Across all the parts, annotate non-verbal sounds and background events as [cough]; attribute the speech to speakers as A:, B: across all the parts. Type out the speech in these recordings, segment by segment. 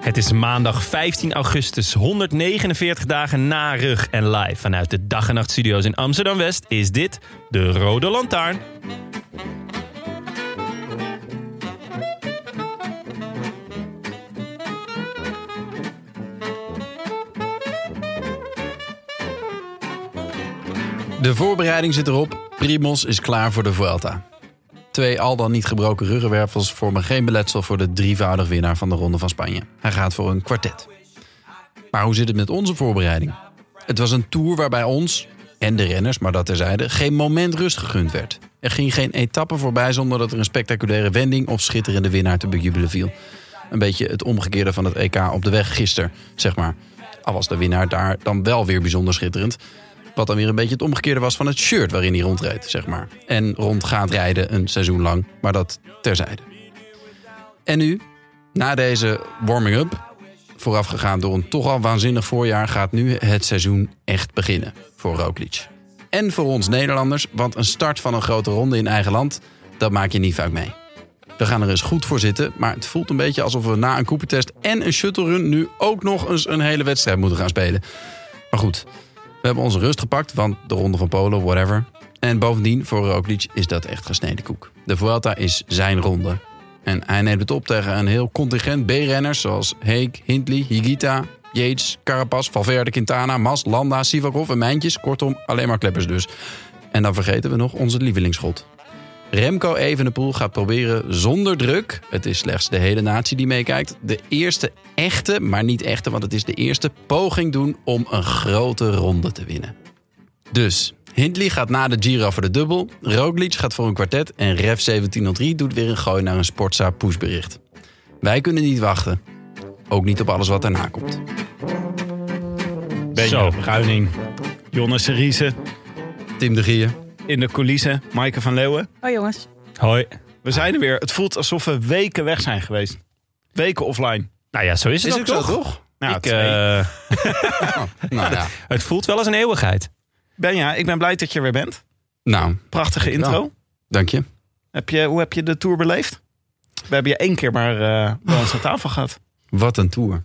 A: Het is maandag 15 augustus, 149 dagen na rug en live vanuit de dag en nacht studio's in Amsterdam West is dit de Rode Lantaarn.
B: De voorbereiding zit erop. Primos is klaar voor de Vuelta. Twee al dan niet gebroken ruggenwervels vormen geen beletsel voor de drievoudig winnaar van de Ronde van Spanje. Hij gaat voor een kwartet. Maar hoe zit het met onze voorbereiding? Het was een tour waarbij ons, en de renners, maar dat terzijde, geen moment rust gegund werd. Er ging geen etappe voorbij zonder dat er een spectaculaire wending of schitterende winnaar te bejubelen viel. Een beetje het omgekeerde van het EK op de weg gisteren, zeg maar. Al was de winnaar daar dan wel weer bijzonder schitterend. Wat dan weer een beetje het omgekeerde was van het shirt waarin hij rondreed, zeg maar. En rond gaat rijden een seizoen lang, maar dat terzijde. En nu, na deze warming-up, voorafgegaan door een toch al waanzinnig voorjaar, gaat nu het seizoen echt beginnen voor Roglic. En voor ons Nederlanders, want een start van een grote ronde in eigen land, dat maak je niet vaak mee. We gaan er eens goed voor zitten, maar het voelt een beetje alsof we na een koepertest en een shuttle-run nu ook nog eens een hele wedstrijd moeten gaan spelen. Maar goed, we hebben onze rust gepakt, want de Ronde van Polen, whatever. En bovendien, voor Roglic is dat echt gesneden koek. De Vuelta is zijn ronde. En hij neemt het op tegen een heel contingent B-renners... zoals Heek, Hindley, Higita, Yates, Carapaz, Valverde, Quintana... Mas, Landa, Sivakov en Mijntjes. Kortom, alleen maar kleppers dus. En dan vergeten we nog onze lievelingsschot. Remco Evenepoel gaat proberen zonder druk... het is slechts de hele natie die meekijkt... de eerste echte, maar niet echte, want het is de eerste... poging doen om een grote ronde te winnen. Dus, Hindley gaat na de Giro voor de dubbel... Roglic gaat voor een kwartet... en Ref 1703 doet weer een gooi naar een Sportza pushbericht. Wij kunnen niet wachten. Ook niet op alles wat daarna komt.
A: Zo.
C: Benja Bruining, Jonne Seriese
B: Tim de Gier.
C: in de coulissen, Maaike van Leeuwen.
D: Oh jongens,
A: Hoi.
C: We zijn er weer. Het voelt alsof we weken weg zijn geweest. Weken offline.
A: Nou ja, zo is het
B: Is
A: ook
B: ook zo,
A: toch?
B: toch?
C: Nou,
A: Ik,
C: twee.
A: eh,
B: Oh, nou ja.
A: het voelt wel als een eeuwigheid.
C: Benja, ik ben blij dat je er weer bent.
B: Nou,
C: Prachtige
B: Dankjewel.
C: intro.
B: dank je.
C: Heb je, hoe heb je de tour beleefd? We hebben je één keer maar eh bij ons aan tafel gehad.
B: Wat een tour.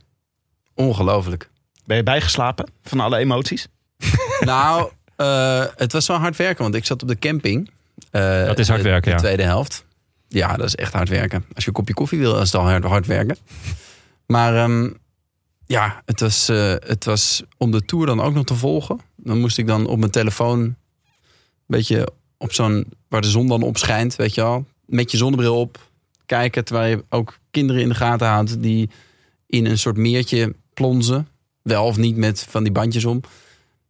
B: Ongelooflijk.
C: Ben je bijgeslapen van alle emoties?
B: Nou, eh, het was wel hard werken, want ik zat op de camping. Eh,
A: Dat is hard
B: de-
A: werken,
B: De
A: ja.
B: tweede helft. Ja, dat is echt hard werken. Als je een kopje koffie wil, is het al hard, hard werken. Maar ehm, ja, het was, eh, het was om de tour dan ook nog te volgen. Dan moest ik dan op mijn telefoon een beetje op zo'n... waar de zon dan op schijnt, weet je wel. Met je zonnebril op kijken, terwijl je ook kinderen in de gaten houdt... die in een soort meertje plonzen. Wel of niet met van die bandjes om.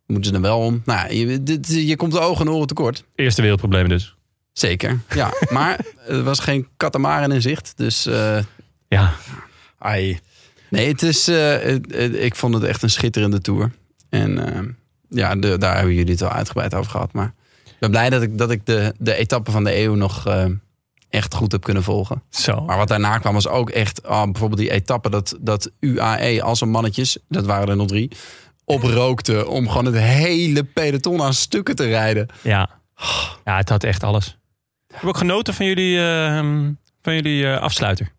B: Moeten ze er wel om. Nou, ja, je, dit, je komt de ogen en oren tekort.
A: Eerste wereldprobleem dus.
B: Zeker, ja. Maar er was geen katamaren in zicht. Dus eh,
A: Ja,
C: Ai.
B: nee, het is, eh, het- het- ik vond het echt een schitterende tour. En eh, ja, de, daar hebben jullie het wel uitgebreid over gehad. Maar ik ben blij dat ik, dat ik de, de etappe van de eeuw nog eh, echt goed heb kunnen volgen.
A: zo.
B: Maar wat daarna kwam was ook echt, ah, bijvoorbeeld die etappe dat, dat UAE als een mannetjes, dat waren er nog drie, oprookte om gewoon het hele peloton aan stukken te rijden.
A: Ja. ja, het had echt alles. Ik heb ook genoten van jullie, eh, van jullie eh, afsluiter.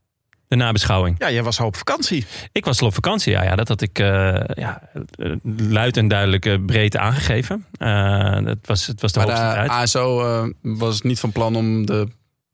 A: De nabeschouwing.
C: Ja, jij was al op vakantie.
A: Ik was al op vakantie, ja. ja dat had ik eh, ja, eh, luid en duidelijk eh, breed aangegeven. Eh, het, was, het was de
B: Maar ah,
A: hoogste
B: de
A: tijd.
B: ASO eh, was niet van plan om de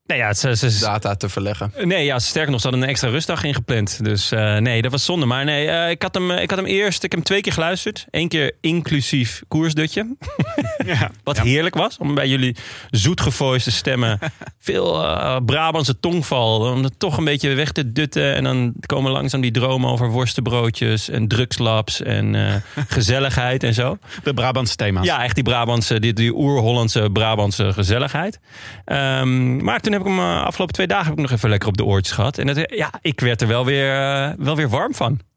A: Nou ja, ze, ze- ze-
B: data te verleggen.
A: Eh, nee, ja, sterker nog, ze hadden een extra rustdag ingepland. Dus eh, nee, dat was zonde. Maar nee, eh, ik, had hem, eh, ik had hem eerst, ik heb hem twee keer geluisterd. Eén keer inclusief koersdutje.
C: [laughs] Ja.
A: [laughs] Wat heerlijk was, om bij jullie zoetgevoiste stemmen
C: [laughs]
A: veel eh, Brabantse tongval, om het toch een beetje weg te dutten. En dan komen langzaam die dromen over worstenbroodjes en drugslabs en
C: [laughs]
A: eh, gezelligheid en zo.
B: De Brabantse thema's.
A: Ja, echt die Brabantse, die, die oer-Hollandse Brabantse gezelligheid. Ehm, maar toen heb ik hem eh, afgelopen twee dagen heb ik nog even lekker op de oortjes gehad. En het, ja, ik werd er wel weer, eh, wel weer warm van.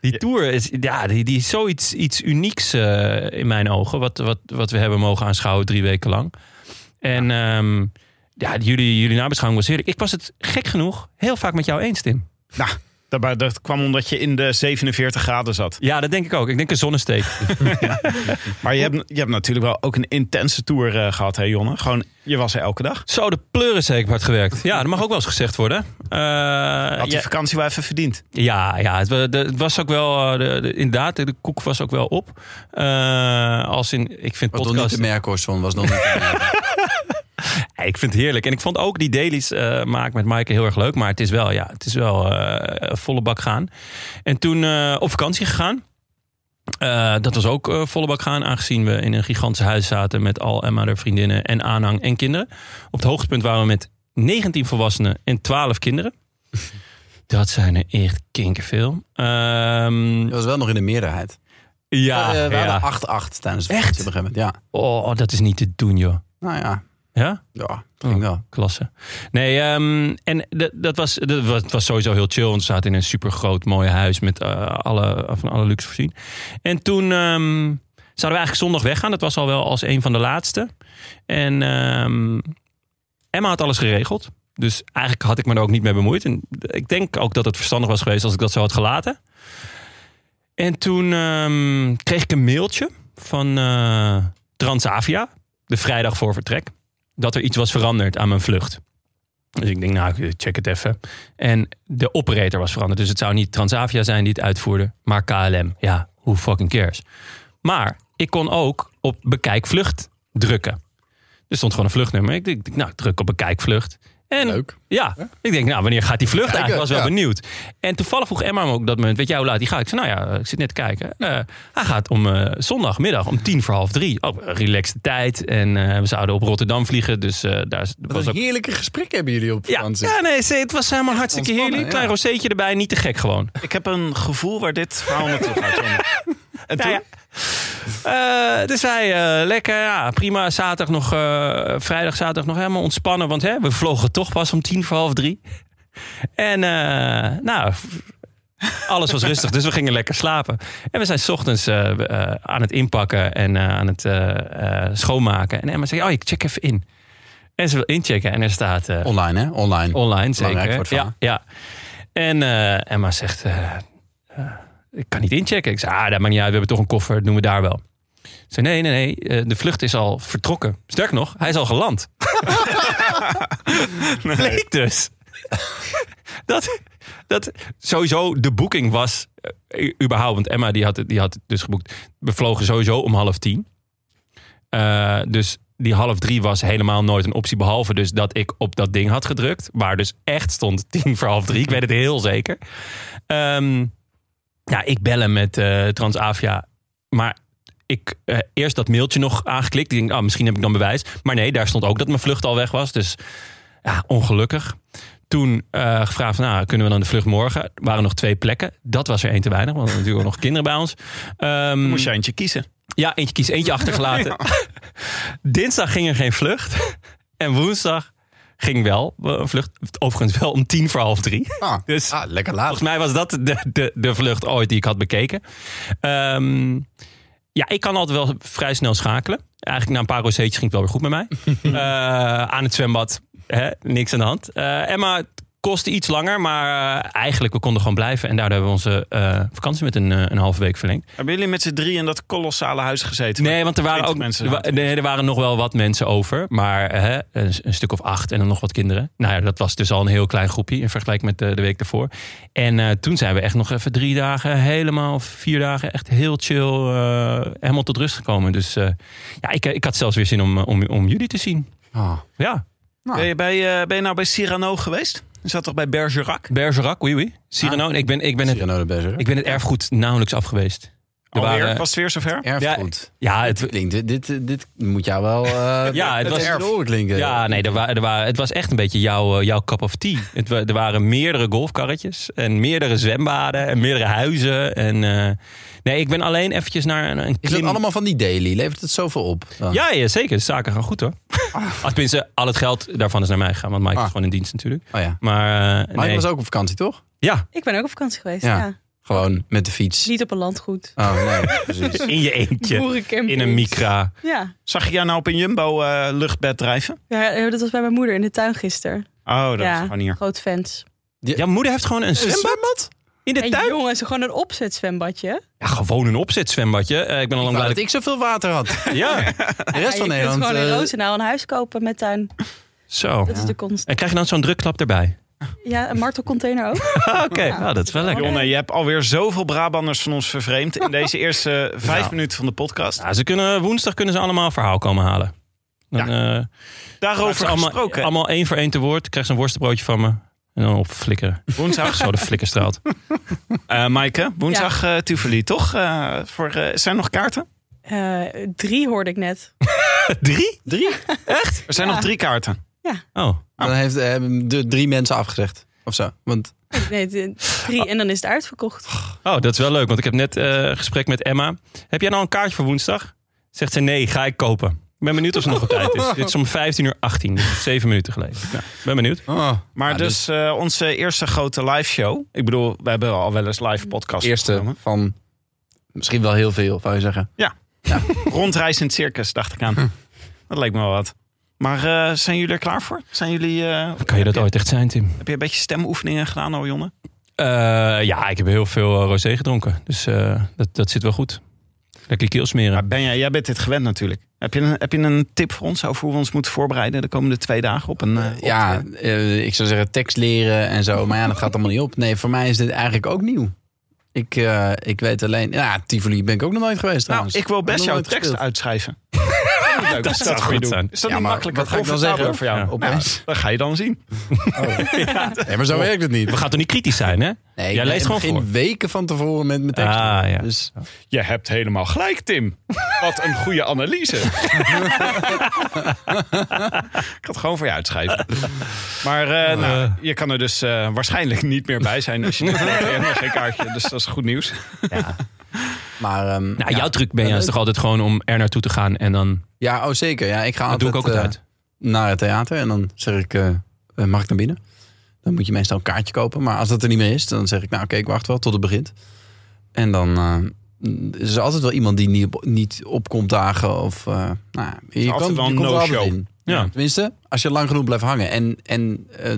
A: Die tour is, ja, die, die is zoiets iets unieks eh, in mijn ogen. Wat, wat, wat we hebben mogen aanschouwen drie weken lang. En ja, ja jullie, jullie nabeschouwing was heerlijk. Ik was het gek genoeg heel vaak met jou eens, Tim.
C: Nou, daarbij- dat kwam omdat je in de 47 graden zat.
A: Ja, dat denk ik ook. Ik denk een zonnesteek.
C: Maar je hebt, je hebt natuurlijk wel ook een intense tour eh, gehad, hè Jonne? Gewoon, je was er elke dag.
A: Zo, de pleuris heb ik hard gewerkt. Ja, dat mag ook wel eens gezegd worden. Eh,
C: Had die
A: ja.
C: vakantie wel even verdiend.
A: Ja, ja het, wa- de- het was ook wel, eh, de, de- inderdaad, de koek was ook wel op. Eh, als in, ik vind
B: Was nog niet
A: podcast,
B: de Mercorzon, was nog niet de Mercorzon.
A: Ja, ik vind het heerlijk. En ik vond ook die dailies eh maak met Maaike heel erg leuk. Maar het is wel, ja, het is wel eh, volle bak gaan. En toen eh, op vakantie gegaan. Eh, dat was ook eh, volle bak gaan, aangezien we in een gigantisch huis zaten met al Emma, haar vriendinnen en aanhang en kinderen. Op het hoogtepunt waren we met 19 volwassenen en 12 kinderen. Dat zijn er echt kinkerveel. Ehm
B: Dat was wel nog in de meerderheid.
A: [laughs] Ja,
B: Eh, we
A: ja.
B: hadden 8-8 tijdens de vakantie op een gegeven moment. Ja.
A: Oh, dat is niet te doen, joh.
B: Nou ja,
A: Ja?
B: ja dat
A: Oh.
B: ging wel.
A: Klasse. Nee, ehm, en dat, dat, was, dat was, het was sowieso heel chill. Want we zaten in een super groot, mooi huis met eh, alle, van alle luxe voorzien. En toen ehm, zouden we eigenlijk zondag weggaan. Dat was al wel als een van de laatste. En ehm, Emma had alles geregeld. Dus eigenlijk had ik me er ook niet mee bemoeid. En ik denk ook dat het verstandig was geweest als ik dat zo had gelaten. En toen ehm, kreeg ik een mailtje van eh, Transavia. De vrijdag voor vertrek dat er iets was veranderd aan mijn vlucht. Dus ik denk, nou, ik check het even. En de operator was veranderd. Dus het zou niet Transavia zijn die het uitvoerde, maar KLM. Ja, who fucking cares. Maar ik kon ook op bekijk vlucht drukken. Er stond gewoon een vluchtnummer. Ik denk, nou, ik druk op bekijk vlucht. En
B: Leuk.
A: ja, ik denk, nou, wanneer gaat die vlucht
B: Kijken,
A: eigenlijk? Ik was wel
B: ja.
A: benieuwd. En toevallig vroeg Emma me ook op dat moment, weet jij hoe laat die gaat? Ik zei, nou ja, ik zit net te kijken. Eh, hij gaat om eh, zondagmiddag om tien voor half drie. Oh, relaxte tijd. En eh, we zouden op Rotterdam vliegen, dus eh, daar is-
B: Wat
A: was
B: een
A: ook...
B: heerlijke gesprek hebben jullie op
A: Ja,
B: vakantie.
A: ja, nee, ze- het was helemaal hartstikke
B: ontspannen,
A: heerlijk. Klein
B: ja.
A: rozeetje erbij, niet te gek gewoon.
C: Ik heb een gevoel waar dit verhaal naartoe gaat, Jonne. [laughs] En toen,
A: Nou ja. Eh, dus wij eh, lekker, ja, prima. Zaterdag nog, eh, vrijdag, zaterdag nog helemaal ontspannen. Want hè, we vlogen toch pas om tien voor half drie. En eh, nou, alles was rustig, dus we gingen lekker slapen. En we zijn 's ochtends eh, eh, aan het inpakken en eh, aan het eh, eh, schoonmaken. En Emma zei, oh, ik check even in. En ze wil inchecken en er staat... eh,
B: Online, hè? Online.
A: Online
B: Belangrijk
A: zeker.
B: voor het
A: ja, ja. En eh, Emma zegt, eh, eh, ik kan niet inchecken. Ik zei, ah, dat maakt niet uit, we hebben toch een koffer, dat doen we daar wel. Ze zei, nee, nee, nee, eh, de vlucht is al vertrokken. Sterker nog, hij is al geland. Bleek dus. dat, dat sowieso de boeking was, eh, u- überhaupt, want Emma die had, het- die had het dus geboekt. We vlogen sowieso om half tien. Eh, dus die half drie was helemaal nooit een optie. Behalve dus dat ik op dat ding had gedrukt. Waar dus echt stond [laughs] tien voor half drie. Ik weet het heel zeker. Ehm ja, ik bel hem met eh, Transavia. Maar ik eh, eerst dat mailtje nog aangeklikt. Ik denk, ah, misschien heb ik dan bewijs. Maar nee, daar stond ook dat mijn vlucht al weg was. Dus ja, ongelukkig. Toen eh, gevraagd, van, nou, kunnen we dan de vlucht morgen? Er waren nog twee plekken. Dat was er één te weinig, want we hadden natuurlijk ook nog kinderen bij ons. Ehm,
C: moest je eentje kiezen.
A: ja, eentje kies, eentje achtergelaten. [laughs] Dinsdag ging er geen vlucht. En woensdag ging wel eh, een vlucht. Overigens wel om tien voor half drie.
B: Ah,
A: Dus-
B: ah, lekker laat.
A: Volgens mij was dat de, de, de vlucht ooit die ik had bekeken. Ehm, ja, ik kan altijd wel vrij snel schakelen. Eigenlijk na een paar rozeetjes ging het wel weer goed met mij. Eh, aan het zwembad, hè, niks aan de hand. Eh, Emma, het kostte iets langer, maar eh, eigenlijk we konden gewoon blijven. En daardoor hebben we onze eh, vakantie met een, eh, een halve week verlengd.
C: Hebben jullie met z'n drie in dat kolossale huis gezeten?
A: Nee, want er waren
C: 20
A: ook
C: mensen
A: er wa-
C: zaten.
A: nee, er waren nog wel wat mensen over. Maar hè, een, een stuk of acht en dan nog wat kinderen. Nou ja, dat was dus al een heel klein groepje in vergelijking met de, de week daarvoor. En eh, toen zijn we echt nog even drie dagen, helemaal of vier dagen, echt heel chill, eh, helemaal tot rust gekomen. Dus eh, ja, ik, ik had zelfs weer zin om, eh, om, om jullie te zien.
B: Ah,
A: Ja,
B: Nou.
C: Ben, je bij, eh, ben je nou bij Cyrano geweest? Je zat toch bij Bergerac?
A: Bergerac, oui, oui. Cyrano. En Ik, ben, ik, ben het,
B: Cyrano de Bergerac.
A: Ah. ik ben het erfgoed nauwelijks afgeweest. Er
C: Alweer?
A: waren-
C: Was het weer zover?
B: Erfgoed.
A: ja, het,
B: Klinkt, dit, dit, dit moet jou wel eh
A: [laughs] Ja, het was
B: in de
A: erf.
B: oren klinken.
A: Ja, nee, er wa- er waren, het was echt een beetje jouw, eh, jouw cup of tea. Het, wa- er waren meerdere golfkarretjes en meerdere zwembaden en meerdere huizen. En, eh, nee, ik ben alleen eventjes naar een, een
B: Is dat
A: klim-
B: allemaal van die daily? Levert het zoveel op? Dan?
A: Ja, ja, zeker. De zaken gaan goed hoor. Ah, Tenminste, al het geld daarvan is naar mij gegaan. Want Mike
B: Ah.
A: is gewoon in dienst natuurlijk.
B: Oh ja.
A: Maar, eh,
B: Maar
A: nee.
B: je was ook op vakantie, toch?
A: ja,
D: Ik ben ook op vakantie geweest.
B: Ja.
D: Ja.
B: Gewoon met de fiets.
D: Niet op een landgoed.
B: Oh [laughs] nee, precies.
A: in je eentje.
D: Boerencamping.
A: In een micra.
D: Ja.
C: Zag je jou nou op een Jumbo eh, luchtbed drijven?
D: ja, eh, dat was bij mijn moeder in de tuin gisteren.
C: Oh, dat
D: Ja.
C: is gewoon hier.
D: Groot fans.
A: Jouw moeder heeft gewoon een zwembad in de
D: En
A: tuin.
D: jongens, gewoon een opzet zwembadje.
A: Ja, gewoon een opzetzwembadje. Eh, ik ben al lang
B: Blij
A: blij
B: dat ik zoveel water had. De
A: dat ik- Ja,
D: [laughs]
B: rest van
D: je kunt
B: Nederland.
D: gewoon in
B: eh,
D: Roosendaal een huis kopen met tuin.
B: [laughs]
A: zo.
D: Dat is de konst.
A: En krijg je dan zo'n drukklap erbij?
D: Ja, een martelcontainer ook. [laughs]
A: Ah, Oké, nou, dat is wel lekker.
C: Jonne, je hebt alweer zoveel Brabanders van ons vervreemd in
A: [laughs]
C: deze eerste eh, vijf minuten van de podcast.
A: Ja, ze kunnen, woensdag kunnen ze allemaal een verhaal komen halen. Dan, eh, vragen ze
C: Daarover
A: allemaal,
C: gesproken.
A: allemaal één voor één te woord. Krijg ze een worstenbroodje van me. En dan op flikkeren.
C: woensdag,
A: Zo de flikkerstraat.
C: eh Maaike, woensdag eh Tivoli, toch? Eh, voor, eh, zijn er nog kaarten?
D: Eh, drie hoorde ik net.
A: Drie?
C: Drie? Echt? Er zijn
D: Ja.
C: nog drie kaarten.
A: Oh,
B: Dan heeft eh, de drie mensen afgezegd. Of zo. Want
D: Nee, de- drie en dan is het uitverkocht.
A: oh dat is wel leuk. Want ik heb net eh, een gesprek met Emma. Heb jij nou een kaartje voor woensdag? Zegt ze nee, ga ik kopen. Ik ben benieuwd of ze nog op tijd is. Dit is om 15 uur 18. dus zeven minuten geleden. Nou, ben benieuwd.
B: oh,
C: Maar
B: Ja,
C: dus, eh, onze eerste grote live show. Ik bedoel, we hebben al wel eens live
B: de
C: podcast.
B: eerste
C: opgenomen.
B: van misschien wel heel veel, zou je zeggen.
C: Rondreizend circus, dacht ik aan. Dat leek me wel wat. Maar eh, zijn jullie er klaar voor? Zijn jullie, eh,
A: Kan je dat ooit echt zijn, Tim?
C: heb je een beetje stemoefeningen gedaan al, Jonne?
A: Eh, ja, ik heb heel veel eh, rosé gedronken. Dus eh, dat, dat zit wel goed. Lekker keel smeren.
C: Maar Benja, jij bent dit gewend natuurlijk. Heb je, een, heb je een tip voor ons over hoe we ons moeten voorbereiden de komende twee dagen op een... eh, op-
B: Ja, eh, ik zou zeggen tekst leren en zo. Maar ja, dat gaat allemaal niet op. Nee, voor mij is dit eigenlijk ook nieuw. Ik, eh, ik weet alleen... Ja, Tivoli ben ik ook nog nooit geweest
C: nou,
B: trouwens.
C: ik wil best
B: Nog
C: jouw
B: nooit
C: tekst
B: gespeeld.
C: uitschrijven. Leuk, dat
A: zou
C: voor
A: goed
C: je doen.
A: zijn.
C: Is dat
B: Ja,
C: niet
B: maar
C: makkelijker?
B: wat ga ik dan
C: comfortabeler
B: zeggen?
C: voor jou?
A: Ja,
B: opeens.
C: Nou, dat ga je dan zien.
B: Nee, maar zo werkt het niet.
A: We gaan toch niet kritisch zijn, hè?
B: Nee,
A: Jij
B: ik
A: leest gewoon
B: begin
A: voor.
B: weken van tevoren met mijn tekst.
A: Ah, ja.
B: Dus
C: Je hebt helemaal gelijk,
A: [laughs]
C: Tim. Wat een goede analyse. ik had gewoon voor je uitschrijven. Maar eh, nou, je kan er dus eh, waarschijnlijk niet meer bij zijn als je
A: [laughs]
C: niet hebt geen kaartje. Dus dat is goed nieuws.
B: Maar, ehm,
A: Nou,
B: ja.
A: jouw truc ben je is toch altijd gewoon om er naartoe te gaan en dan.
B: ja, oh zeker. Ja, ik ga
A: Ah, Dat
B: altijd,
A: doe ik ook altijd.
B: eh, naar het theater en dan zeg ik, eh, eh, mag ik naar binnen? Dan moet je meestal een kaartje kopen. Maar als dat er niet meer is, dan zeg ik, nou oké, ik wacht wel tot het begint. En dan eh, is er altijd wel iemand die niet, op, niet opkomt dagen. Of, eh, nou, je kan,
C: altijd wel
B: je
C: een
B: komt er altijd
C: no-show.
B: in.
A: Ja.
B: Tenminste, als je lang genoeg blijft hangen en, en eh,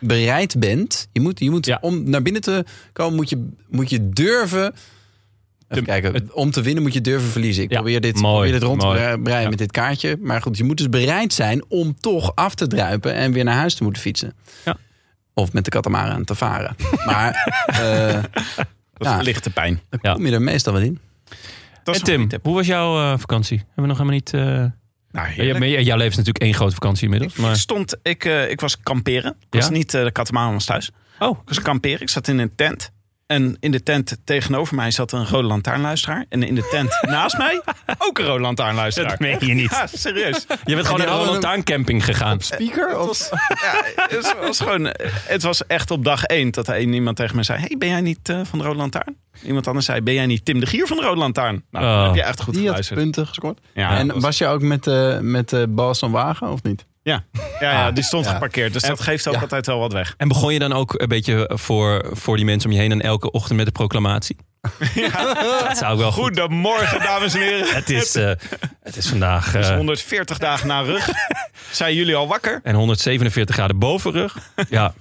B: bereid bent. Je moet, je moet
A: Ja.
B: om naar binnen te komen, moet je, moet je durven. Even
A: De-
B: kijken,
A: het-
B: om te winnen moet je durven verliezen. Ik
A: Ja,
B: probeer, dit,
A: mooi,
B: probeer dit rond
A: mooi.
B: te breien
A: Ja.
B: met dit kaartje. Maar goed, je moet dus bereid zijn om toch af te druipen en weer naar huis te moeten fietsen.
A: Ja.
B: Of met de katamaran te varen. [laughs] Maar eh,
C: Dat is
B: Ja.
C: lichte pijn.
B: dan
A: Ja.
B: kom je er meestal wel in.
C: Dat is
A: En Eh, Tim,
C: een goede tip.
A: hoe was jouw eh, vakantie? Hebben we nog helemaal niet. eh,
C: Nou, heerlijk.
A: Ja, maar j- jouw leven is natuurlijk één grote vakantie inmiddels.
C: Ik
A: Maar...
C: stond, ik, eh, ik was kamperen. Ik was
A: Ja?
C: niet eh, de katamaran was thuis.
A: Oh,
C: Ik was kamperen. Ik zat in een tent. En in de tent tegenover mij zat een rode lantaarnluisteraar. En in de
A: [laughs]
C: tent naast mij ook een rode lantaarnluisteraar.
A: dat meen je niet.
C: Ja, serieus.
A: Je bent gewoon naar een
B: hadden-
A: lantaarncamping gegaan.
B: Speaker? Of?
C: Ja, het, was gewoon, het was echt op dag één dat er één iemand tegen me zei... hey, ben jij niet eh, van de Rode Lantaarn? Iemand anders zei, ben jij niet Tim de Gier van de Rode Lantaarn? Nou,
A: Oh.
C: dan heb je echt goed
B: Die had
C: geluisterd.
B: punten gescoord.
C: Ja, dat
B: en
C: was-
B: was je ook met, eh met eh Bas van Wagen of niet?
C: ja, ja, ja,
A: Ah.
C: die stond
B: Ja.
C: geparkeerd. Dus dat geeft ook
B: ja.
C: altijd wel wat weg.
A: En begon je dan ook een beetje voor, voor die mensen om je heen en elke ochtend met de [laughs] proclamatie? Dat zou ik wel goed.
C: Goedemorgen, dames
A: [laughs]
C: en heren.
A: Het is, eh, het is vandaag.
C: Dus
A: eh,
C: 140 dagen na rug. Zijn jullie al wakker?
A: en 147 graden [laughs] bovenrug. Ja.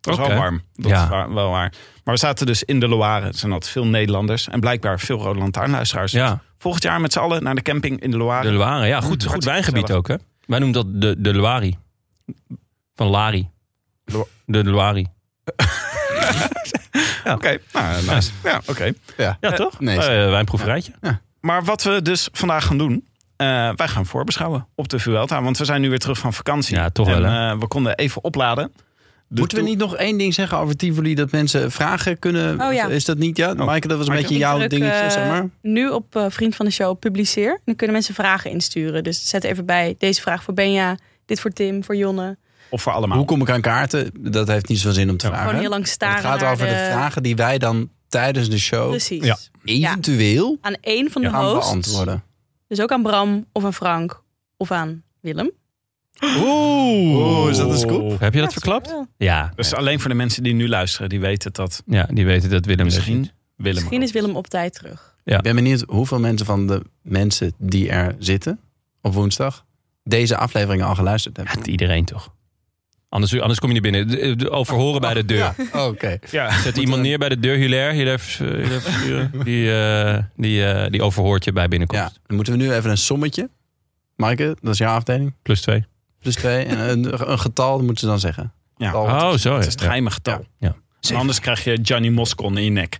C: Dat is
A: Oké.
C: wel warm. Dat
A: Ja.
C: is wa- wel waar. Maar we zaten dus in de Loire. Er zijn altijd veel Nederlanders. En blijkbaar veel Rode Lantaarnluisteraars.
A: Ja.
C: Volgend jaar met z'n allen naar de camping in de
A: De
C: Loire.
A: Loire, ja, goed, goed
C: Ah. Hartstikke
A: wijngebied
C: gezellig.
A: ook, hè? Wij noemen dat de, de Loire. Van Lari.
B: Lo-
A: De Loire.
C: Oké, nou, nice. Ja, Eh, oké.
B: Ja.
A: Ja, toch?
B: nee,
A: Eh, wijnproeverijtje.
C: Maar wat we dus vandaag gaan doen, eh, wij gaan voorbeschouwen op de Vuelta. Want we zijn nu weer terug van vakantie.
A: Ja, toch
C: en,
A: wel, hè?
C: eh, we konden even opladen. De
B: Moeten we
C: to-
B: niet nog één ding zeggen over Tivoli? Dat mensen vragen kunnen...
D: Oh, ja.
B: Is dat niet? Ja, Maaike, dat was een
C: Maaike,
B: beetje jouw
D: druk,
B: dingetje,
D: eh,
B: zeg maar.
D: Nu op eh, Vriend van de Show publiceer. En Dan kunnen mensen vragen insturen. Dus zet even bij deze vraag voor Benja, dit voor Tim, voor Jonne.
C: Of voor allemaal.
B: Hoe kom ik aan kaarten? Dat heeft niet zoveel zin om te vragen.
D: Gewoon heel lang staren.
B: het gaat
D: naar Dus,
B: over de... vragen die wij dan tijdens de show
D: Precies.
C: Ja.
B: eventueel
D: Aan één van de
B: gaan
D: hosts.
B: beantwoorden.
D: Dus ook aan Bram of aan Frank of aan Willem.
C: Oeh, is dat een scoop?
A: Heb je dat
D: Ja,
A: verklapt?
D: wel.
A: Ja.
C: Dat is alleen voor de mensen die nu luisteren. Die weten dat
A: Ja, die weten dat Willem
C: misschien
A: misschien.
C: Willem.
D: Misschien is Willem op tijd terug.
A: Ja.
B: Ik ben benieuwd hoeveel mensen van de mensen die er zitten op woensdag deze afleveringen al geluisterd
D: [laughs]
B: hebben.
A: Iedereen toch? Anders, anders kom je niet binnen. De- de- Overhoren bij de deur.
B: Ja, oké.
C: Ja.
A: Zet iemand neer bij de deur, Hilaire. Hilaire, vers- eh, Hilaire Verschuren. die, eh, die, eh, die overhoort je bij
B: Ja,
A: binnenkomst.
B: dan moeten we nu even een sommetje. Maaike, dat is jouw afdeling.
A: Plus twee.
B: Plus twee.
D: [laughs]
B: En een, een getal, dat moeten ze dan zeggen.
C: Ja.
B: Getal.
A: Oh, zo.
C: Het
A: ja.
C: is het geheime getal.
A: Ja.
C: En anders krijg je Johnny Moscon in je nek.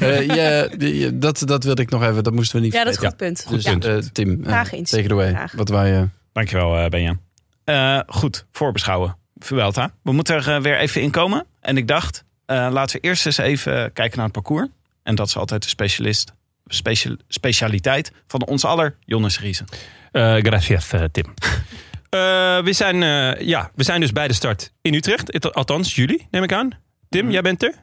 B: Eh, ja, die- ja, dat, dat wilde ik nog even. Dat moesten we niet
D: Ja, dat is
B: vergeten.
D: goed punt.
B: Dus,
D: Ja.
B: eh, Tim, eh,
D: Vragen insturen,
B: take it away.
D: graag.
B: Wat wij... eh,
C: Dankjewel, eh Benja. Eh, goed, voorbeschouwen. Vuelta. We moeten er eh, weer even in komen. En ik dacht, eh, laten we eerst eens even kijken naar het parcours. En dat is altijd de specialist, special, specialiteit van ons aller, Jonas Riesen.
A: Eh, gracias, eh, Tim. [laughs] Eh, we, zijn, eh, ja, we zijn dus bij de start in Utrecht. Het- Althans, jullie, neem ik aan. Tim, jij bent er?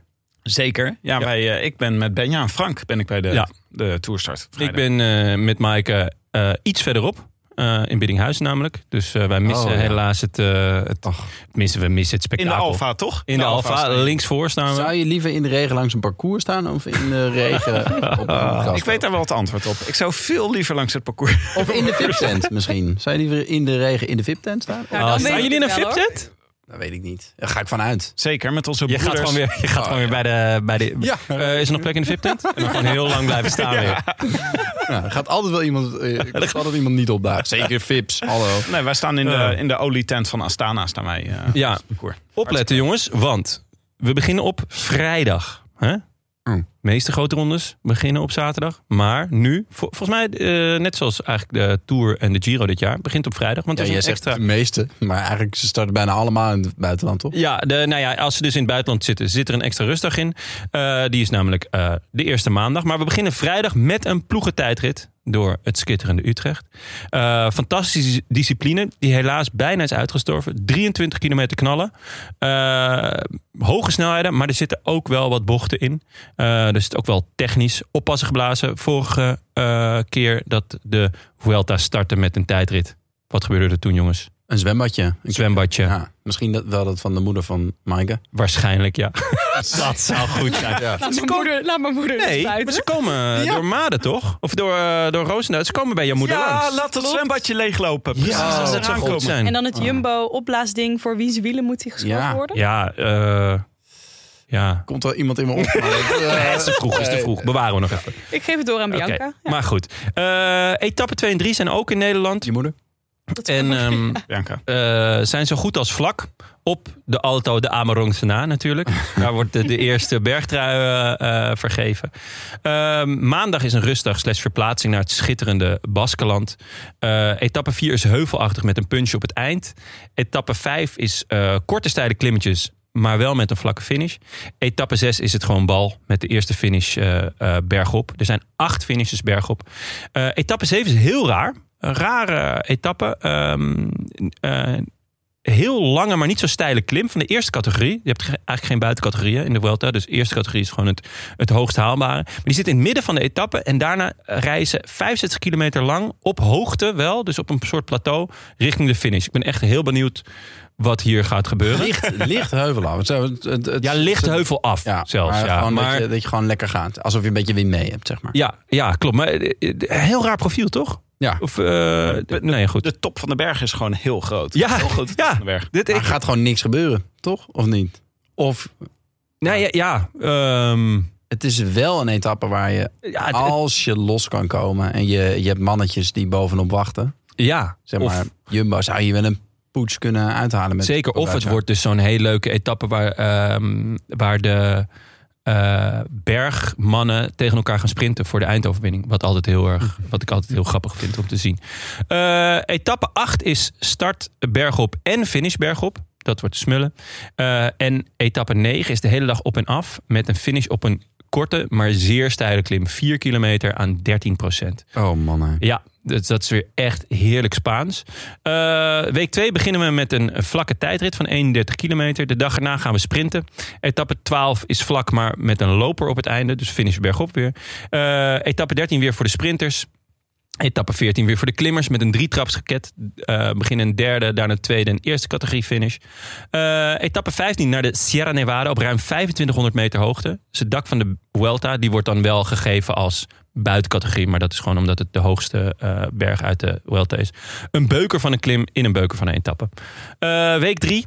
C: Zeker. Ja,
A: Ja.
C: Wij, eh, ik ben met Benja en Frank ben ik bij de,
A: Ja.
C: de toerstart.
A: Ik ben eh, met Maaike eh, iets verderop. eh, in Biddinghuis namelijk. Dus eh, wij missen
B: Oh, ja.
A: helaas het, eh, het, missen, we missen het
C: in de
A: spektakel.
C: Alfa, toch?
A: In de Alfa,
C: Alfa.
A: linksvoor staan we.
B: Zou je liever in de regen langs een parcours staan of in
D: [laughs]
B: de regen op een grasveld?
C: Ik weet daar wel het antwoord op. Ik zou veel liever langs het parcours.
B: Of in de VIP-tent
D: [laughs]
B: misschien. Zou je liever in de regen in de VIP-tent staan?
D: Nou,
A: Ah,
D: dan weet
A: staan
D: ik
A: jullie in een
D: het wel, hoor.
A: VIP-tent?
B: Dat weet ik niet. Daar ga ik vanuit.
C: [laughs] Zeker, met onze
A: Je gaat
C: broeders.
A: gewoon weer, je gaat gewoon weer bij de... Bij de
B: Ja.
A: Eh, is er nog plek in de [laughs] VIP-tent? En dan gewoon heel lang blijven staan weer.
B: Nou, er gaat altijd wel iemand, eh, [laughs] er gaat altijd iemand niet opdagen. Zeker VIPs. Hallo.
C: Nee, wij staan in de,
A: Eh.
C: in de olietent van Astana, staan wij. eh,
A: Ja.
C: op het parcours.
A: Opletten jongens, want we beginnen op vrijdag. Hè?
B: Mm.
A: De meeste grote rondes beginnen op zaterdag. Maar nu, vol- volgens mij eh, net zoals eigenlijk de Tour en de Giro dit jaar, begint op vrijdag. Want
B: Ja,
A: er is
B: jij
A: een
B: zegt
A: extra...
B: de meeste, maar eigenlijk ze starten bijna allemaal in het buitenland, toch?
A: Ja, de, nou ja, als ze dus in het buitenland zitten, zit er een extra rustdag in. Eh, die is namelijk eh, de eerste maandag. Maar we beginnen vrijdag met een ploegentijdrit door het skitterende Utrecht. Eh, fantastische discipline, die helaas bijna is uitgestorven. 23 kilometer knallen. Eh, hoge snelheden, maar er zitten ook wel wat bochten in. Eh er zit ook wel technisch oppassen geblazen. Vorige eh, keer dat de Vuelta startte met een tijdrit. Wat gebeurde er toen, jongens?
B: Een zwembadje.
A: Een zwembadje.
B: Ja, misschien dat, wel dat van de moeder van Maaike.
A: Waarschijnlijk, ja. [laughs] Dat zou goed zijn.
D: Laat mijn moeder, laat mijn moeder
A: Nee,
D: eens
A: maar
D: buiten.
A: ze komen eh, door Maden, toch? Of door, eh, door Roosendaal. Ze komen bij jouw moeder
C: ja,
A: langs.
C: laat het zwembadje leeglopen. Precies
B: Oh,
C: als ze
A: dat zou
C: eraan
A: goed
C: komen.
A: zijn.
D: En dan het Jumbo-opblaasding voor wiens wielen moet hij geschoten
B: Ja.
D: worden.
A: Ja, eh, ja.
B: Komt er iemand in [laughs] me op? Maar dat, eh,
A: Het is te vroeg, is te vroeg. Bewaren we nog even.
D: Ik geef het door aan
A: Oké,
D: Bianca. Ja,
A: Maar goed. Eh etappe 2 en 3 zijn ook in Nederland.
B: Je moeder?
D: dat is
A: En
D: goed.
A: ehm,
D: [laughs]
C: Bianca.
A: eh, zijn zo goed als vlak op de Alto de Amarongse na natuurlijk. Daar wordt de, de eerste bergtrui eh, eh, vergeven. Ehm, maandag is een rustdag slash verplaatsing naar het schitterende Baskeland. Eh, etappe 4 is heuvelachtig met een punch op het eind. Etappe 5 is eh, korte stijle klimmetjes, maar wel met een vlakke finish. Etappe 6 is het gewoon bal met de eerste finish eh, eh, bergop. Er zijn acht finishes bergop. Eh, etappe 7 is heel raar. Een rare etappe. Ehm, eh, heel lange, maar niet zo steile klim van de eerste categorie. Je hebt ge- eigenlijk geen buitencategorieën in de Vuelta. Dus de eerste categorie is gewoon het, het hoogst haalbare. Maar die zit in het midden van de etappe. En daarna reizen 65 kilometer lang op hoogte wel. Dus op een soort plateau richting de finish. Ik ben echt heel benieuwd wat hier gaat gebeuren.
B: Licht, licht heuvel af. Het, zou- het, het- het-
A: Ja, licht de heuvel af
B: Ja,
A: zelfs.
B: maar
A: ja.
B: gewoon
A: Maar-
B: Dat, je, dat je gewoon lekker gaat. Alsof je een beetje wind mee hebt, zeg maar.
A: ja, ja, klopt. Maar eh, eh, heel raar profiel, toch?
B: Ja. Dus
A: Of, eh, nee, goed.
C: De top van de berg is gewoon heel groot.
A: Ja,
C: heel groot.
A: ja.
C: Van de berg.
A: Dit,
B: Maar
A: ik,
B: er gaat gewoon niks gebeuren, toch? Of niet? Of
A: nou ja, ja, ehm,
B: het is wel een etappe waar je,
A: ja, het-
B: als je los kan komen en je, je hebt mannetjes die bovenop wachten,
A: ja.
B: zeg
A: Of-
B: maar, Jumbo zou je wel een poets kunnen uithalen. Met
A: Zeker, of het
B: Pogacar.
A: wordt dus zo'n hele leuke etappe waar, ehm, waar de eh, bergmannen tegen elkaar gaan sprinten voor de eindoverwinning. Wat, altijd heel erg, wat ik altijd heel grappig vind om te zien. Eh, etappe 8 is start bergop en finish bergop. Dat wordt smullen. Eh, en etappe 9 is de hele dag op en af. Met een finish op een korte, maar zeer steile klim. 4 kilometer aan 13 procent.
B: Oh man.
A: Ja, dat, dat is weer echt heerlijk Spaans. Eh, week 2 beginnen we met een vlakke tijdrit van 31 kilometer. De dag erna gaan we sprinten. Etappe 12 is vlak, maar met een loper op het einde. Dus finish bergop weer. Eh, etappe 13 weer voor de sprinters. Etappe 14 weer voor de klimmers met een drietrapsraket. Eh beginnen een derde, daarna een tweede en eerste categorie finish. Eh, etappe 15 naar de Sierra Nevada op ruim 2500 meter hoogte. Dus het dak van de Vuelta die wordt dan wel gegeven als buitencategorie. Maar dat is gewoon omdat het de hoogste eh, berg uit de Vuelta is. Een beuker van een klim in een beuker van een etappe. Eh, week 3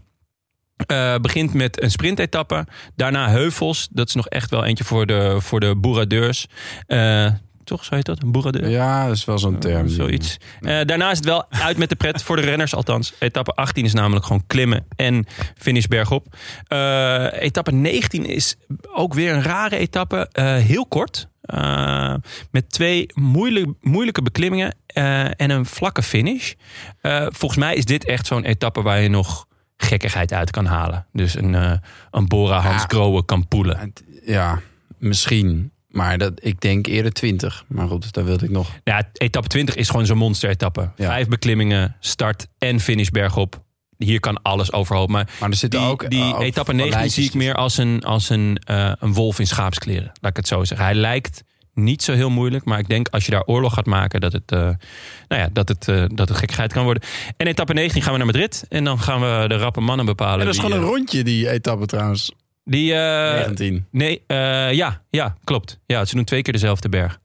A: begint met een sprintetappe. Daarna heuvels. Dat is nog echt wel eentje voor de, voor de boeradeurs. Eh, toch, zou je dat? Een boeradeur?
B: Ja, dat is wel zo'n term.
A: Zoiets. Eh, daarna is het wel uit met de pret voor de renners althans. Etappe 18 is namelijk gewoon klimmen en finish bergop. Eh, etappe 19 is ook weer een rare etappe. eh, heel kort. Eh, met twee moeilijk, moeilijke beklimmingen eh, en een vlakke finish. Eh, volgens mij is dit echt zo'n etappe waar je nog gekkigheid uit kan halen. Dus een, eh, een Bora Hans
B: Ja.
A: Grohe kan poelen.
B: Ja, misschien. Maar dat, ik denk eerder 20. Maar goed, daar wilde ik nog.
A: Ja, etappe 20 is gewoon zo'n monster-etappe.
B: Ja.
A: Vijf beklimmingen, start en finish bergop. Hier kan alles overhoop. Maar
B: Maar er zitten
A: die,
B: ook. eh,
A: die
B: ook
A: etappe
B: wel
A: 19 zie ik
B: lijntjes.
A: meer als, een, als een, eh, een wolf in schaapskleren. Laat ik het zo zeggen. Hij lijkt niet zo heel moeilijk. Maar ik denk als je daar oorlog gaat maken, dat het, eh, nou ja, dat het, eh, dat het gekkigheid kan worden. En etappe 19 gaan we naar Madrid. En dan gaan we de rappe mannen bepalen.
B: Ja, dat is
A: die,
B: gewoon een
A: eh,
B: rondje, die etappe trouwens.
A: Die, eh,
B: 19.
A: nee, eh, ja, ja, klopt. Ja, ze doen twee keer dezelfde berg.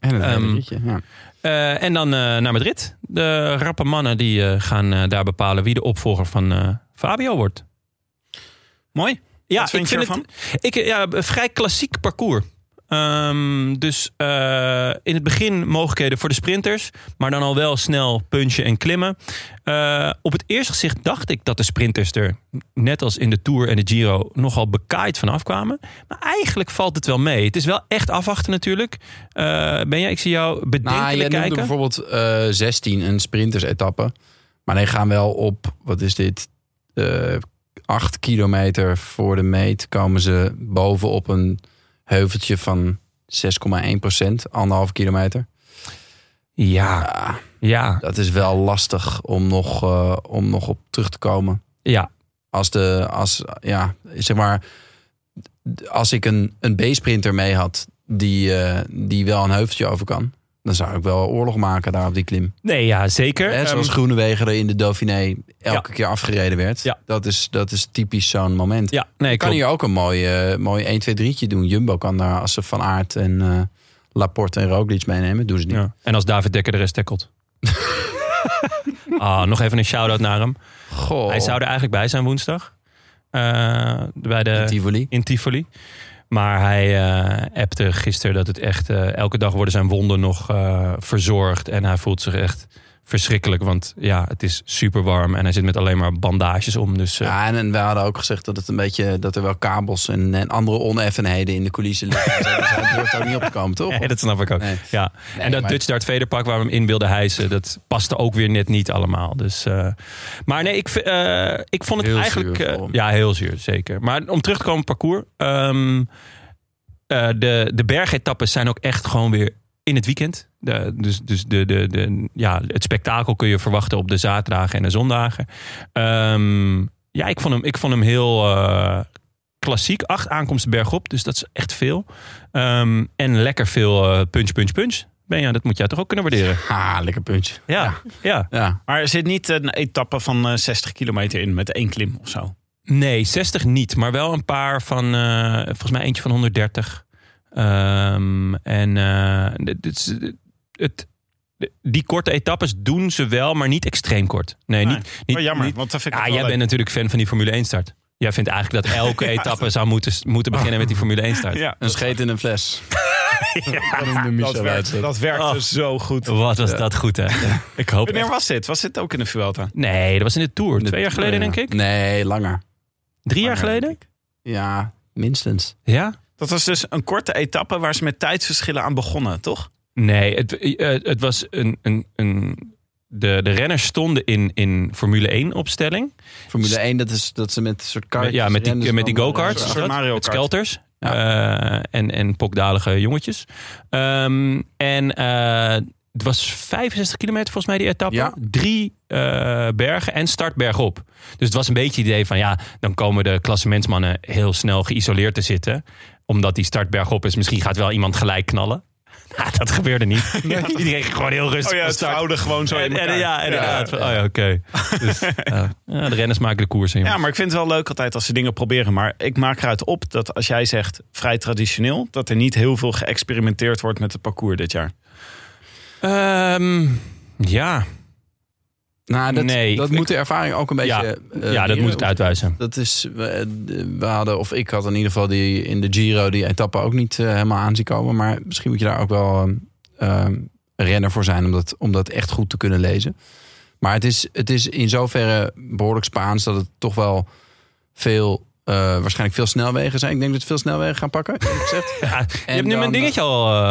B: En een
A: ehm,
B: hele ritje, ja.
A: Eh, en dan eh, naar Madrid. De rappe mannen die eh, gaan eh, daar bepalen wie de opvolger van eh, Fabio wordt.
C: Mooi.
A: Ja,
C: Wat vind
A: ik
C: je
A: vind het ik, eh, ja, een vrij klassiek parcours. Ehm, dus eh, in het begin mogelijkheden voor de sprinters, maar dan al wel snel punchen en klimmen. Eh, op het eerste gezicht dacht ik dat de sprinters er, net als in de Tour en de Giro, nogal bekaaid van afkwamen. Maar eigenlijk valt het wel mee. Het is wel echt afwachten natuurlijk. Eh Benja, ik zie jou
B: Nou, jij
A: bedenkelijk
B: noemde
A: kijken.
B: bijvoorbeeld eh 16 een sprinters-etappe. Maar die gaan wel op, wat is dit? eh 8 kilometer voor de meet komen ze boven op een heuveltje van 6,1 procent, anderhalf kilometer.
A: Ja,
B: Ja,
A: ja,
B: dat is wel lastig om nog, eh, om nog op terug te komen.
A: ja.
B: Als de, als, ja, zeg maar, d- als ik een, een B-sprinter mee had die, eh, die wel een heuveltje over kan, dan zou ik wel oorlog maken daar op die klim.
A: Nee, ja, zeker.
B: Hè,
A: Ehm,
B: zoals Groenewegen er in de Dauphiné elke keer afgereden werd.
A: Ja.
B: Dat, is, dat is typisch zo'n moment.
A: ja, nee,
B: Je kan
A: klopt.
B: hier ook een mooi, eh, mooi 1, 2, 3'tje doen. Jumbo kan daar als ze Van Aert en eh, Laporte en Roglic meenemen. Doen ze niet.
A: Ja. En als David Dekker de rest
B: [laughs]
A: tackelt. Ah, nog even een shout-out naar hem.
B: Goh,
A: Hij zou er eigenlijk bij zijn woensdag. Eh, bij de,
B: in Tivoli.
A: in Tivoli. Maar hij eh appte gisteren dat het echt... eh, elke dag worden zijn wonden nog eh, verzorgd. En hij voelt zich echt verschrikkelijk. Want ja, het is super warm. En hij zit met alleen maar bandages om. Dus eh,
B: Ja, en, en we hadden ook gezegd dat, het een beetje, dat er wel kabels en, en andere oneffenheden in de
A: [laughs]
B: coulissen liggen. dus hij durft ook niet op te komen, toch?
A: nee, [laughs] dat snap ik ook.
B: Nee.
A: Ja. en dat
B: maar-
A: Dutch Dart Vader pak waar we hem in wilden hijsen, dat paste ook weer net niet allemaal. Dus, eh, maar nee, ik, v- eh, ik vond het
B: Heel
A: eigenlijk.
B: zuur
A: eh,
B: voor hem.
A: ja, heel zuur, zeker. Maar om terug te komen op het parcours. ehm, eh, de, de bergetappes zijn ook echt gewoon weer in het weekend. De, dus dus de, de, de, ja, het spektakel kun je verwachten op de zaterdagen en de zondagen. Ehm, ja, ik vond hem, ik vond hem heel eh, klassiek. Acht aankomsten bergop, dus dat is echt veel. Ehm, en lekker veel eh, punch, punch, punch. Benja, dat moet jij toch ook kunnen waarderen?
B: Ha, Ah, lekker puntje.
A: Ja, ja.
B: Ja,
C: Maar er zit niet een etappe van eh, 60 kilometer in met één klim of zo.
A: Nee, 60 niet, maar wel een paar van, eh, volgens mij eentje van 130. Ehm, en eh, dit is- het, de- die korte etappes doen ze wel, maar niet extreem kort. Nee,
C: Nee.
A: niet, niet,
C: Maar Ah, oh, jammer,
A: niet-
C: want dat vind ik
A: ja,
C: ook
A: jij
C: wel
A: bent
C: leuk.
A: natuurlijk fan van die Formule 1 start. Jij vindt eigenlijk dat
C: [laughs]
A: elke etappe zou moeten, moeten beginnen met die Formule 1 start.
C: Ja,
B: een scheet in een fles.
C: [laughs]
B: dat noemde
C: dat
B: Michel
C: werkte,
B: Wuitstek.
C: dat werkte
A: Oh.
C: zo goed.
A: Wat was dat goed, hè? Ik hoop
C: Wanneer
A: echt-
C: was dit? Was dit ook in de Vuelta?
A: Nee, dat was in de Tour.
B: In de
A: Twee jaar geleden,
B: Tour, ja.
A: denk ik.
B: Nee, langer.
A: Drie jaar
C: Langer,
A: geleden?
B: Ja, minstens.
A: Ja?
C: Dat was dus een korte etappe waar ze met tijdsverschillen aan begonnen, toch?
A: Nee, het, eh, het was een. een, een de, de renners stonden in, in Formule 1 opstelling.
B: Formule 1, dat is dat ze met een soort kaartjes...
A: ja, met die,
B: rennen,
A: met die
B: dan- eh,
A: go-karts.
C: Een
A: is
C: soort
A: dat?
C: Mario
A: Met
C: Kart.
A: skelters. Eh, en, en pokdalige jongetjes. Ehm, en eh, het was 65 kilometer volgens mij die etappe.
B: Ja.
A: Drie eh, bergen en startberg op. Dus het was een beetje het idee van ja, dan komen de klassementsmannen heel snel geïsoleerd te zitten. Omdat die startberg op is. Misschien gaat wel iemand gelijk knallen. [laughs] Nou, dat gebeurde niet. Iedereen ging gewoon heel
C: Oh
A: rustig van start.
C: gewoon zo
A: En- en- ja, inderdaad. Van, Oh ja, oké. Dus, eh, ja, de renners maken de koers. hè,
C: Ja,
A: jongens.
C: maar ik vind het wel leuk altijd als ze dingen proberen. Maar ik maak eruit op dat als jij zegt vrij traditioneel, dat er niet heel veel geëxperimenteerd wordt met het parcours dit jaar.
A: Ehm, ja.
B: Nou, dat,
A: Nee,
B: dat
A: ik-
B: moet de ervaring ook een beetje...
A: Ja,
B: eh,
A: ja, dat
B: leren.
A: moet het uitwijzen.
B: Dat is, we, we hadden, of ik had in ieder geval die, in de Giro die etappe ook niet eh, helemaal aan zien komen. Maar misschien moet je daar ook wel ehm, ehm, een renner voor zijn om dat, om dat echt goed te kunnen lezen. Maar het is, het is in zoverre behoorlijk Spaans dat het toch wel veel, eh, waarschijnlijk veel snelwegen zijn. Ik denk dat we veel snelwegen gaan pakken. eerlijk gezegd.
A: Ja, je hebt nu
B: dan-
A: mijn dingetje al. eh,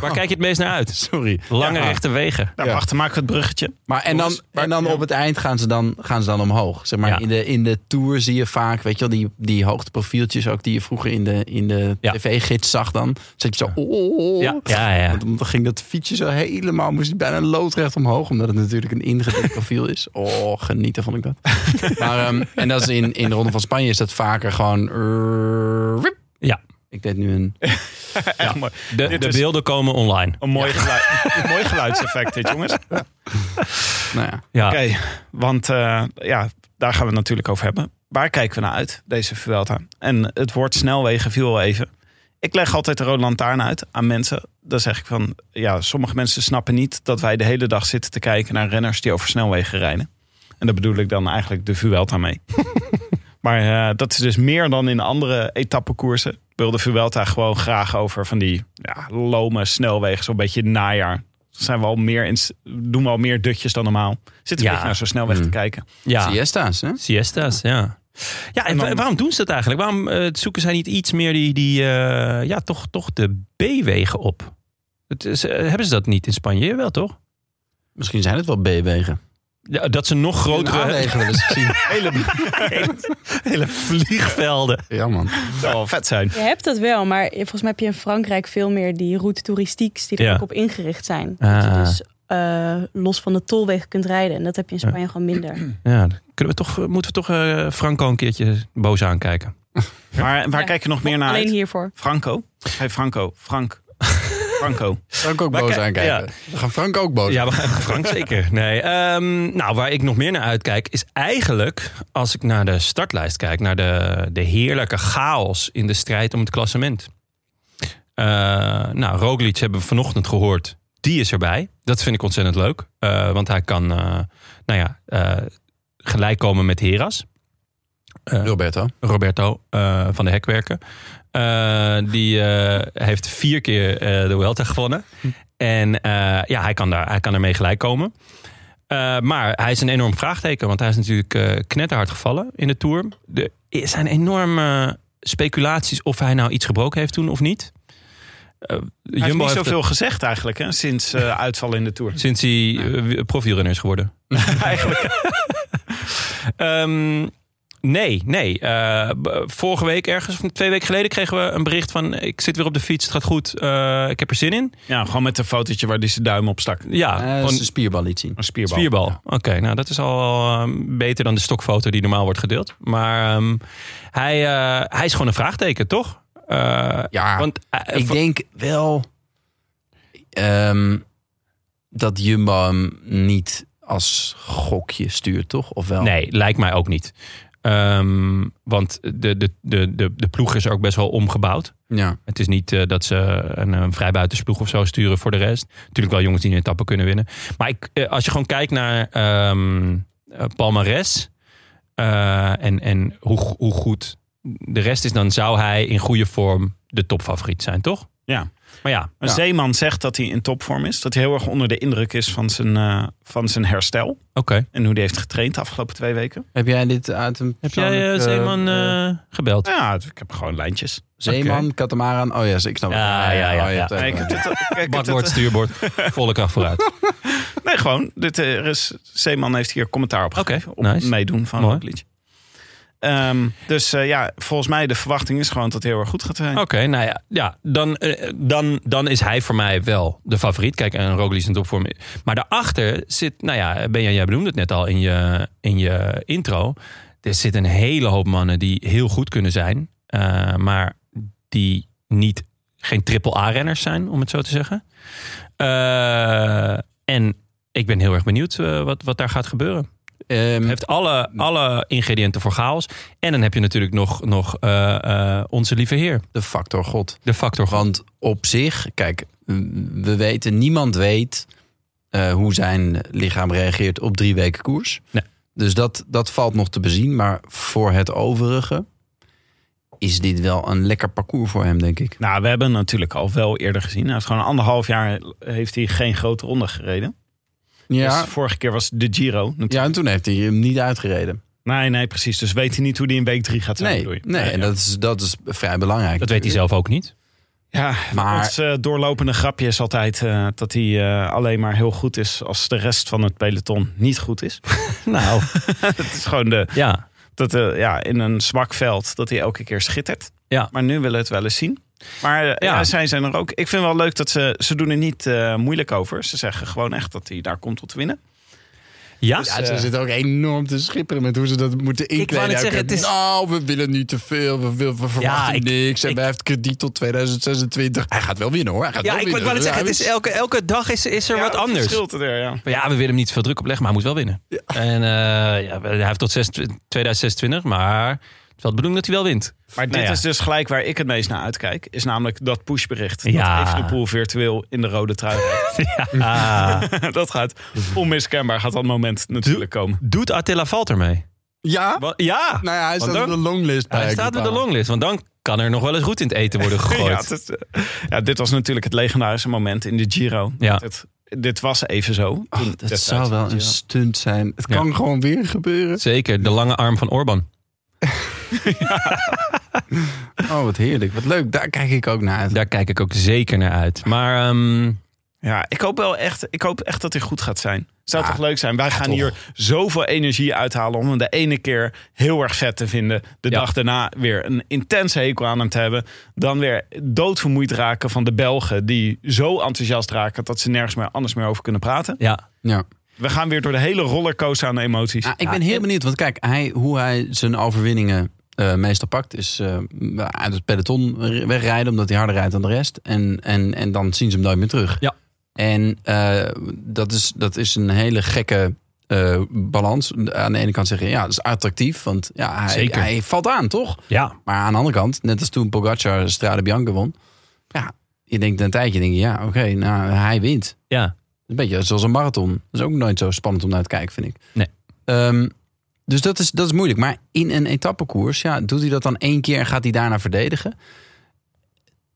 A: waar kijk je het meest naar uit?
B: Sorry.
A: Lange
C: Ja.
A: rechte wegen.
C: Nou,
B: Ja.
C: wacht, dan maken we het bruggetje.
B: Maar en dan, en dan op het eind gaan ze dan, gaan ze dan omhoog. Zeg maar,
A: Ja.
B: in, de, in de tour zie je vaak, weet je wel, die, die hoogteprofieltjes ook die je vroeger in de, in de
A: Ja.
B: tv-gids zag dan. Zet je zo, oh.
A: Ja, ja, ja.
B: Want dan ging dat fietsje zo helemaal, moest hij bijna loodrecht omhoog. Omdat het natuurlijk een ingedrukt profiel
A: [laughs]
B: is. Oh, genieten vond ik dat. maar, ehm, en dat is in, in de Ronde van Spanje is dat vaker gewoon... eh, wip.
A: Ja.
B: Ik deed nu een...
C: Echt Eh, mooi.
A: De,
C: Dit
A: de
C: is-
A: beelden komen online.
C: Een mooi, geluid, [laughs] een mooi geluidseffect dit, jongens. Oké,
B: Nou ja.
A: Ja.
C: want eh, ja, daar gaan we het natuurlijk over hebben. Waar kijken we naar uit, deze Vuelta? En het woord snelwegen viel al even. Ik leg altijd de rode lantaarn uit aan mensen. Dan zeg ik van, ja, sommige mensen snappen niet... dat wij de hele dag zitten te kijken naar renners die over snelwegen rijden. En daar bedoel ik dan eigenlijk de Vuelta mee. maar eh, dat is dus meer dan in andere etappekoersen. Ik wil de Vuelta gewoon graag over van die ja, lome snelwegen. Zo'n beetje najaar. Zijn we al meer in, doen we al meer dutjes dan normaal. Zitten we
A: Ja.
C: een beetje naar zo'n snelweg te
B: Hmm.
C: kijken.
A: ja.
B: Siesta's, hè?
A: Siestas, ja. Ja, en
C: En dan-
A: wa- waarom doen ze dat eigenlijk? Waarom eh, zoeken zij niet iets meer die, die eh, ja, toch, toch de B-wegen op? Het is, eh, hebben ze dat niet in Spanje? Wel, toch?
B: Misschien zijn het wel B-wegen.
A: Ja, dat ze nog grotere
B: A-wegen wel eens gezien.
A: [laughs] hele
B: [laughs]
A: vliegvelden.
B: Ja, man.
C: Zou wel vet zijn.
D: Je hebt dat wel, maar volgens mij heb je in Frankrijk veel meer die route toeristieks die er
A: Ja.
D: ook op ingericht zijn. Dat je
A: Ah.
D: dus eh, los van de tolwegen kunt rijden. En dat heb je in Spanje gewoon minder.
A: Ah, Ja, dan kunnen we toch, moeten we toch eh, Franco een keertje boos aankijken?
C: Maar waar
D: Ja.
C: kijk je nog meer naar
D: Alleen
C: uit?
D: hiervoor.
C: Franco? Hey Franco, Frank. Franco.
B: Frank ook
A: Maar
B: boos
A: kijk,
B: aankijken. We gaan Frank ook boos
A: Ja, we gaan [laughs] Frank zeker. Nee, ehm, nou, waar ik nog meer naar uitkijk is eigenlijk, als ik naar de startlijst kijk, naar de, de heerlijke chaos in de strijd om het klassement. Eh, nou, Roglic hebben we vanochtend gehoord. Die is erbij. Dat vind ik ontzettend leuk. Eh, want hij kan, eh, nou ja, eh, gelijk komen met Heras. Eh,
B: Roberto.
A: Roberto eh, van de Hekwerken. Eh, die eh, heeft vier keer eh, de Vuelta gewonnen. En eh, ja, hij kan, daar, hij kan ermee gelijk komen. Eh, maar hij is een enorm vraagteken, want hij is natuurlijk eh, knetterhard gevallen in de Tour. Er zijn enorme speculaties of hij nou iets gebroken heeft toen of niet. Eh,
C: Hij heeft
A: Jumbo
C: niet
A: heeft
C: zoveel gezegd eigenlijk hè, sinds eh uitval in de Tour.
A: Sinds hij eh, profielrenner is
B: [laughs]
A: geworden. Eigenlijk. Ehm, nee, nee. Eh, b- vorige week ergens, of twee weken geleden, kregen we een bericht van... ik zit weer op de fiets, het gaat goed, eh, ik heb er zin in.
C: Ja, gewoon met een fotootje waar die zijn duim op stak.
A: Ja,
B: Eh,
A: gewoon
B: ze spierbal liet zien.
C: Een spierbal.
A: spierbal. Oké, nou dat is al eh, beter dan de stokfoto die normaal wordt gedeeld. Maar ehm, hij, eh, hij is gewoon een vraagteken, toch? Eh,
B: Ja,
A: want, eh,
B: ik
A: va-
B: denk wel ehm, dat Jumbo hem niet als gokje stuurt, toch? Of wel?
A: Nee, lijkt mij ook niet. Ehm, want de, de, de, de, de ploeg is ook best wel omgebouwd.
B: Ja.
A: Het is niet eh, dat ze een, eh, vrijbuitensploeg of zo sturen voor de rest. Natuurlijk wel jongens die een etappe kunnen winnen. Maar ik, eh, als je gewoon kijkt naar ehm eh, Palmares eh, en, en hoe, go- hoe goed de rest is, dan zou hij in goede vorm de topfavoriet zijn, toch?
C: Ja.
A: Maar ja,
C: Een
A: oké.
C: zeeman zegt dat hij in topvorm is. Dat hij heel erg onder de indruk is van zijn, eh, van zijn herstel. En hoe die heeft getraind de afgelopen twee weken.
B: Heb jij dit uit een
A: Heb jij eh,
B: persoonlijk, eh,
A: Zeeman
B: eh,
A: eh, gebeld?
C: Ja, ik heb gewoon lijntjes.
B: Zeeman, Katamaran. Oh ja, ik snap het.
A: Ja, ja, ja,
B: Oh, je
A: ja.
B: hebt
C: Nee, ik
B: even-
C: heb dit, ik heb
A: Bakboord,
C: dit-
A: stuurbord, volle kracht vooruit.
C: nee, gewoon. Dit, eh, er is, Zeeman heeft hier commentaar op
A: Oké,
C: gegeven. Op
A: nice.
C: meedoen van
A: Mooi.
C: Roglic. Ehm, dus eh, ja, volgens mij de verwachting is gewoon dat hij heel erg goed gaat zijn.
A: Oké, nou ja, ja dan, eh, dan, dan is hij voor mij wel de favoriet. Kijk, en Roglic is in topvorm. Maar daarachter zit, nou ja, Benja, jij benoemde het net al in je, in je intro. Er zit een hele hoop mannen die heel goed kunnen zijn. eh, maar die niet, geen triple-A-renners zijn, om het zo te zeggen. Eh, en ik ben heel erg benieuwd eh, wat, wat daar gaat gebeuren.
B: Ehm,
A: Het heeft alle, alle ingrediënten voor chaos. En dan heb je natuurlijk nog, nog eh, eh, onze lieve heer.
B: de factor God.
A: De factor gewoon.
B: Want op zich, kijk, m- we weten, niemand weet eh, hoe zijn lichaam reageert op drie weken koers.
A: Nee.
B: Dus dat, dat valt nog te bezien. Maar voor het overige is dit wel een lekker parcours voor hem, denk ik.
C: Nou, we hebben natuurlijk al wel eerder gezien. Hij heeft gewoon anderhalf jaar heeft hij geen grote ronde gereden.
B: Ja,
C: Dus vorige keer was de Giro. natuurlijk.
B: ja en toen heeft hij hem niet uitgereden.
C: Nee, nee, precies. Dus weet hij niet hoe die in week drie gaat zijn.
B: Nee,
C: bedoel je?
B: nee, en dat is, dat is vrij belangrijk.
A: Dat weet hij zelf ook niet.
C: Ja,
B: Maar-
C: maar... ons eh, doorlopende grapje is altijd eh, dat hij eh, alleen maar heel goed is als de rest van het peloton niet goed is.
A: [laughs]
C: [laughs]
A: Nou,
C: Het is gewoon de,
A: ja.
C: dat eh, ja, in een zwak veld dat hij elke keer schittert.
A: Ja.
C: Maar nu willen we het wel eens zien. Maar eh,
A: Ja.
C: ja. zij zijn er ook. Ik vind wel leuk dat ze, ze doen er niet eh, moeilijk over. Ze zeggen gewoon echt dat hij daar komt tot winnen.
A: Ja?
B: Ja, ze zitten ook enorm te schipperen met hoe ze dat moeten inkleden.
A: eh, net
B: Ook,
A: zeggen, het is-
B: Nou, we willen niet te veel, we, wil- we verwachten
A: ik-
B: niks. En
A: ik-
B: hij heeft krediet tot 2026. Hij gaat wel winnen hoor. Hij gaat
A: Ja,
B: wel
A: ik wil
B: winnen.
A: wel zeggen, het is
B: Ja,
A: elke, elke dag is, is er
C: Ja,
A: wat
C: het
A: anders.
C: verschilt er, ja.
A: Maar Ja, we willen hem niet veel druk opleggen, maar hij moet wel winnen. En eh, ja, hij heeft tot 6 2026, maar het is wel de bedoeling dat hij wel wint.
C: Maar dit
A: Nou ja.
C: is dus gelijk waar ik het meest naar uitkijk. Is namelijk dat pushbericht.
A: Ja.
C: Dat Evenepoel virtueel in de rode trui rijdt.
A: [laughs] Ah,
C: [laughs] dat gaat onmiskenbaar. Gaat dat moment natuurlijk komen.
A: doet Attila Valter mee?
B: Ja?
A: Wa- Ja,
B: Nou ja, hij staat
A: dan-
B: op de longlist.
A: hij
B: bij
A: staat op de
B: Groupama.
A: longlist, want dan kan er nog wel eens goed in het eten worden
C: Ja,
A: gegooid.
C: dat, eh, ja, dit was natuurlijk het legendarische moment in de Giro.
A: Ja.
C: Dit, dit was even zo.
B: Ach,
C: Toen
B: Ah, dat
C: destijds
B: zou wel
C: in de
B: een
C: Giro.
B: stunt zijn. Het
A: Ja.
B: kan gewoon weer gebeuren.
A: Zeker, de lange arm van Orban.
B: Oh, wat heerlijk. Wat leuk. Daar kijk ik ook naar uit.
A: Daar kijk ik ook zeker naar uit. Maar ehm,
C: Ja, ik hoop wel echt, ik hoop echt dat hij goed gaat zijn. Zou
B: Ja.
C: toch leuk zijn? Wij gaan
B: toch.
C: hier zoveel energie uithalen om hem de ene keer heel erg vet te vinden. De
A: Ja.
C: dag daarna weer een intense hekel aan hem te hebben. Dan weer doodvermoeid raken van de Belgen die zo enthousiast raken dat ze nergens meer anders meer over kunnen praten.
A: ja,
B: Ja.
C: We gaan weer door de hele rollercoaster aan de emoties.
B: Ah, ik ben heel benieuwd, want kijk, hij, hoe hij zijn overwinningen eh, meestal pakt, is eh, uit het peloton wegrijden, omdat hij harder rijdt dan de rest. En, en, en dan zien ze hem nooit meer terug.
A: Ja.
B: En eh, dat, is, dat is een hele gekke eh, balans. Aan de ene kant zeggen, ja, dat is attractief, want ja, hij,
A: Zeker.
B: hij valt aan, toch?
A: ja,
B: Maar aan de andere kant, net als toen Pogacar Strade Bianca won. Ja, je denkt een tijdje, denk je, ja, oké, nou, hij wint.
A: ja.
B: Een beetje zoals een marathon. Dat is ook nooit zo spannend om naar te kijken, vind ik.
A: Nee.
B: Ehm, dus dat is, dat is moeilijk. Maar in een etappekoers, ja, doet hij dat dan één keer en gaat hij daarna verdedigen?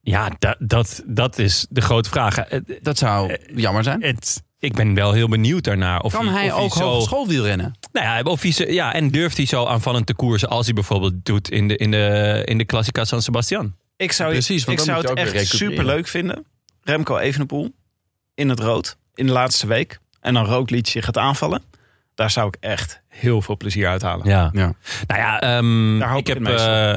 A: Ja, da- dat, dat is de grote vraag. Eh, Het,
B: Dat zou jammer zijn.
A: het- ik ben wel heel benieuwd daarnaar. Of
B: Kan hij
A: of
B: ook
A: zo,
B: hogeschoolwiel rennen?
A: nou ja, of hij zo- ja, en durft hij zo aanvallend te koersen als hij bijvoorbeeld doet in de, in de, in de Classica San Sebastian?
C: Ik zou,
B: Precies, want dan
C: ik zou
B: moet
C: het
B: je ook weer
C: echt
B: recupereren.
C: superleuk vinden. Remco Evenepoel in het rood in de laatste week. En dan Roglic je gaat aanvallen. Daar zou ik echt heel veel plezier uit halen.
A: Ja.
B: Ja.
A: Nou ja, ehm,
C: Daar hoop
A: ik
C: ik
A: heb.
C: het meest op.
A: eh,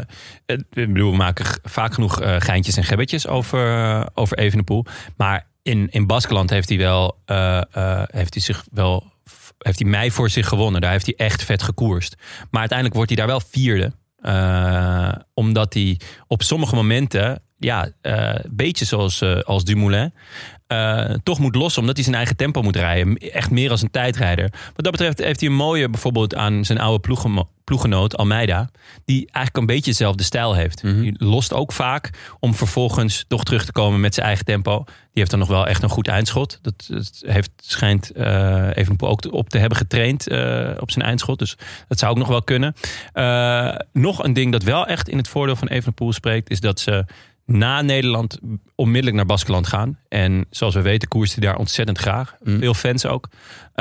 A: eh, ik bedoel, we maken g- vaak genoeg eh, geintjes en gebbetjes over, eh, over Evenepoel. Maar in, in Baskeland heeft hij wel. eh, eh, heeft hij zich wel. Heeft hij mij voor zich gewonnen. Daar heeft hij echt vet gekoerst. Maar uiteindelijk wordt hij daar wel vierde. Eh, omdat hij op sommige momenten. Ja, eh beetje zoals eh, als Dumoulin. eh, toch moet lossen omdat hij zijn eigen tempo moet rijden. Echt meer als een tijdrijder. Wat dat betreft heeft hij een mooie bijvoorbeeld aan zijn oude ploegemo- ploeggenoot Almeida. Die eigenlijk een beetje dezelfde stijl heeft. Die lost ook vaak om vervolgens toch terug te komen met zijn eigen tempo. Die heeft dan nog wel echt een goed eindschot. Dat, dat heeft, schijnt even Evenepoel ook te- op te hebben getraind eh, op zijn eindschot. Dus dat zou ook nog wel kunnen. Eh, nog een ding dat wel echt in het voordeel van Evenepoel spreekt... is dat ze na Nederland onmiddellijk naar Baskeland gaan. En zoals we weten koerst hij daar ontzettend graag.
B: Mm.
A: Veel fans ook.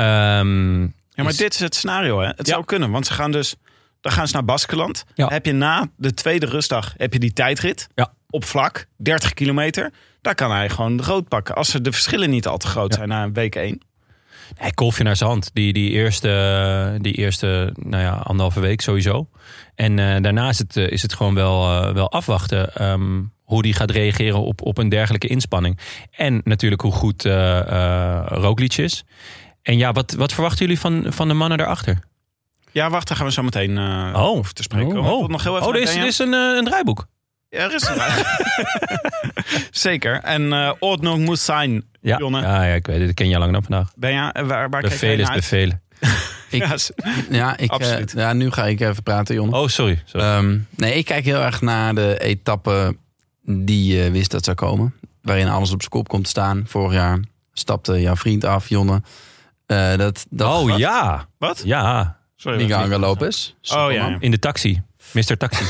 A: Ehm,
C: Ja, maar
A: dus-
C: dit is het scenario, hè? Het
A: Ja.
C: zou kunnen, want ze gaan dus... Dan gaan ze naar Baskeland.
A: Ja.
C: Heb je na de tweede rustdag heb je die tijdrit
A: Ja.
C: op vlak, 30 kilometer. Daar kan hij gewoon rood pakken. Als ze de verschillen niet al te groot zijn na week 1.
A: Hij kolfje naar zijn hand. Die, die eerste, die eerste nou ja, anderhalve week sowieso. En eh, daarna is het, eh, is het gewoon wel, eh, wel afwachten ehm, hoe die gaat reageren op, op een dergelijke inspanning. En natuurlijk hoe goed eh eh, Roglic is. En ja, wat, wat verwachten jullie van, van de mannen daarachter?
C: Ja, wacht, daar gaan we zo meteen eh
A: Oh.
C: over te spreken. komen. Ik wil nog heel even
A: oh er
C: naar
A: is,
C: Benja.
A: er is een, eh, een draaiboek.
C: Ja, er is een- [laughs] Zeker. En eh Ordnung moet zijn,
A: Ja, Ah,
C: Jonne.
A: ja, ja, ik weet het. Dat ken je lang dan vandaag.
C: Benja, eh, waar, waar kijk jij
A: Bevelen is
C: naar uit?
A: bevelen.
C: [laughs] Ja, is-
B: Ja, ik, eh,
C: Absoluut.
B: ja, nu ga ik even praten, Jonne.
A: Oh, sorry. sorry.
B: Ehm, nee, ik kijk heel erg naar de etappe die je wist dat zou komen. Waarin alles op zijn kop komt te staan. Vorig jaar stapte jouw vriend af, Jonne. Eh, dat, dat
A: oh
B: gat.
A: ja. [laughs]
C: Wat?
A: Ja,
C: Sorry. dat
B: Miguel
C: is niet-
B: Angel Lopez.
C: Oh ja,
B: Superman.
C: ja.
A: in de taxi. Mr. Taxi.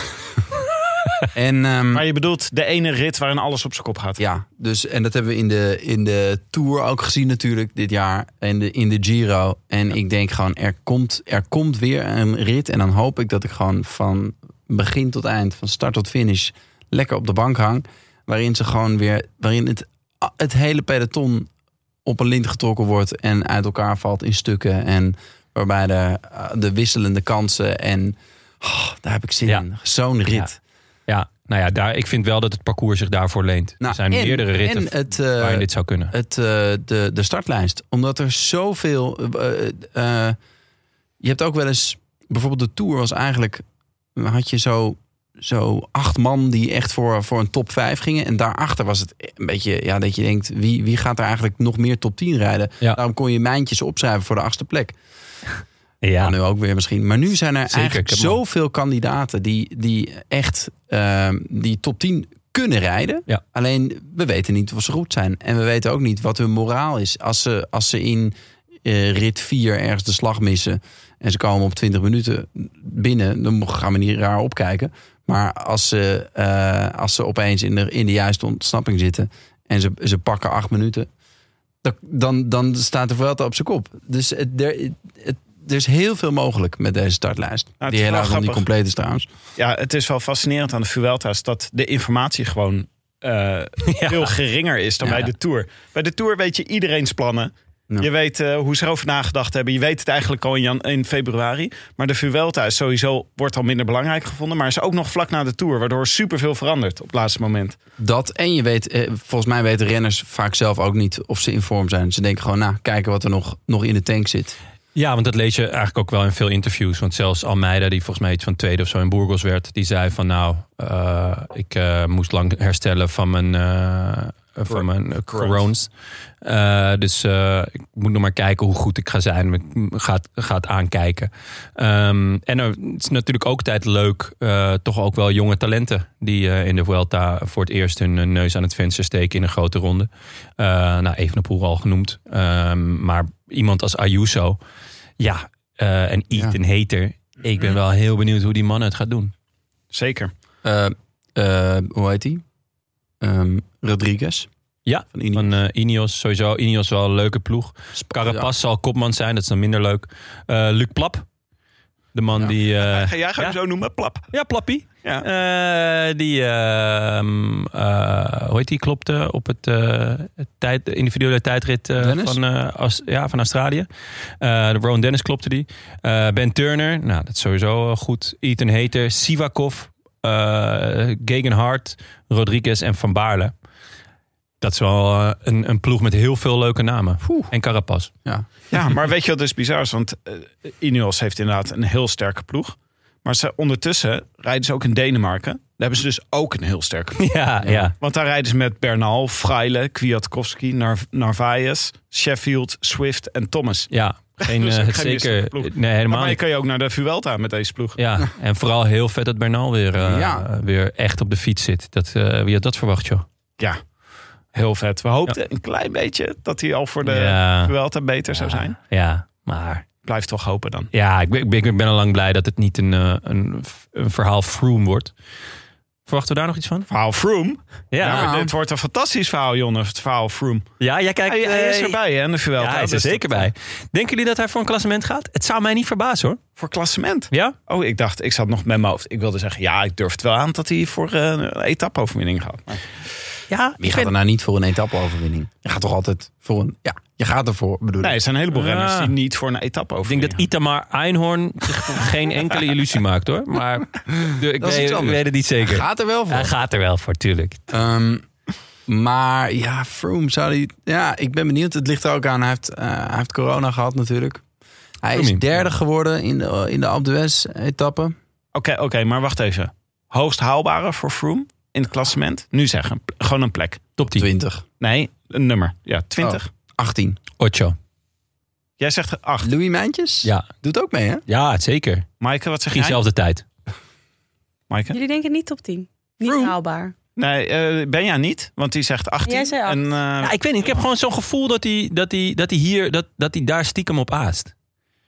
B: En, ehm,
C: Maar je bedoelt de ene rit waarin alles op zijn kop gaat.
B: ja, dus, en dat hebben we in de, in de Tour ook gezien natuurlijk dit jaar. En de, in de Giro. En ik denk gewoon, er komt, er komt weer een rit. En dan hoop ik dat ik gewoon van begin tot eind, van start tot finish... lekker op de bank hang. Waarin ze gewoon weer, waarin het, het hele peloton op een lint getrokken wordt... en uit elkaar valt in stukken. En waarbij de, de wisselende kansen en... oh, daar heb ik zin
A: Ja.
B: in. Zo'n rit.
A: Ja, nou ja, daar, ik vind wel dat het parcours zich daarvoor leent.
B: Nou,
A: er zijn
B: en-
A: meerdere ritten
B: en het, eh,
A: waarin dit zou kunnen.
B: het, eh, de, de startlijst. Omdat er zoveel. eh, eh, eh, je hebt ook wel eens. Bijvoorbeeld de Tour was eigenlijk. Had je zo, zo acht man die echt voor, voor een top 5 gingen. En daarachter was het een beetje. Ja, dat je denkt. Wie, wie gaat er eigenlijk nog meer top 10 rijden?
A: Ja.
B: Daarom kon je mijntjes opschrijven voor de achtste plek.
A: ja,
B: Nou, nu ook weer misschien. Maar nu zijn er
A: Zeker,
B: eigenlijk
A: ik heb hem
B: zoveel kandidaten die, die echt ehm, die top 10 kunnen rijden.
A: Ja.
B: Alleen we weten niet of ze goed zijn. En we weten ook niet wat hun moraal is. Als ze, als ze in eh, rit 4 ergens de slag missen en ze komen op 20 minuten binnen, dan mo- gaan we niet raar opkijken. Maar als ze, eh, als ze opeens in de, in de juiste ontsnapping zitten en ze, ze pakken acht minuten, dan, dan, dan staat de Vuelta op zijn kop. Dus het, er, het, er is heel veel mogelijk met deze startlijst.
C: Nou, het
B: die
C: is
B: heel
C: wel
B: erg nog niet
C: grappig.
B: compleet is trouwens.
C: Ja, het is wel fascinerend aan de Vuelta is dat de informatie gewoon eh, veel geringer is dan
B: Ja.
C: bij de Tour. Bij de Tour weet je iedereen's plannen.
B: Ja.
C: Je weet eh, hoe ze erover nagedacht hebben. Je weet het eigenlijk al in, jan- in februari. Maar de Vuelta is sowieso, wordt al minder belangrijk gevonden. Maar is ook nog vlak na de Tour. Waardoor superveel verandert op het laatste moment.
B: Dat en je weet, eh, volgens mij weten renners vaak zelf ook niet of ze in vorm zijn. Ze denken gewoon, nou, kijken wat er nog, nog in de tank zit.
A: ja, want dat lees je eigenlijk ook wel in veel interviews. Want zelfs Almeida, die volgens mij iets van tweede of zo in Burgos werd... die zei van nou, eh, ik eh, moest lang herstellen van mijn, eh van mijn eh, corones. Eh, dus eh, ik moet nog maar kijken hoe goed ik ga zijn. Ik ga het- ga het aankijken. Ehm, en er, het is natuurlijk ook tijd leuk, eh, toch ook wel jonge talenten die eh, in de Vuelta voor het eerst hun eh, neus aan het venster steken in een grote ronde. Eh nou, Evenepoel al genoemd, Ehm, maar iemand als Ayuso, ja, eh, en Eat
B: Ja.
A: en Hater. Ik ben wel heel benieuwd hoe die man het gaat doen.
C: Zeker.
B: Eh, eh, hoe heet die? Ehm, Rodriguez.
A: Ja,
B: van Ineos.
A: Van eh Ineos sowieso. Ineos wel een leuke ploeg. Carapaz zal kopman zijn, dat is dan minder leuk. Eh, Luc Plap, de man
B: Ja.
A: die... eh,
C: [laughs] Ga jij gewoon
A: ja.
C: zo noemen? Plap.
A: ja, Plappie.
C: Ja.
A: Eh, die, eh, ehm, eh, hoe heet die, klopte op het, eh, het tijd, de individuele tijdrit eh,
B: Dennis?
A: van, eh, Aus- ja, van Australië. Eh, de Rowan Dennis klopte die. Eh, ben Turner, nou, dat is sowieso eh, goed. Ethan Hater, Sivakov, eh Gegenhardt, Rodriguez en Van Baarle. Dat is wel eh, een, een ploeg met heel veel leuke namen. En Carapaz. [laughs]
C: Ja, maar weet je wat dus bizar is? Want eh, Ineos heeft inderdaad een heel sterke ploeg. Maar ze, ondertussen rijden ze ook in Denemarken. Daar hebben ze dus ook een heel sterke ploeg.
A: Ja, ja.
C: Want daar rijden ze met Bernal, Freile, Kwiatkowski, Nar Narvaez, Sheffield, Swift en Thomas.
A: Ja, geen,
C: [laughs] Dus
A: eh,
C: ook geen
A: zeker.
C: misselijke ploeg.
A: Nee, helemaal
C: Maar je
A: niet.
C: kan je ook naar de Vuelta met deze ploeg.
A: Ja, en vooral heel vet dat Bernal weer, eh,
B: Ja.
A: weer echt op de fiets zit. Dat, eh, wie had dat verwacht, joh?
C: Ja, heel vet. We hoopten een klein beetje dat hij al voor de
A: ja,
C: Vuelta beter zou zijn.
A: ja, maar
C: Blijf toch hopen dan.
A: ja, ik ben, ik ben, ik ben al lang blij dat het niet een, eh, een, een verhaal Froome wordt. Verwachten we daar nog iets van?
C: Verhaal Froome.
A: Ja,
C: Ja,
A: ja.
C: maar dit wordt een fantastisch verhaal, Jonne. Het verhaal Froome.
A: jij kijkt...
C: Hij, hij is
A: eh,
C: erbij, hè, in de Vuelta.
A: Ja, hij is er
C: Dus
A: zeker bij. Denken jullie dat hij voor een klassement gaat? Het zou mij niet verbazen hoor.
C: Voor klassement.
A: Ja?
C: Oh, ik dacht, ik zat nog met mijn hoofd. Ik wilde zeggen, ja, ik durf het wel aan dat hij voor eh, een etappeoverwinning gaat. Maar
A: Ja,
B: Wie
A: ik
B: gaat
A: ben-
B: er nou niet voor een etappe-overwinning? Je gaat toch altijd voor een... Ja, je gaat ervoor, bedoel
C: Nee,
B: ik.
C: er zijn een heleboel
A: Ja.
C: renners die niet voor een
A: Ik denk
C: etappeoverwinning
A: dat Itamar Einhorn zich [laughs] geen enkele illusie maakt hoor. Maar de- ik,
B: Dat is
A: weet,
B: iets
A: ik
B: anders.
A: weet het niet zeker.
B: Hij gaat er wel voor.
A: Hij gaat er wel voor, tuurlijk.
B: Ehm, maar ja, Froome zou die... Ja, ik ben benieuwd. Het ligt er ook aan. Hij heeft, eh, hij heeft corona gehad natuurlijk. Hij is
A: Froomie.
B: derde geworden in de, in de Alpe d'Huez etappe.
C: Oké, oké, maar wacht even. Hoogst haalbare voor Froome in het klassement? Nu zeggen, p- gewoon een plek.
A: Top 10.
B: 20.
C: Nee, een nummer. Ja, 20.
B: 18.
A: Ocho.
C: Jij zegt 8.
B: Louis Mijntjes?
A: Ja.
B: Doet ook mee, hè?
A: ja, zeker.
C: Maaike, wat zeg
A: Geen
C: jij?
A: zelfde tijd.
C: Maaike?
D: Jullie denken niet top 10. Niet
B: Vroom.
D: haalbaar.
C: Nee, eh ben jij niet? Want die zegt 18.
D: Jij zei acht.
C: En, eh,
A: Ja, ik weet niet. Ik heb gewoon zo'n gevoel dat hij, dat, hij, dat, hij hier, dat, dat hij daar stiekem op aast.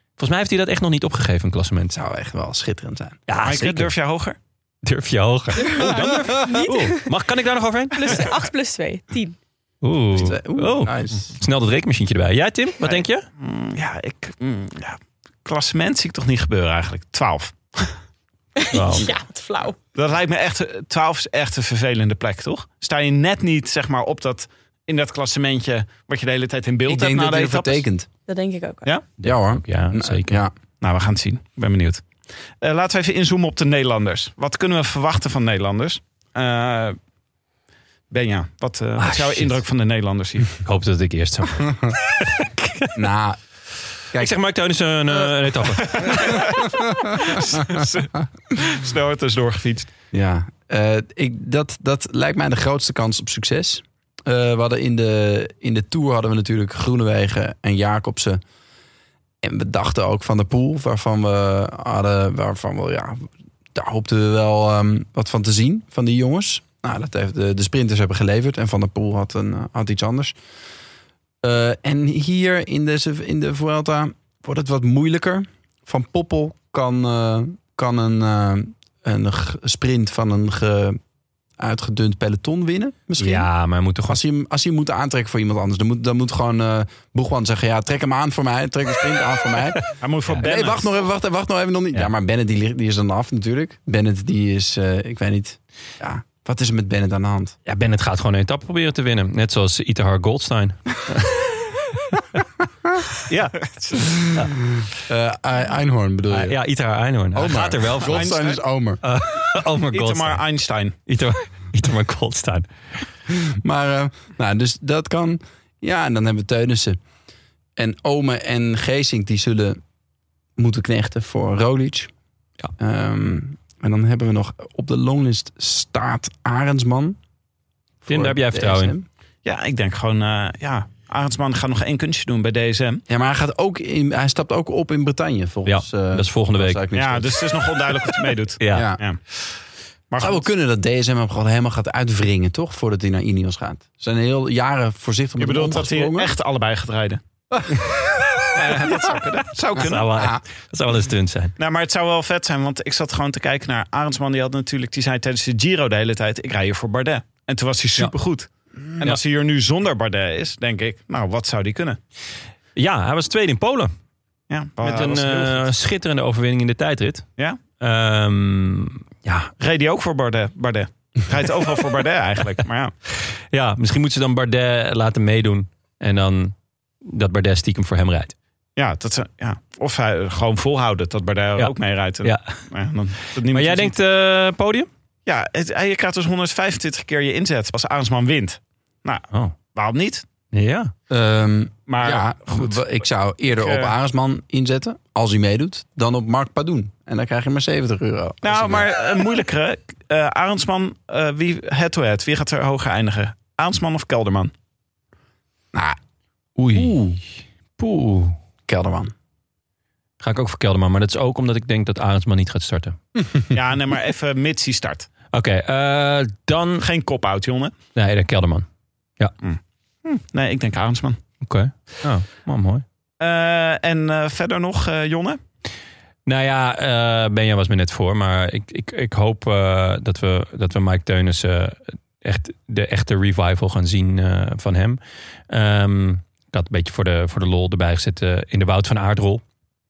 A: Volgens mij heeft hij dat echt nog niet opgegeven, een klassement.
B: Zou echt wel schitterend zijn.
A: Ja,
C: Maaike, durf jij hoger?
A: Durf je hoger. Oeh, Oh, dan durf Oeh, Oh. mag, kan ik daar nog overheen?
D: Plus 8 plus 2, 10.
A: Oeh.
B: Oeh,
A: Oh.
B: nice.
A: Snel dat rekenmachientje erbij. Jij Tim, wat denk je?
C: Mm, ja, ik... mm, ja. Klassement zie ik toch niet gebeuren eigenlijk. 12.
A: Wow.
D: Ja, wat flauw.
C: Dat lijkt me echt... 12 is echt een vervelende plek, toch? Sta je net niet, zeg maar, op dat... In dat klassementje wat je de hele tijd in beeld
B: Ik
C: hebt
B: denk
C: na
B: dat
C: de
B: hij ervoor
C: etappes.
B: tekent.
D: Dat denk ik ook. wel.
C: Ja?
B: Ja hoor.
A: Ja, zeker.
C: [laughs]
B: Ja.
C: Nou, we gaan het zien. Ik ben benieuwd. Eh, laten we even inzoomen op de Nederlanders. Wat kunnen we verwachten van Nederlanders? Eh, Benja, wat, eh, wat is jouw
A: shit.
C: indruk van de Nederlanders hier?
A: Ik hoop dat ik eerst zou.
B: Nou,
A: Ik zeg Mark Teunissen een, eh, een etappe.
C: Snel het is doorgefietst.
B: Ja, eh, ik, dat, dat lijkt mij de grootste kans op succes. Eh, we hadden in de, in de Tour hadden we natuurlijk Groenewegen en Jacobsen. En we dachten ook van de pool, waarvan we hadden, waarvan we, ja, daar hoopten we wel ehm, wat van te zien van die jongens. Nou, dat heeft de, de sprinters hebben geleverd en Van der Poel had, een, eh, had iets anders. Eh, en hier in, deze, in de Vuelta wordt het wat moeilijker. Van Poppel kan, eh, kan een, eh, een g- sprint van een ge- uitgedund peloton winnen. Misschien.
A: Ja, maar hij moet toch gewoon.
B: Als hij, hem, als hij hem moet aantrekken voor iemand anders, dan moet, dan moet gewoon eh Boegwan zeggen: Ja, trek hem aan voor mij, trek de sprint aan voor mij.
C: Hij moet voor
A: Ja.
C: Bennett.
B: Nee, wacht nog even, wacht, wacht nog even. Nog niet. Ja. maar Bennett die, ligt- die is dan af natuurlijk. Bennett die is, eh, ik weet niet. Ja, wat is er met Bennett aan de hand?
A: Ja, Bennett gaat gewoon een etappe proberen te winnen. Net zoals Itahar Goldstein.
C: [laughs] Ja.
B: Eh, Ei- Einhorn bedoel je?
A: Eh, ja, Itahar Einhorn. Hij
B: Omar.
A: gaat er wel voor.
B: Goldstein is Omer.
A: [laughs] Oh, maar
C: Itamar
A: Goldstein.
C: Einstein.
A: Itahar, Itahar
C: Eh,
A: Goldstein.
B: Maar eh, nou, dus dat kan. Ja, en dan hebben we Teunissen. En Ome en Geesink die zullen moeten knechten voor Rolic.
A: Ja.
B: Ehm, en dan hebben we nog op de longlist staat Arendsman.
A: Tim,
B: Voor
A: daar heb jij vertrouwen in.
B: DSM.
C: Ja, ik denk gewoon... eh, ja, Arendsman gaat nog één kunstje doen bij DSM.
B: Ja, maar hij, gaat ook in, hij stapt ook op in Bretagne volgens... eh,
A: Dat is volgende week.
B: zou ik niet
C: Ja,
B: zeggen.
C: dus het is nog onduidelijk of hij meedoet.
A: Ja.
B: Ja.
C: Ja. Maar
B: zou wel
C: goed,
B: kunnen dat DSM hem gewoon helemaal gaat uitwringen, toch? Voordat hij naar Ineos gaat. Ze zijn heel jaren voorzichtig met hem
C: je bedoelt dat hij
B: omgesprongen.
C: echt allebei gaat rijden? ja, dat zou kunnen. Zou
A: Dat
C: kunnen.
A: zou, wel, dat zou wel een stunt zijn.
C: Nou, maar het zou wel vet zijn, want ik zat gewoon te kijken naar Arendsman. Die had natuurlijk, die zei tijdens de Giro de hele tijd: ik rij hier voor Bardet. En toen was hij supergoed.
A: Mm.
C: En als hij hier nu zonder Bardet is, denk ik, nou, wat zou die kunnen?
A: Ja, hij was tweede in Polen.
C: Ja,
A: Met
C: Oh, dat
A: een
C: was heel goed.
A: eh, schitterende overwinning in de tijdrit.
C: Ja?
A: Ehm, ja.
C: reed hij ook voor Bardet? Bardet. Rijdt overal voor Bardet eigenlijk. Maar ja,
A: ja, misschien moeten ze dan Bardet laten meedoen. En dan dat Bardet stiekem voor hem rijdt.
C: ja, dat ze, ja. of hij eh, gewoon volhouden dat Bardet er
A: Ja.
C: ook mee rijdt. En-
A: Ja.
C: Maar, ja, dan, dat niemand
A: Maar jij
C: het ziet.
A: denkt eh, podium?
C: ja, het, je krijgt dus 125 keer je inzet als Arendsman wint. Nou,
A: Oh,
C: Waarom niet?
A: ja.
B: Ehm,
C: Maar
B: ja,
C: goed.
B: w- Ik zou eerder
C: Ik, eh,
B: op Aresman inzetten, als hij meedoet, dan op Mark Padoen. En dan krijg je maar 70 euro. Als hij
C: Nou,
B: meedoet.
C: maar een moeilijkere. Eh Arendsman, eh, wie head-to-head? Wie gaat er hoger eindigen? Arendsman of Kelderman?
B: Nou,
A: Oei.
B: oeh,
A: Poeh.
B: Kelderman.
A: Ga ik ook voor Kelderman, maar dat is ook omdat ik denk dat Arendsman niet gaat starten.
C: ja, nee, maar even mits die start.
A: Oké, eh, dan...
C: Geen kop-out, jongen.
A: Nee, dan Kelderman.
C: Nee, ik denk Arendsman.
A: Oké. Oh, man, mooi.
C: Eh, en eh, verder nog, eh Jonne?
A: Nou ja, eh, Benja was me net voor. Maar ik, ik, ik hoop eh, dat, we, dat we Mike Teunissen eh, echt de echte revival gaan zien eh, van hem. Ehm, ik had een beetje voor de, voor de lol erbij gezet eh, in de Wout van Aardrol.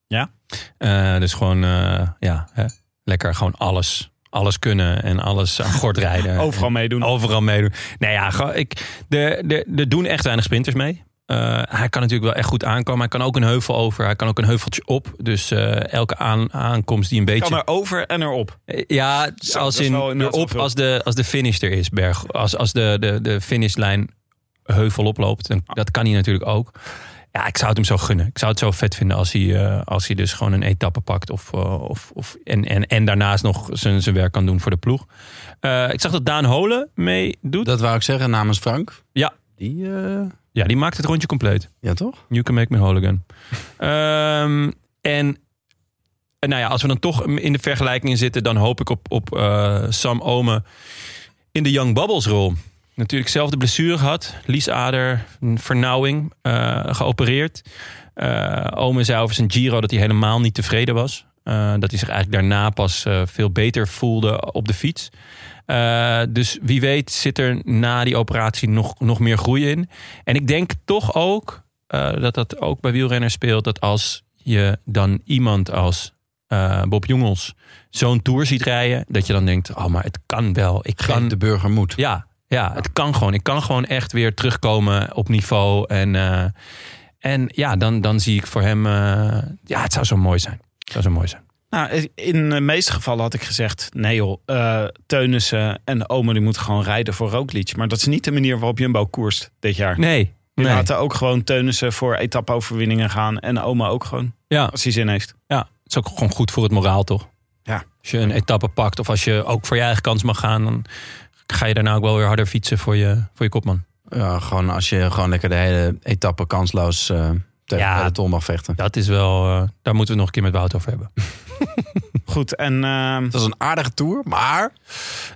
C: Ja.
A: Eh, dus gewoon, eh, ja, hè, lekker gewoon alles. Alles kunnen en alles aan gort [laughs] rijden.
C: Overal meedoen.
A: Overal meedoen. Nou ja, gewoon- ik, er, er, er doen echt weinig sprinters mee. Eh, hij kan natuurlijk wel echt goed aankomen. Hij kan ook een heuvel over. Hij kan ook een heuveltje op. Dus eh, elke aan, aankomst die een beetje...
C: kan er over en erop.
A: Eh, Ja,
C: Zo,
A: als
C: dat is
A: in
C: wel inderdaad wel
A: erop
C: veel.
A: als de, als de finish er is, Berg. Als, als de, de, de finishlijn heuvel oploopt. Dan, dat kan hij natuurlijk ook. Ja, ik zou het hem zo gunnen. Ik zou het zo vet vinden als hij, eh, als hij dus gewoon een etappe pakt. Of, eh, of, of, en, en, en daarnaast nog zijn, zijn werk kan doen voor de ploeg. Eh, ik zag dat Daan Holen meedoet.
B: Dat wou ik zeggen namens Frank.
A: Ja.
B: Die, eh,
A: Ja, die maakt het rondje compleet.
B: ja toch?
A: You can make me whole again. Ehm, en eh, nou ja, als we dan toch in de vergelijking zitten, dan hoop ik op, op eh, Sam Ome in de Young Bubbles rol. Natuurlijk zelf de blessure gehad. Liesader, een vernauwing, eh, geopereerd. Eh Ome zei over zijn Giro dat hij helemaal niet tevreden was. Eh, dat hij zich eigenlijk daarna pas eh, veel beter voelde op de fiets. Eh, dus wie weet zit er na die operatie nog, nog meer groei in. En ik denk toch ook eh, dat dat ook bij wielrenners speelt. Dat als je dan iemand als eh, Bob Jongels zo'n tour ziet rijden. Dat je dan denkt, oh maar het kan wel. Ik
B: Geef
A: kan,
B: de burger moed.
A: ja, ja, het kan gewoon. Ik kan gewoon echt weer terugkomen op niveau. En, eh, en ja, dan, dan zie ik voor hem... eh, ja, het zou zo mooi zijn. Het zou zo mooi zijn.
C: Nou, in de meeste gevallen had ik gezegd... nee joh, eh, Teunissen en Omen die moeten gewoon rijden voor Roglic. Maar dat is niet de manier waarop Jumbo koerst dit jaar.
A: Nee,
C: Die
A: nee.
C: laten ook gewoon Teunissen voor etappe-overwinningen gaan. En Oma ook gewoon,
A: Ja,
C: als hij zin heeft.
A: ja, het is ook gewoon goed voor het moraal, toch?
C: Ja.
A: Als je een etappe pakt of als je ook voor je eigen kans mag gaan... dan ga je daarna ook wel weer harder fietsen voor je, voor je kopman.
B: Ja, gewoon als je gewoon lekker de hele etappe kansloos eh tegen
A: Ja.
B: de peloton mag vechten.
A: Dat is wel... eh, daar moeten we nog een keer met Wout over hebben.
C: Goed, en ehm,
B: Het was een aardige tour, maar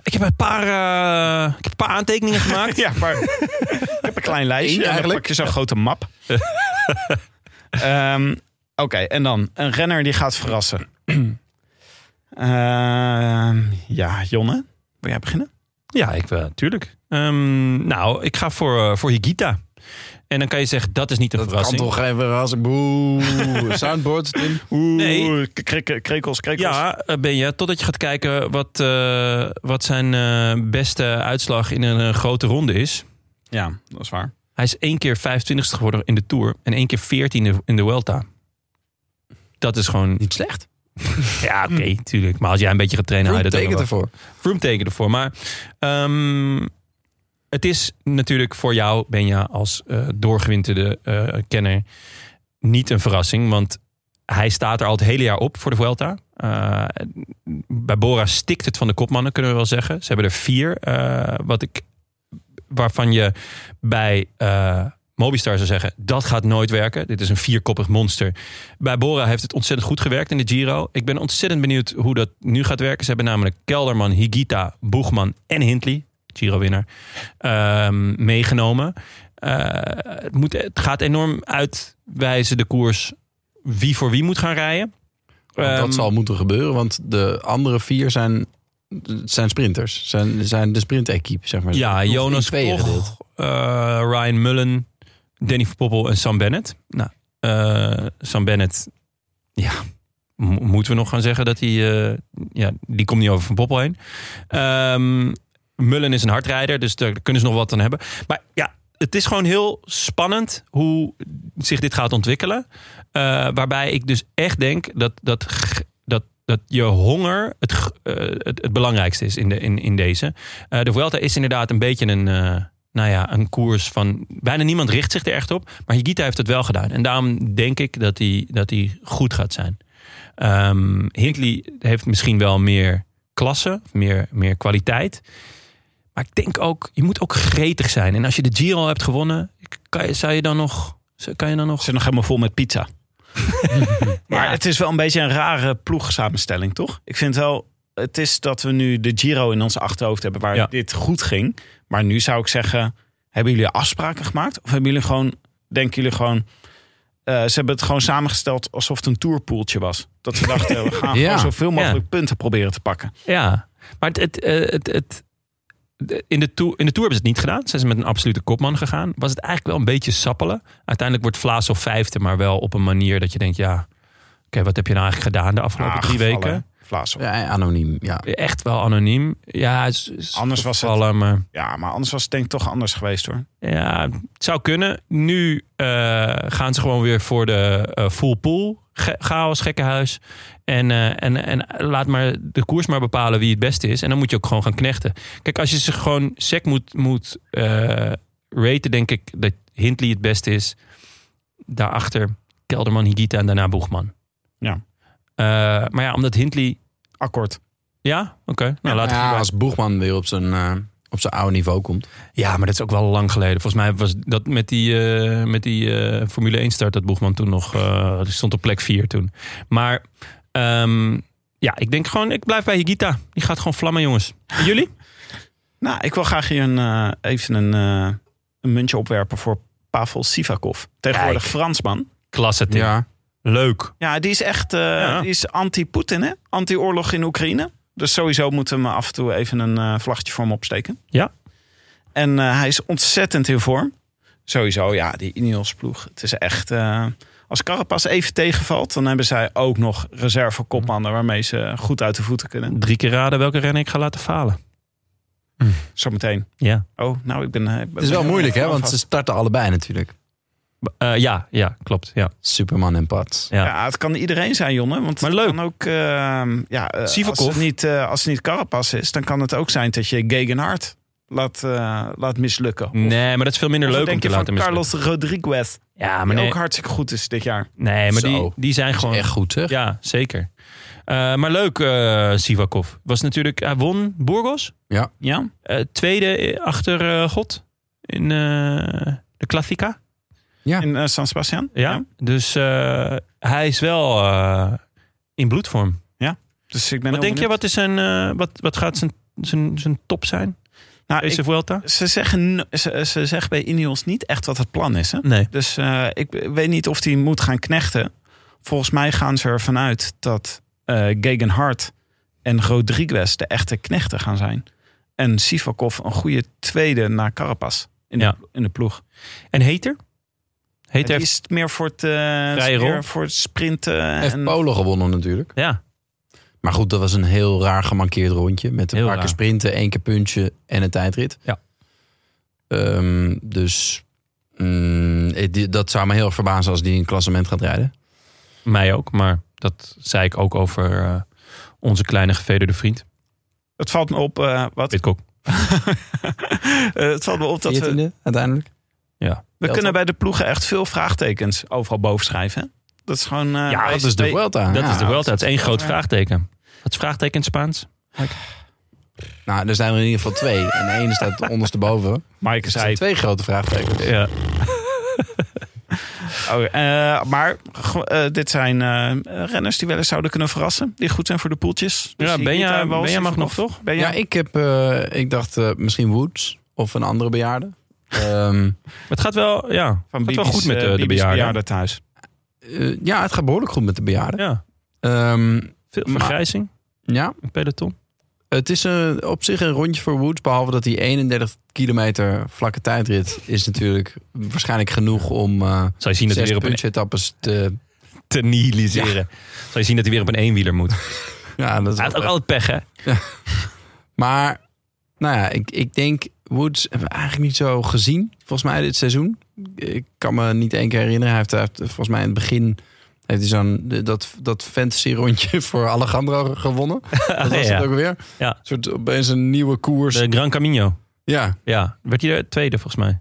A: Ik heb een paar, eh, ik heb een paar aantekeningen gemaakt.
C: [laughs] Ja, maar ik heb een klein lijstje. en dan
B: eigenlijk.
C: pak je zo'n grote map. Ehm, Oké, en dan een renner die gaat verrassen. [clears throat] Ehm, ja, Jonne, wil jij beginnen?
A: Ja, ik wel, tuurlijk. Ehm, nou, ik ga voor, eh, voor Higita. En dan kan je zeggen, dat is niet een
B: dat kan
A: verrassing.
B: toch geen verrassing. Boe, soundboard. Tim.
C: Oeh,
A: Nee.
C: k- krik- krekels, krekels.
A: Ja, eh, ben je. Totdat je gaat kijken wat, eh, wat zijn eh, beste uitslag in een eh, grote ronde is.
C: ja, dat is waar.
A: Hij is één keer 25ste geworden in de Tour. En één keer 14e in de Welta. Dat is gewoon...
B: Niet slecht.
A: Ja, oké, tuurlijk. Maar als jij een beetje gaat trainen... haal je
B: Roep
A: Nou, dat ook nog
B: tekent
A: wel.
B: ervoor.
A: Vroom teken ervoor. Maar ehm, het is natuurlijk voor jou, Benja, als eh, doorgewinterde eh, kenner, niet een verrassing. Want hij staat er al het hele jaar op voor de Vuelta. Eh, bij Bora stikt het van de kopmannen, kunnen we wel zeggen. Ze hebben er vier, eh, wat ik, waarvan je bij eh, Mobistar zou zeggen... dat gaat nooit werken. Dit is een vierkoppig monster. Bij Bora heeft het ontzettend goed gewerkt in de Giro. Ik ben ontzettend benieuwd hoe dat nu gaat werken. Ze hebben namelijk Kelderman, Higita, Boegman en Hindley... Giro-winnaar, ehm, meegenomen. Eh, het, moet, het gaat enorm uitwijzen, de koers... wie voor wie moet gaan rijden.
B: Want
A: Ehm,
B: dat zal moeten gebeuren, want de andere vier zijn, zijn sprinters. Zijn, zijn de sprint-equipe, zeg maar.
A: Ja,
B: Hoeft in
A: Jonas
B: tweeën
A: Koch,
B: gedeeld.
A: eh, Ryan Mullen, Danny van Poppel en Sam Bennett. Nou, eh, Sam Bennett, ja, mo- moeten we nog gaan zeggen dat hij, eh, ja, die komt niet over van Poppel heen. Ehm, Mullen is een hardrijder, dus daar kunnen ze nog wat aan hebben. Maar ja, het is gewoon heel spannend hoe zich dit gaat ontwikkelen. Eh, waarbij ik dus echt denk dat, dat, g- dat, dat je honger het, g- eh, het, het belangrijkste is in, de, in, in deze. Eh, de Vuelta is inderdaad een beetje een, eh, nou ja, een koers van... Bijna niemand richt zich er echt op. Maar Higita heeft het wel gedaan. En daarom denk ik dat hij dat die goed gaat zijn. Ehm Hindley heeft misschien wel meer klasse, meer, meer kwaliteit. Maar ik denk ook, je moet ook gretig zijn. En als je de Giro hebt gewonnen, kan je, zou je dan nog... Kan je dan nog
C: Ze zijn nog helemaal vol met pizza. maar het is wel een beetje een rare ploegsamenstelling, toch? Ik vind wel, het is dat we nu de Giro in ons achterhoofd hebben waar
A: Ja.
C: dit goed ging. Maar nu zou ik zeggen, hebben jullie afspraken gemaakt? Of hebben jullie gewoon, denken jullie gewoon, eh, ze hebben het gewoon samengesteld alsof het een tourpoeltje was. Dat ze dachten, we gaan
B: Ja.
C: gewoon zoveel mogelijk punten proberen te pakken.
A: Ja, maar het, het, eh, het, het, de- in, de tour, in de Tour hebben ze het niet gedaan. Zijn ze met een absolute kopman gegaan. Was het eigenlijk wel een beetje sappelen. Uiteindelijk wordt Vlaas of vijfde, maar wel op een manier dat je denkt... ja, oké, wat heb je nou eigenlijk gedaan de afgelopen
C: Ah,
A: drie
C: gevallen,
A: weken?
C: hè? Vlaas op. Ja.
B: Ja, anoniem, ja.
A: Echt wel anoniem. Ja, is- is
C: Anders was het-
A: gevallen, maar
C: maar anders was het denk ik toch anders geweest hoor.
A: ja, het zou kunnen. Nu eh, gaan ze gewoon weer voor de eh, full pool. Ge- chaos, gekkenhuis. En, eh, en, en laat maar de koers maar bepalen wie het beste is. En dan moet je ook gewoon gaan knechten. Kijk, als je ze gewoon sec moet, moet eh, raten, denk ik dat Hindley het beste is. Daarachter Kelderman, Higita en daarna Boegman.
C: Ja.
A: Eh, maar ja, omdat Hindley...
C: Akkoord.
A: Ja? Oké. Nou, laten we
B: Ja, als Boegman weer op zijn, eh, op zijn oude niveau komt.
A: Ja, maar dat is ook wel lang geleden. Volgens mij was dat met die, eh, met die eh, Formule 1 start dat Boegman toen nog... eh, die stond op plek 4 toen. Maar ehm, ja, ik denk gewoon, ik blijf bij Higita. Die gaat gewoon vlammen, jongens. En jullie?
C: Nou, ik wil graag hier een, eh, even een, eh, een muntje opwerpen voor Pavel Sivakov. Tegenwoordig
A: Kijk.
C: Fransman.
A: Klasse, Tim.
B: Ja.
A: Leuk.
C: Ja, die is echt eh,
A: Ja.
C: die is anti-Poetin, hè? Anti-oorlog in Oekraïne. Dus sowieso moeten we hem af en toe even een eh, vlaggetje voor hem opsteken.
A: Ja.
C: En eh, hij is ontzettend in vorm. Sowieso, ja, die Ineos-ploeg. Het is echt... eh, als Carapaz even tegenvalt, dan hebben zij ook nog reservekopmannen... waarmee ze goed uit de voeten kunnen.
A: Drie keer raden welke renner ik ga laten falen.
C: Zometeen.
A: Ja,
C: Oh, nou, ik ben... eh, ik ben-
B: Het is wel moeilijk, hè? Want ze starten allebei natuurlijk.
A: Eh, ja, ja klopt. Ja,
B: Superman en Pats.
A: ja.
C: Ja, het kan iedereen zijn, Jonne. Want
A: Maar
C: het
A: leuk.
C: kan ook... ehm, ja, eh,
A: Sivakov.
C: Als het, niet, eh, als het niet Carapaz is, dan kan het ook zijn dat je Gegenhard laat, eh, laat mislukken. Of-
A: Nee, maar dat is veel minder
C: of
A: leuk
C: denk
A: om te
C: je
A: laten
C: van
A: mislukken.
C: Carlos Rodriguez,
A: Ja,
C: die
A: maar nee,
C: ook hartstikke goed is dit jaar.
A: nee maar die,
B: Zo.
A: die zijn
B: Dat
A: gewoon...
B: is echt goed, zeg.
A: Ja, zeker. Eh, maar leuk, eh Sivakov. Was natuurlijk, hij won Burgos.
C: Ja?
A: Eh, tweede achter eh, God in eh, de Classica.
C: In eh, San Sebastian.
A: Ja. Dus eh, hij is wel eh, in bloedvorm.
C: Dus ik ben
A: wat
C: heel
A: denk je,
C: benieuwd.
A: wat, is zijn, eh, wat, wat gaat zijn, zijn, zijn top zijn?
C: Nou,
A: Deze
C: ik-
A: Vuelta?
C: ze, zeggen, no- ze, ze zeggen bij Ineos niet echt wat het plan is. Hè?
A: Nee.
C: Dus eh, ik weet niet of hij moet gaan knechten. Volgens mij gaan ze ervan uit dat eh Gegenhard en Rodriguez de echte knechten gaan zijn. En Sivakov een goede tweede naar Carapaz in,
A: Ja.
C: de, in de ploeg.
A: En Heter?
C: Het
A: Heter heeft...
C: is meer voor het, eh
A: Vrije rol.
C: meer voor het sprinten.
B: Heeft
C: En,
B: Polen gewonnen natuurlijk.
A: Ja,
B: Maar goed, dat was een heel raar gemankeerd rondje. Met een
A: Heel
B: paar keer
A: raar.
B: sprinten, één keer puntje en een tijdrit.
A: Ja.
B: Ehm, dus mm, eh, die- dat zou me heel erg verbazen als die een klassement gaat rijden.
A: mij ook. Maar dat zei ik ook over eh, onze kleine gevederde vriend.
C: het valt me op, eh, wat,
A: Witkok.
C: [laughs] Eh, het valt me op dat we,
B: 14e uiteindelijk.
C: we
B: toch?
C: kunnen bij de ploegen echt veel vraagtekens overal boven schrijven. hè? Dat is gewoon... eh,
A: Ja,
C: bij-
B: Dat is de
C: bij-
B: Vuelta.
A: Ah, dat
B: ja.
A: is de Vuelta. Het is één groot
C: Ja.
A: vraagteken. Wat is vraagteken in het Spaans?
B: Nou, er zijn er in ieder geval
A: [laughs]
B: twee. En één staat ondersteboven.
C: Maaike
B: Er zijn
C: zei
B: twee grote vraagtekens.
A: Ja.
C: Oh, eh, maar ge- eh, dit zijn eh, renners die wel eens zouden kunnen verrassen. Die goed zijn voor de poeltjes. Dus
A: Ja,
C: die
A: Benja-
C: Higuita en Wals-
A: Benja mag nog,
C: of-
A: toch?
C: Benja?
B: Ja, ik, heb, eh, ik dacht eh, misschien Woods of een andere bejaarde. Ehm, [laughs]
A: Maar het gaat wel, ja, het gaat
C: Bibi's,
A: wel goed met
C: eh,
A: eh, de
C: Bibi's
A: bejaarden.
C: thuis.
B: eh, ja, het gaat behoorlijk goed met de bejaarden.
A: Ja,
B: Ehm,
A: veel
B: Maar-
A: vergrijzing,
B: ja,
A: een peloton.
B: Het is een, op zich een rondje voor Woods. Behalve dat die 31 kilometer vlakke tijdrit is natuurlijk waarschijnlijk genoeg om eh
A: Zal je zien dat hij
B: zes
A: weer op een
B: puntsetappes te...
A: te nihiliseren. Zal je zien dat hij weer op een eenwieler moet. Hij
B: Ja, dat is
A: had
B: wel-
A: ook altijd pech, hè?
B: Maar nou ja, ik, ik denk Woods hebben we eigenlijk niet zo gezien volgens mij dit seizoen. Ik kan me niet één keer herinneren. Hij heeft, hij heeft volgens mij in het begin heeft hij zo'n dat, dat fantasy rondje [laughs] voor Alejandro gewonnen. Dat
A: [laughs]
B: was
A: ja.
B: het ook weer.
A: Ja.
B: Een soort opeens een nieuwe koers.
A: De Gran Camino.
B: Ja,
A: Ja, werd hij de tweede volgens mij.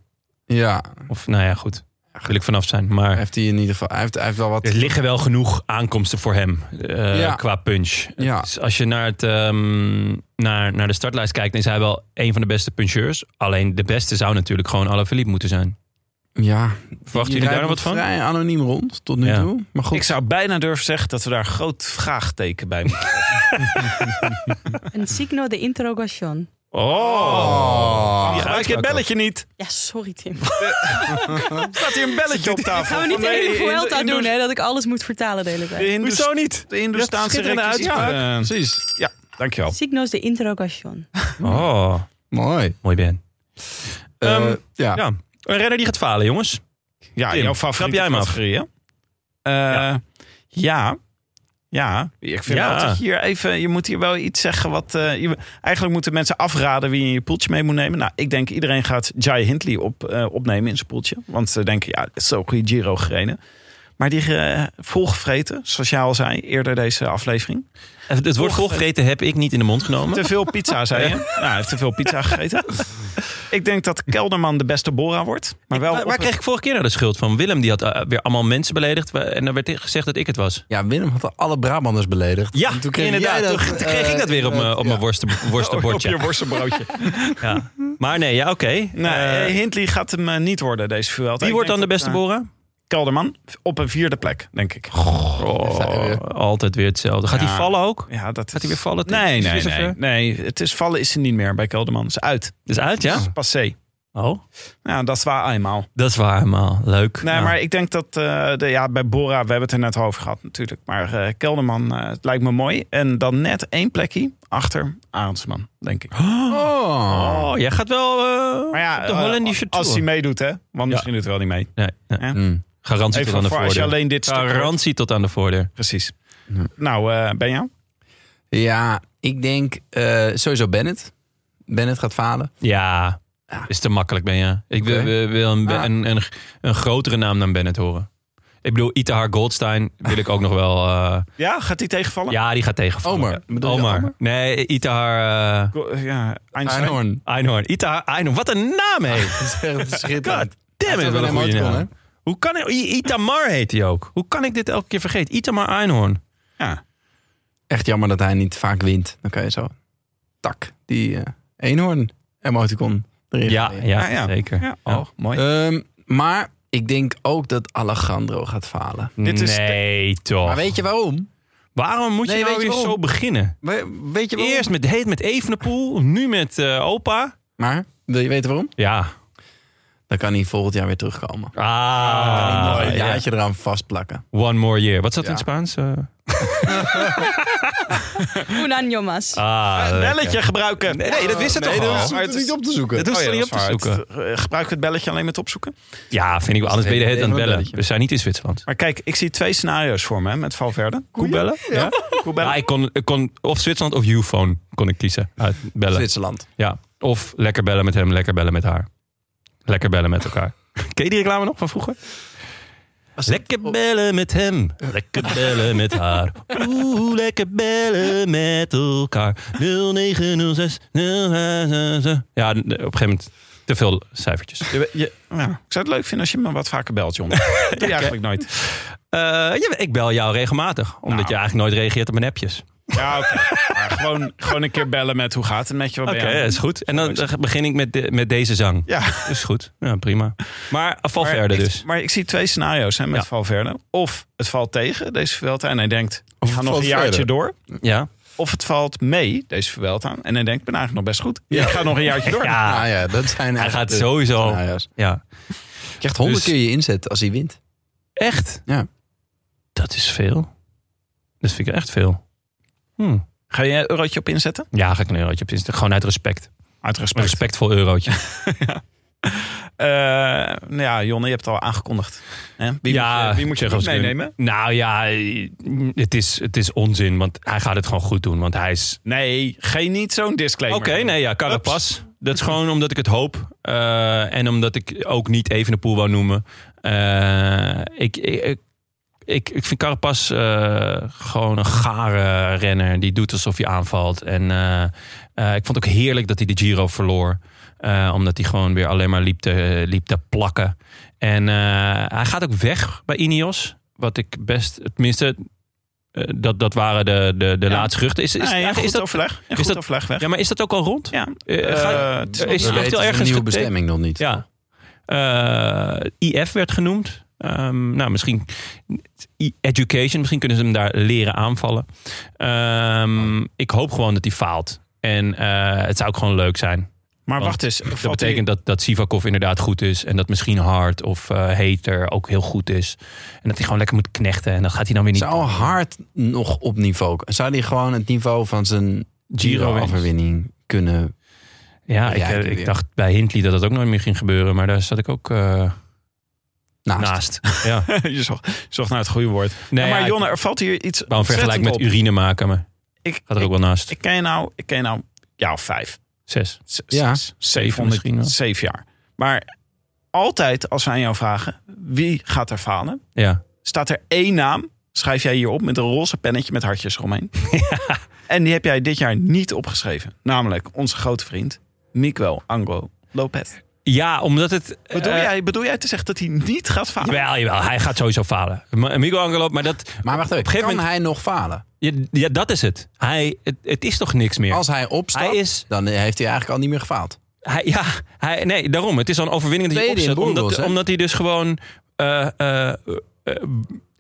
B: ja.
A: Of nou ja, goed. Daar wil ik vanaf zijn. Maar
B: Heeft hij in ieder geval. Hij heeft, hij heeft wel wat.
A: er liggen wel genoeg aankomsten voor hem eh,
B: Ja.
A: qua punch.
B: Ja.
A: Dus als je naar, het, ehm, naar, naar de startlijst kijkt, is hij wel een van de beste puncheurs. Alleen de beste zou natuurlijk gewoon Alaphilippe moeten zijn.
B: Ja,
A: Verwachten
B: Die
A: jullie daar nog
B: rijdt
A: wat van?
B: Vrij anoniem rond tot nu
A: Ja.
B: toe. Maar goed,
C: Ik zou bijna durven zeggen dat we daar een groot vraagteken bij moeten.
D: Ja. Een signo de interrogation.
A: Oh.
C: Je gebruikt je belletje niet.
D: Ja, sorry Tim.
C: Er staat hier een belletje op tafel.
D: Gaan we niet
C: van,
D: de
C: nee,
D: hele
C: Hindu-
D: Vuelta
C: Hindoes-
D: doen, hè? Dat ik alles moet vertalen de hele
C: De
D: tijd.
C: Hindoes-
A: Hoezo niet?
C: De Hindoestaanse
A: Je hebt een schitterende
C: requisieten. Eh,
B: Precies.
C: Ja, dankjewel.
D: Signos de interrogation.
A: Oh,
B: Mooi.
A: mooi Ben.
B: Eh,
A: Ehm,
B: ja.
A: Ja, een renner die gaat falen, jongens.
C: Ja,
A: Tim,
C: Ah, jouw
A: trap
C: favoriete
A: jij hem af.
C: categorie, hè? Eh, ja. Ja, ik vind
A: Ja.
C: wel dat hier even... Je moet hier wel iets zeggen wat... eh, je- eigenlijk moeten mensen afraden wie je in je poeltje mee moet nemen. Nou, ik denk iedereen gaat Jai Hindley op, eh, opnemen in zijn poeltje. Want ze denken, ja, het is zo'n goede Giro gereden. Maar die eh, volgevreten, zoals jij al zei eerder deze aflevering.
A: Het, het woord volgevreten heb ik niet in de mond genomen.
C: Te veel
A: [laughs]
C: pizza, zei je. Ja, hij heeft te veel pizza gegeten. ik denk dat Kelderman de beste Bora wordt. Maar wel
A: Waar,
C: op
A: waar
C: een-
A: kreeg ik vorige keer nou de schuld van? Willem die had eh, weer allemaal mensen beledigd. wa- En dan werd gezegd dat ik het was.
B: Ja, Willem had alle Brabanders beledigd.
A: Ja,
B: En toen kreeg
A: inderdaad.
B: jij dat,
A: toen [laughs] toen kreeg
B: eh,
A: ik dat weer op mijn op mijn
B: ja.
C: [laughs]
A: worsten- worstenbordje.
C: op je worstenbroodje.
A: [laughs] Ja. Maar nee, ja, oké.
C: Nou,
A: Eh,
C: eh, Hindley gaat hem eh, niet worden, deze Vuelta.
A: wie
C: Ik
A: wordt dan
C: denk
A: de
C: dat,
A: beste
C: eh,
A: Bora?
C: Kelderman op een vierde plek, denk ik.
A: Oh, altijd weer hetzelfde. Gaat
C: Ja.
A: hij vallen ook?
C: Ja, dat
A: Gaat
C: is-
A: hij weer vallen?
C: Nee,
A: Is het
C: nee,
A: weer
C: nee,
A: zover?
C: nee. Het is vallen is ze niet meer bij Kelderman. Is uit.
A: Dus uit, ja?
C: Is passé.
A: Oh,
C: Ja, dat is waar eenmaal.
A: dat is waar, man. Leuk.
C: Nee,
A: Nou,
C: maar ik denk dat eh, de, ja, bij Bora, we hebben het er net over gehad natuurlijk. Maar eh, Kelderman eh, het lijkt me mooi. En dan net één plekje achter Arendsman, denk ik.
B: Oh.
A: Oh, jij gaat wel eh,
C: Maar ja,
A: op de
C: eh,
A: Hollandische
C: als hij
A: Tour.
C: meedoet, hè? Want misschien doet hij wel niet mee.
A: Nee, nee.
C: Ja.
B: Mm.
A: Garantie
C: Even
A: tot aan de
C: voor als je
A: voordeur.
C: alleen dit stuk hoort.
A: Garantie tot aan de voordeur.
C: Precies.
B: Hm.
C: Nou, eh Benja?
B: Ja, ik denk eh, sowieso Bennett. Bennett gaat falen.
A: Ja,
B: Ja.
A: is te makkelijk, ben je. Ik wil,
B: Oké.
A: wil- wil een,
B: Ah.
A: een, een, een grotere naam dan Bennett horen. Ik bedoel, Itahar Goldstein wil ik ook nog wel... eh,
C: Ja, gaat hij tegenvallen?
A: ja, die gaat tegenvallen.
B: Omar, bedoel je Omar?
A: Nee, Itahar... eh,
C: Go- Ja, Einstein.
B: Einhorn.
A: Einhorn. Itahar Einhorn. Wat een naam, hé.
B: [laughs] Dat is echt
A: God
B: schitterend.
A: damn
B: Hij
A: it,
B: heeft
A: wat
B: wel
A: een
B: Ah, een
A: goede
B: emoticon,
A: naam. Hoe kan hij... I- Itamar heet hij ook. Hoe kan ik dit elke keer vergeten? Itamar Einhorn.
C: Ja.
B: Echt jammer dat hij niet vaak wint. Dan kan je zo... Tak, die eh eenhoorn emoticon erin
A: Ja,
B: gooien.
A: ja,
C: Ah, ja.
A: zeker.
C: Ja.
A: Ja.
C: Oh, mooi.
B: Ehm, maar ik denk ook dat Alejandro gaat falen.
A: Oh.
C: Dit is de-
A: nee, toch.
B: Maar weet je waarom?
A: Waarom moet je
B: Nee,
A: nou
B: weet je
A: weer
B: waarom?
A: zo beginnen?
B: We- Weet je waarom?
A: Eerst met, heet met Evenepoel, nu met eh, opa.
B: Maar, wil je weten waarom?
A: Ja.
B: Dan kan hij volgend jaar weer terugkomen.
A: Ah,
B: Mooi. een
A: ja.
B: jaartje eraan vastplakken.
A: Ah, One more year. Wat zat
B: Ja.
A: in het Spaans? Eh,
D: Un año más.
A: ah, lekker.
C: Belletje gebruiken.
A: Nee, nee, dat wist het
C: Nee,
A: toch
B: Oh.
C: dat
A: al?
C: is- Maar het
B: op te zoeken.
A: Dat hoeft
C: Oh ja,
A: er niet op
C: dat
A: te
C: is waar.
A: zoeken.
C: Het, eh, gebruik het belletje alleen met opzoeken.
A: Ja, vind ik wel. Anders ben je de hele tijd aan het bellen. We zijn niet in Zwitserland.
C: Maar kijk, ik zie twee scenario's voor me hè, met Valverde.
A: Koe bellen? Ja.
C: Koe
A: Ja,
C: bellen.
A: ik, kon, ik kon of Zwitserland of Uphone kon ik kiezen. Uit bellen.
B: Zwitserland.
A: Ja. Of lekker bellen met hem, lekker bellen met haar. Lekker bellen met [laughs] elkaar. Ken je die reclame nog van vroeger? Lekker bellen met hem, [laughs] lekker bellen met haar. Oeh, lekker bellen met elkaar. 0906 0566. Ja, op een gegeven moment te veel cijfertjes.
C: Je- je- ja, ik zou het leuk vinden als je me wat vaker
A: [laughs]
C: belt, John. Dat doe je eigenlijk nooit.
A: Eh, ja, ik bel jou regelmatig, omdat
C: Nou.
A: je eigenlijk nooit reageert op mijn appjes.
C: Ja, oké. Maar gewoon, gewoon een keer bellen met hoe gaat het met je? Wat
A: Oké,
C: ben je aan het
A: is
C: doen?
A: goed. En dan eh, begin ik met, de- met deze zang.
C: Ja.
A: Is goed, ja, prima. Maar val
C: Maar
A: verder
C: ik,
A: dus.
C: Maar ik zie twee scenario's hè, met
A: Ja.
C: Valverde. Of het valt tegen, deze Vuelta, en hij denkt, we gaan nog een
B: valt
C: jaartje
B: verder.
C: door.
A: Ja.
C: Of het valt mee, deze Vuelta, en hij denkt, ik ben eigenlijk nog best goed. Ik ga nog een jaartje door.
A: [laughs] Nou ja,
B: Ah ja, dat zijn
A: hij
B: echt
A: gaat
B: de
A: sowieso.
B: scenario's.
A: Nou Ja.
B: Je krijgt honderd
A: Dus-
B: keer je inzet als hij wint.
A: Echt?
B: Ja.
A: Dat is veel. Dat vind ik echt veel. Hm.
C: Ga je een eurotje op inzetten?
A: Ja, ga ik een eurotje op inzetten. Gewoon uit respect.
C: Uit
A: Een
C: respect.
A: respectvol eurotje. [laughs]
C: Eh, nou ja, Jonne, je hebt het al aangekondigd. Hè? Wie,
A: ja,
C: moet je, wie moet je
A: Tsjechos
C: niet
A: kunnen.
C: meenemen?
A: Nou ja, eh, het is, het is onzin. Want hij gaat het gewoon goed doen. Want hij is...
C: Nee, geen niet zo'n disclaimer.
A: Oké, nee ja, Carapaz. Dat is gewoon omdat ik het hoop. eh, en omdat ik ook niet even de poel wou noemen. Eh, ik, ik, ik, ik vind Carapaz eh, gewoon een gare renner. Die doet alsof hij aanvalt. En eh, eh, ik vond het ook heerlijk dat hij de Giro verloor. Eh, omdat hij gewoon weer alleen maar liep te, liep te plakken. En eh, hij gaat ook weg bij Ineos. Wat ik best, tenminste, eh, dat, dat waren de, de, de
C: Ja.
A: laatste geruchten. Is, is,
C: Is, ja,
A: is
C: goed
A: dat,
C: overleg. Een
A: is
C: goed
A: dat-
C: overleg weg.
A: ja, maar is dat ook al rond?
C: Ja.
A: Eh, ga-
C: Eh, het
A: is-
C: nog-
A: is-
B: We
A: echt
B: weten
A: heel
B: zijn
A: ergens
B: nieuwe
A: gete-
B: bestemming nog niet.
A: Ja. Eh, IF werd genoemd. Ehm, nou, misschien I- education. Misschien kunnen ze hem daar leren aanvallen. Ehm, ik hoop gewoon dat hij faalt. En eh, het zou ook gewoon leuk zijn.
C: Maar
A: Want
C: wacht eens.
A: Dat betekent dat, dat Sivakov inderdaad goed is. En dat misschien Hart of eh Hater ook heel goed is. En dat hij gewoon lekker moet knechten. En dan gaat hij dan weer niet...
B: Zou Hart nog op niveau... Zou die gewoon het niveau van zijn
A: wins.
B: Giro-overwinning kunnen...
A: Ja, ik,
B: Ja,
A: eh,
B: ik
A: ik
B: weer.
A: dacht bij Hindley dat dat ook nooit meer ging gebeuren. Maar daar zat ik ook eh,
B: Naast.
A: naast. Ja.
C: dat... [laughs] je zocht, zocht naar het goede woord.
A: Nee,
C: maar
A: ja,
C: Jonne, er valt hier iets
A: ik wou een vergelijk
C: ontzettend
A: met
C: op.
A: urine maken. Maar
C: Ik,
A: gaat er ook
C: ik,
A: wel naast.
C: ik ken je nou, ik ken je nou, ja, vijf.
A: Zes.
C: Z-
B: Ja.
C: zes,
A: Zeven misschien wel.
C: 700, zeven jaar. Maar altijd als wij aan jou vragen, wie gaat er falen?
A: Ja.
C: Staat er één naam, schrijf jij hier op met een roze pennetje met
A: [laughs]
C: hartjes eromheen. En die heb jij dit jaar niet opgeschreven. Namelijk onze grote vriend, Miguel Anglo Lopez.
A: Ja, omdat het...
C: Bedoel,
A: eh,
C: jij, bedoel jij te zeggen dat hij niet gaat falen?
A: Jawel, jawel, hij gaat sowieso falen. Ma- Miguel Angelo, maar dat,
B: Maar wacht even,
A: Op een
B: kan
A: gegeven
B: hij nog falen?
A: ja, ja, dat is het. Hij, het. Het is toch niks meer?
B: Als hij opstapt,
A: Hij is-
B: dan eh, heeft hij eigenlijk al niet meer gefaald.
A: Hij, ja, hij, nee, daarom. Het is al een overwinning dat hij
B: Tweede in
A: opzet. Omdat,
B: Burgos, hè?
A: omdat hij dus gewoon... eh, eh, eh, eh,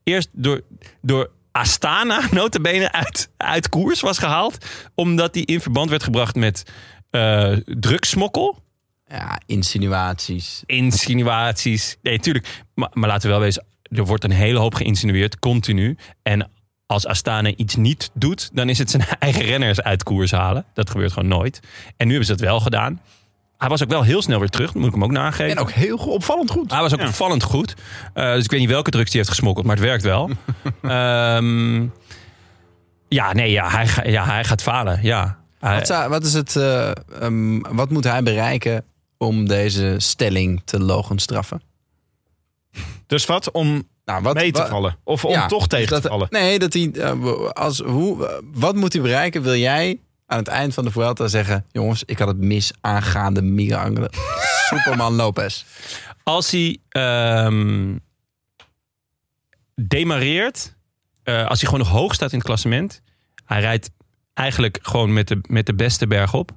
A: eerst door, door Astana, [laughs] notabene, uit, uit koers was gehaald. Omdat hij in verband werd gebracht met eh drugsmokkel.
B: Ja, insinuaties.
A: insinuaties. Nee, tuurlijk. Maar, maar laten we wel wezen, er wordt een hele hoop geïnsinueerd, continu. En als Astana iets niet doet, dan is het zijn [laughs] eigen renners uit koers halen. Dat gebeurt gewoon nooit. En nu hebben ze dat wel gedaan. Hij was ook wel heel snel weer terug, moet ik hem ook nageven.
B: En ook heel go- opvallend goed.
A: Hij was ook opvallend goed. Eh, dus ik weet niet welke drugs hij heeft gesmokkeld, maar het werkt
B: [laughs]
A: wel. Ehm, ja, nee, ja hij, ga- ja, hij gaat falen. Ja. Hij-
B: Wat, zou- wat, is het, eh, ehm, wat moet hij bereiken om deze stelling te logenstraffen?
C: Dus wat om
B: Nou, wat,
C: mee te
B: wa-
C: vallen? Of om
B: Ja, dus
C: toch tegen
B: dat-
C: te vallen?
B: Nee, dat hij, eh, als, hoe, eh, wat moet hij bereiken? Wil jij aan het eind van de Vuelta zeggen... jongens, ik had het mis aangaande Miguel Angel [laughs] Superman Lopez.
A: als hij ehm, demareert, eh, als hij gewoon nog hoog staat in het klassement, hij rijdt eigenlijk gewoon met de, met de beste berg op.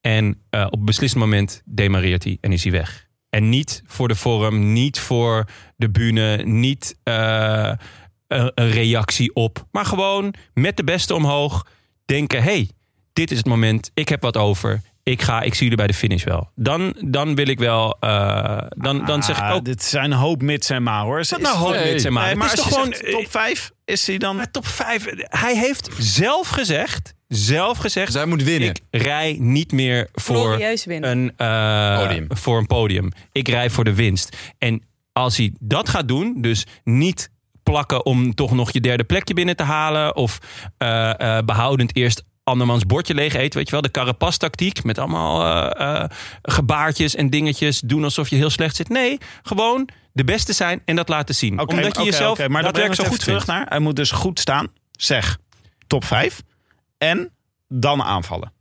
A: En eh, op een beslissend moment demareert hij en is hij weg. En niet voor de vorm, niet voor de bühne, niet eh, een, een reactie op. Maar gewoon met de beste omhoog denken: hé, hey, dit is het moment, ik heb wat over. Ik ga, ik zie jullie bij de finish wel. Dan, dan wil ik wel, eh, dan, dan zeg ik
C: Ah,
A: ook.
C: Dit zijn een hoop mits en maar hoor. Is-
A: nou hoop
C: Nee.
A: mits en maar?
C: Nee,
A: Het is
C: maar als
A: toch
C: je
A: gewoon-
C: zegt top 5 is hij dan...
A: Maar top 5, hij heeft zelf gezegd, zelf gezegd,
B: Zij Dus moet winnen.
A: ik rij niet meer voor
D: Glorieus winnen.
A: een, eh,
B: Podium.
A: voor een podium. Ik rij voor de winst. En als hij dat gaat doen, dus niet plakken om toch nog je derde plekje binnen te halen. Of eh, eh, behoudend eerst andermans bordje leeg eten. Weet je wel, de carapas-tactiek met allemaal eh, eh, gebaartjes en dingetjes. Doen alsof je heel slecht zit. Nee, gewoon de beste zijn en dat laten zien.
C: Oké,
A: Omdat je
C: oké,
A: jezelf
C: oké, maar dan ben
A: daadwerkelijk
C: ik
A: zo goed
C: terug
A: vindt.
C: naar. Hij moet dus goed staan. Zeg top 5 en dan aanvallen.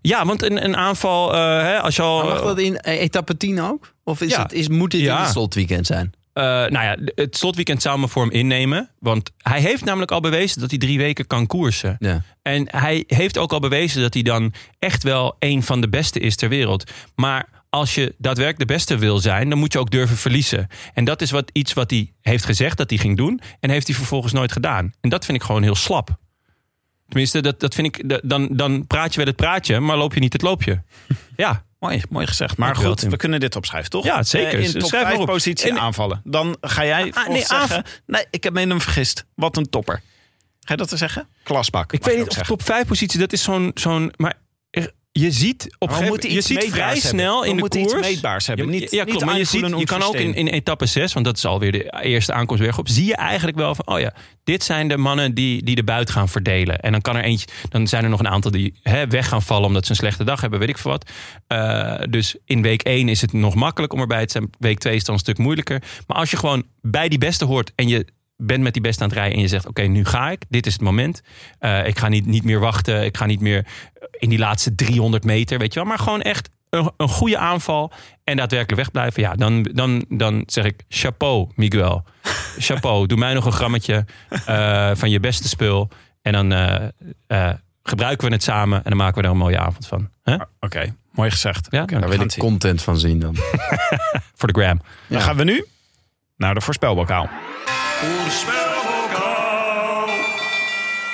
A: Ja, want een, een aanval, eh, hè, als je al...
B: Maar mag dat in eh, etappe 10 ook? Of is
A: Ja.
B: het, is, moet dit
A: Ja.
B: in het slotweekend zijn?
A: Eh, nou ja, het slotweekend zou me voor hem innemen. Want hij heeft namelijk al bewezen dat hij drie weken kan koersen.
B: Ja.
A: En hij heeft ook al bewezen dat hij dan echt wel een van de beste is ter wereld. Maar als je daadwerkelijk de beste wil zijn, dan moet je ook durven verliezen. En dat is wat, iets wat hij heeft gezegd dat hij ging doen. En heeft hij vervolgens nooit gedaan. En dat vind ik gewoon heel slap. Tenminste, dat, dat vind ik, dat- dan, dan praat je wel het praatje, maar loop je niet het loopje. Ja.
C: Mooi, mooi gezegd. Maar
A: Dankjewel,
C: goed,
A: Tim.
C: we kunnen dit opschrijven, toch?
A: Ja, zeker. Dus
C: Eh, In
A: Schrijf
C: top
A: maar
C: 5
A: op.
C: positie
A: En-
C: aanvallen. Dan ga jij
A: Ah, nee,
C: nee, zeggen... Nee, ik heb me in hem vergist. Wat een topper. Ga je dat te zeggen? Klasbak.
A: Ik
C: mag
A: weet niet
C: je ook
A: of
C: zeggen.
A: top 5 positie, dat is zo'n. zo'n maar er- je ziet op een gegeven
C: Maar we
A: moment.
C: moeten
A: Je
C: iets
A: ziet
C: meetbaars
A: vrij
C: hebben.
A: snel
C: We
A: in de
C: moeten
A: koers.
C: iets meetbaars hebben.
A: ja,
C: Niet- niet
A: klopt. Maar je,
C: aanvoelen
A: ziet, je
C: ons
A: kan ook in,
C: systeem.
A: in etappe 6, want dat is alweer de eerste aankomst weer op. Zie je eigenlijk wel van. Oh ja, dit zijn de mannen die, die de buit gaan verdelen. En dan kan er eentje. Dan zijn er nog een aantal die hè, weg gaan vallen omdat ze een slechte dag hebben, weet ik veel wat. Eh, dus in week 1 is het nog makkelijk om erbij te zijn. Week 2 is het dan een stuk moeilijker. Maar als je gewoon bij die beste hoort en je bent met die beste aan het rijden en je zegt: Oké, nu ga ik. Dit is het moment. Eh, ik ga niet, niet meer wachten. Ik ga niet meer in die laatste 300 meter, weet je wel. Maar gewoon echt een, een goede aanval en daadwerkelijk wegblijven. Ja, dan, dan, dan zeg ik: Chapeau, Miguel. Chapeau, doe mij nog een grammetje eh, van je beste spul. En dan eh, eh, gebruiken we het samen en dan maken we er een mooie avond van. Hè?
C: Oké, mooi gezegd.
A: Ja, nou,
B: Daar wil
C: gaan
B: ik
C: zien.
B: content van zien dan.
A: voor de gram.
C: Dan
B: Ja.
C: gaan we nu naar de voorspelbokaal.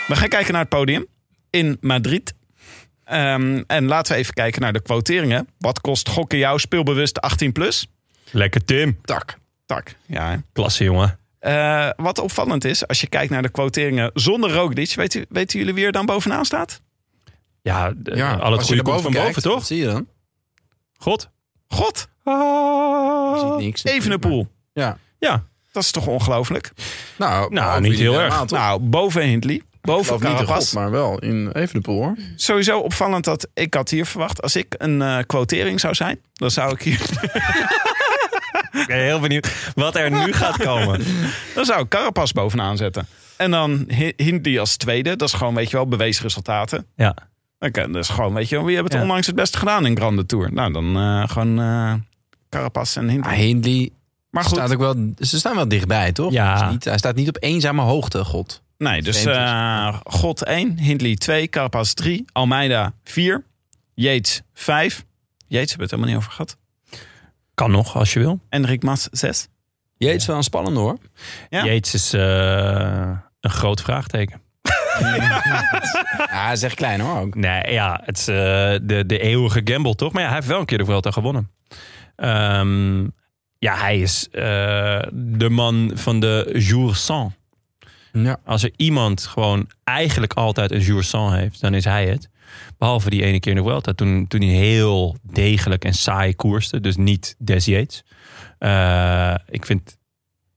C: We gaan kijken naar het podium in Madrid. Eh, Ehm, en laten we even kijken naar de quoteringen. Wat kost gokken jou speelbewust 18 plus?
A: Lekker Tim.
C: Tak. Tak, ja. hè.
A: Klasse, jongen.
C: Eh, wat opvallend is, als je kijkt naar de quoteringen zonder Roglic... Weet u, weten jullie wie er dan bovenaan staat?
A: Ja, de-
B: Ja,
A: al het
B: als
A: goede
B: je naar
A: komt van
B: kijkt,
A: boven, toch?
B: Zie je dan?
A: God.
C: God,
B: Je ziet niks.
C: Evenepoel.
B: Ja.
A: Ja.
C: Dat is toch ongelooflijk?
B: Nou,
A: Nou,
B: behalve
A: niet
B: jullie
A: heel erg.
B: helemaal, toch?
C: Nou, boven Hindley, boven
B: Of niet de
C: Carapaz.
B: God, nou maar wel in Evenepoel hoor.
C: Sowieso opvallend dat ik had hier verwacht... als ik een eh, quotering zou zijn, dan zou ik hier...
A: Ik ben heel benieuwd wat er nu gaat komen.
C: Dan zou ik Carapas bovenaan zetten. En dan Hi- Hindley als tweede. Dat is gewoon, weet je wel, bewezen resultaten.
A: Ja.
C: Dan kan- Dat is gewoon, weet je wel, wie hebben het
A: Ja.
C: onlangs het beste gedaan in Grande Tour? Nou, dan eh, gewoon eh Carapas en Hindley.
B: Ah, Hindley
C: Maar goed,
B: staat ook wel, ze staan wel dichtbij, toch?
A: Ja.
B: Hij is niet- hij staat niet op eenzame hoogte, God.
C: nee, dus
B: Vreemd is.
C: eh, God 1, Hindley 2, Carapas 3, Almeida 4, Yates 5. Yates hebben we het helemaal niet over gehad.
A: Kan nog, als je wil.
C: Enrik Mas 6.
B: Jeet, is wel een spannende hoor.
C: Ja.
A: Yates is eh, een groot vraagteken.
B: Ja, hij is echt klein hoor ook.
A: Nee, ja, het is eh, de, de eeuwige gamble, toch? Maar ja, hij heeft wel een keer de Vuelta gewonnen. Ehm, ja, hij is eh, de man van de jour sans.
B: Ja.
A: Als er iemand gewoon eigenlijk altijd een jour sans heeft, dan is hij het. Behalve die ene keer in de Vuelta, toen, toen hij heel degelijk en saai koerste. Dus niet Des Yates. Eh, ik vind,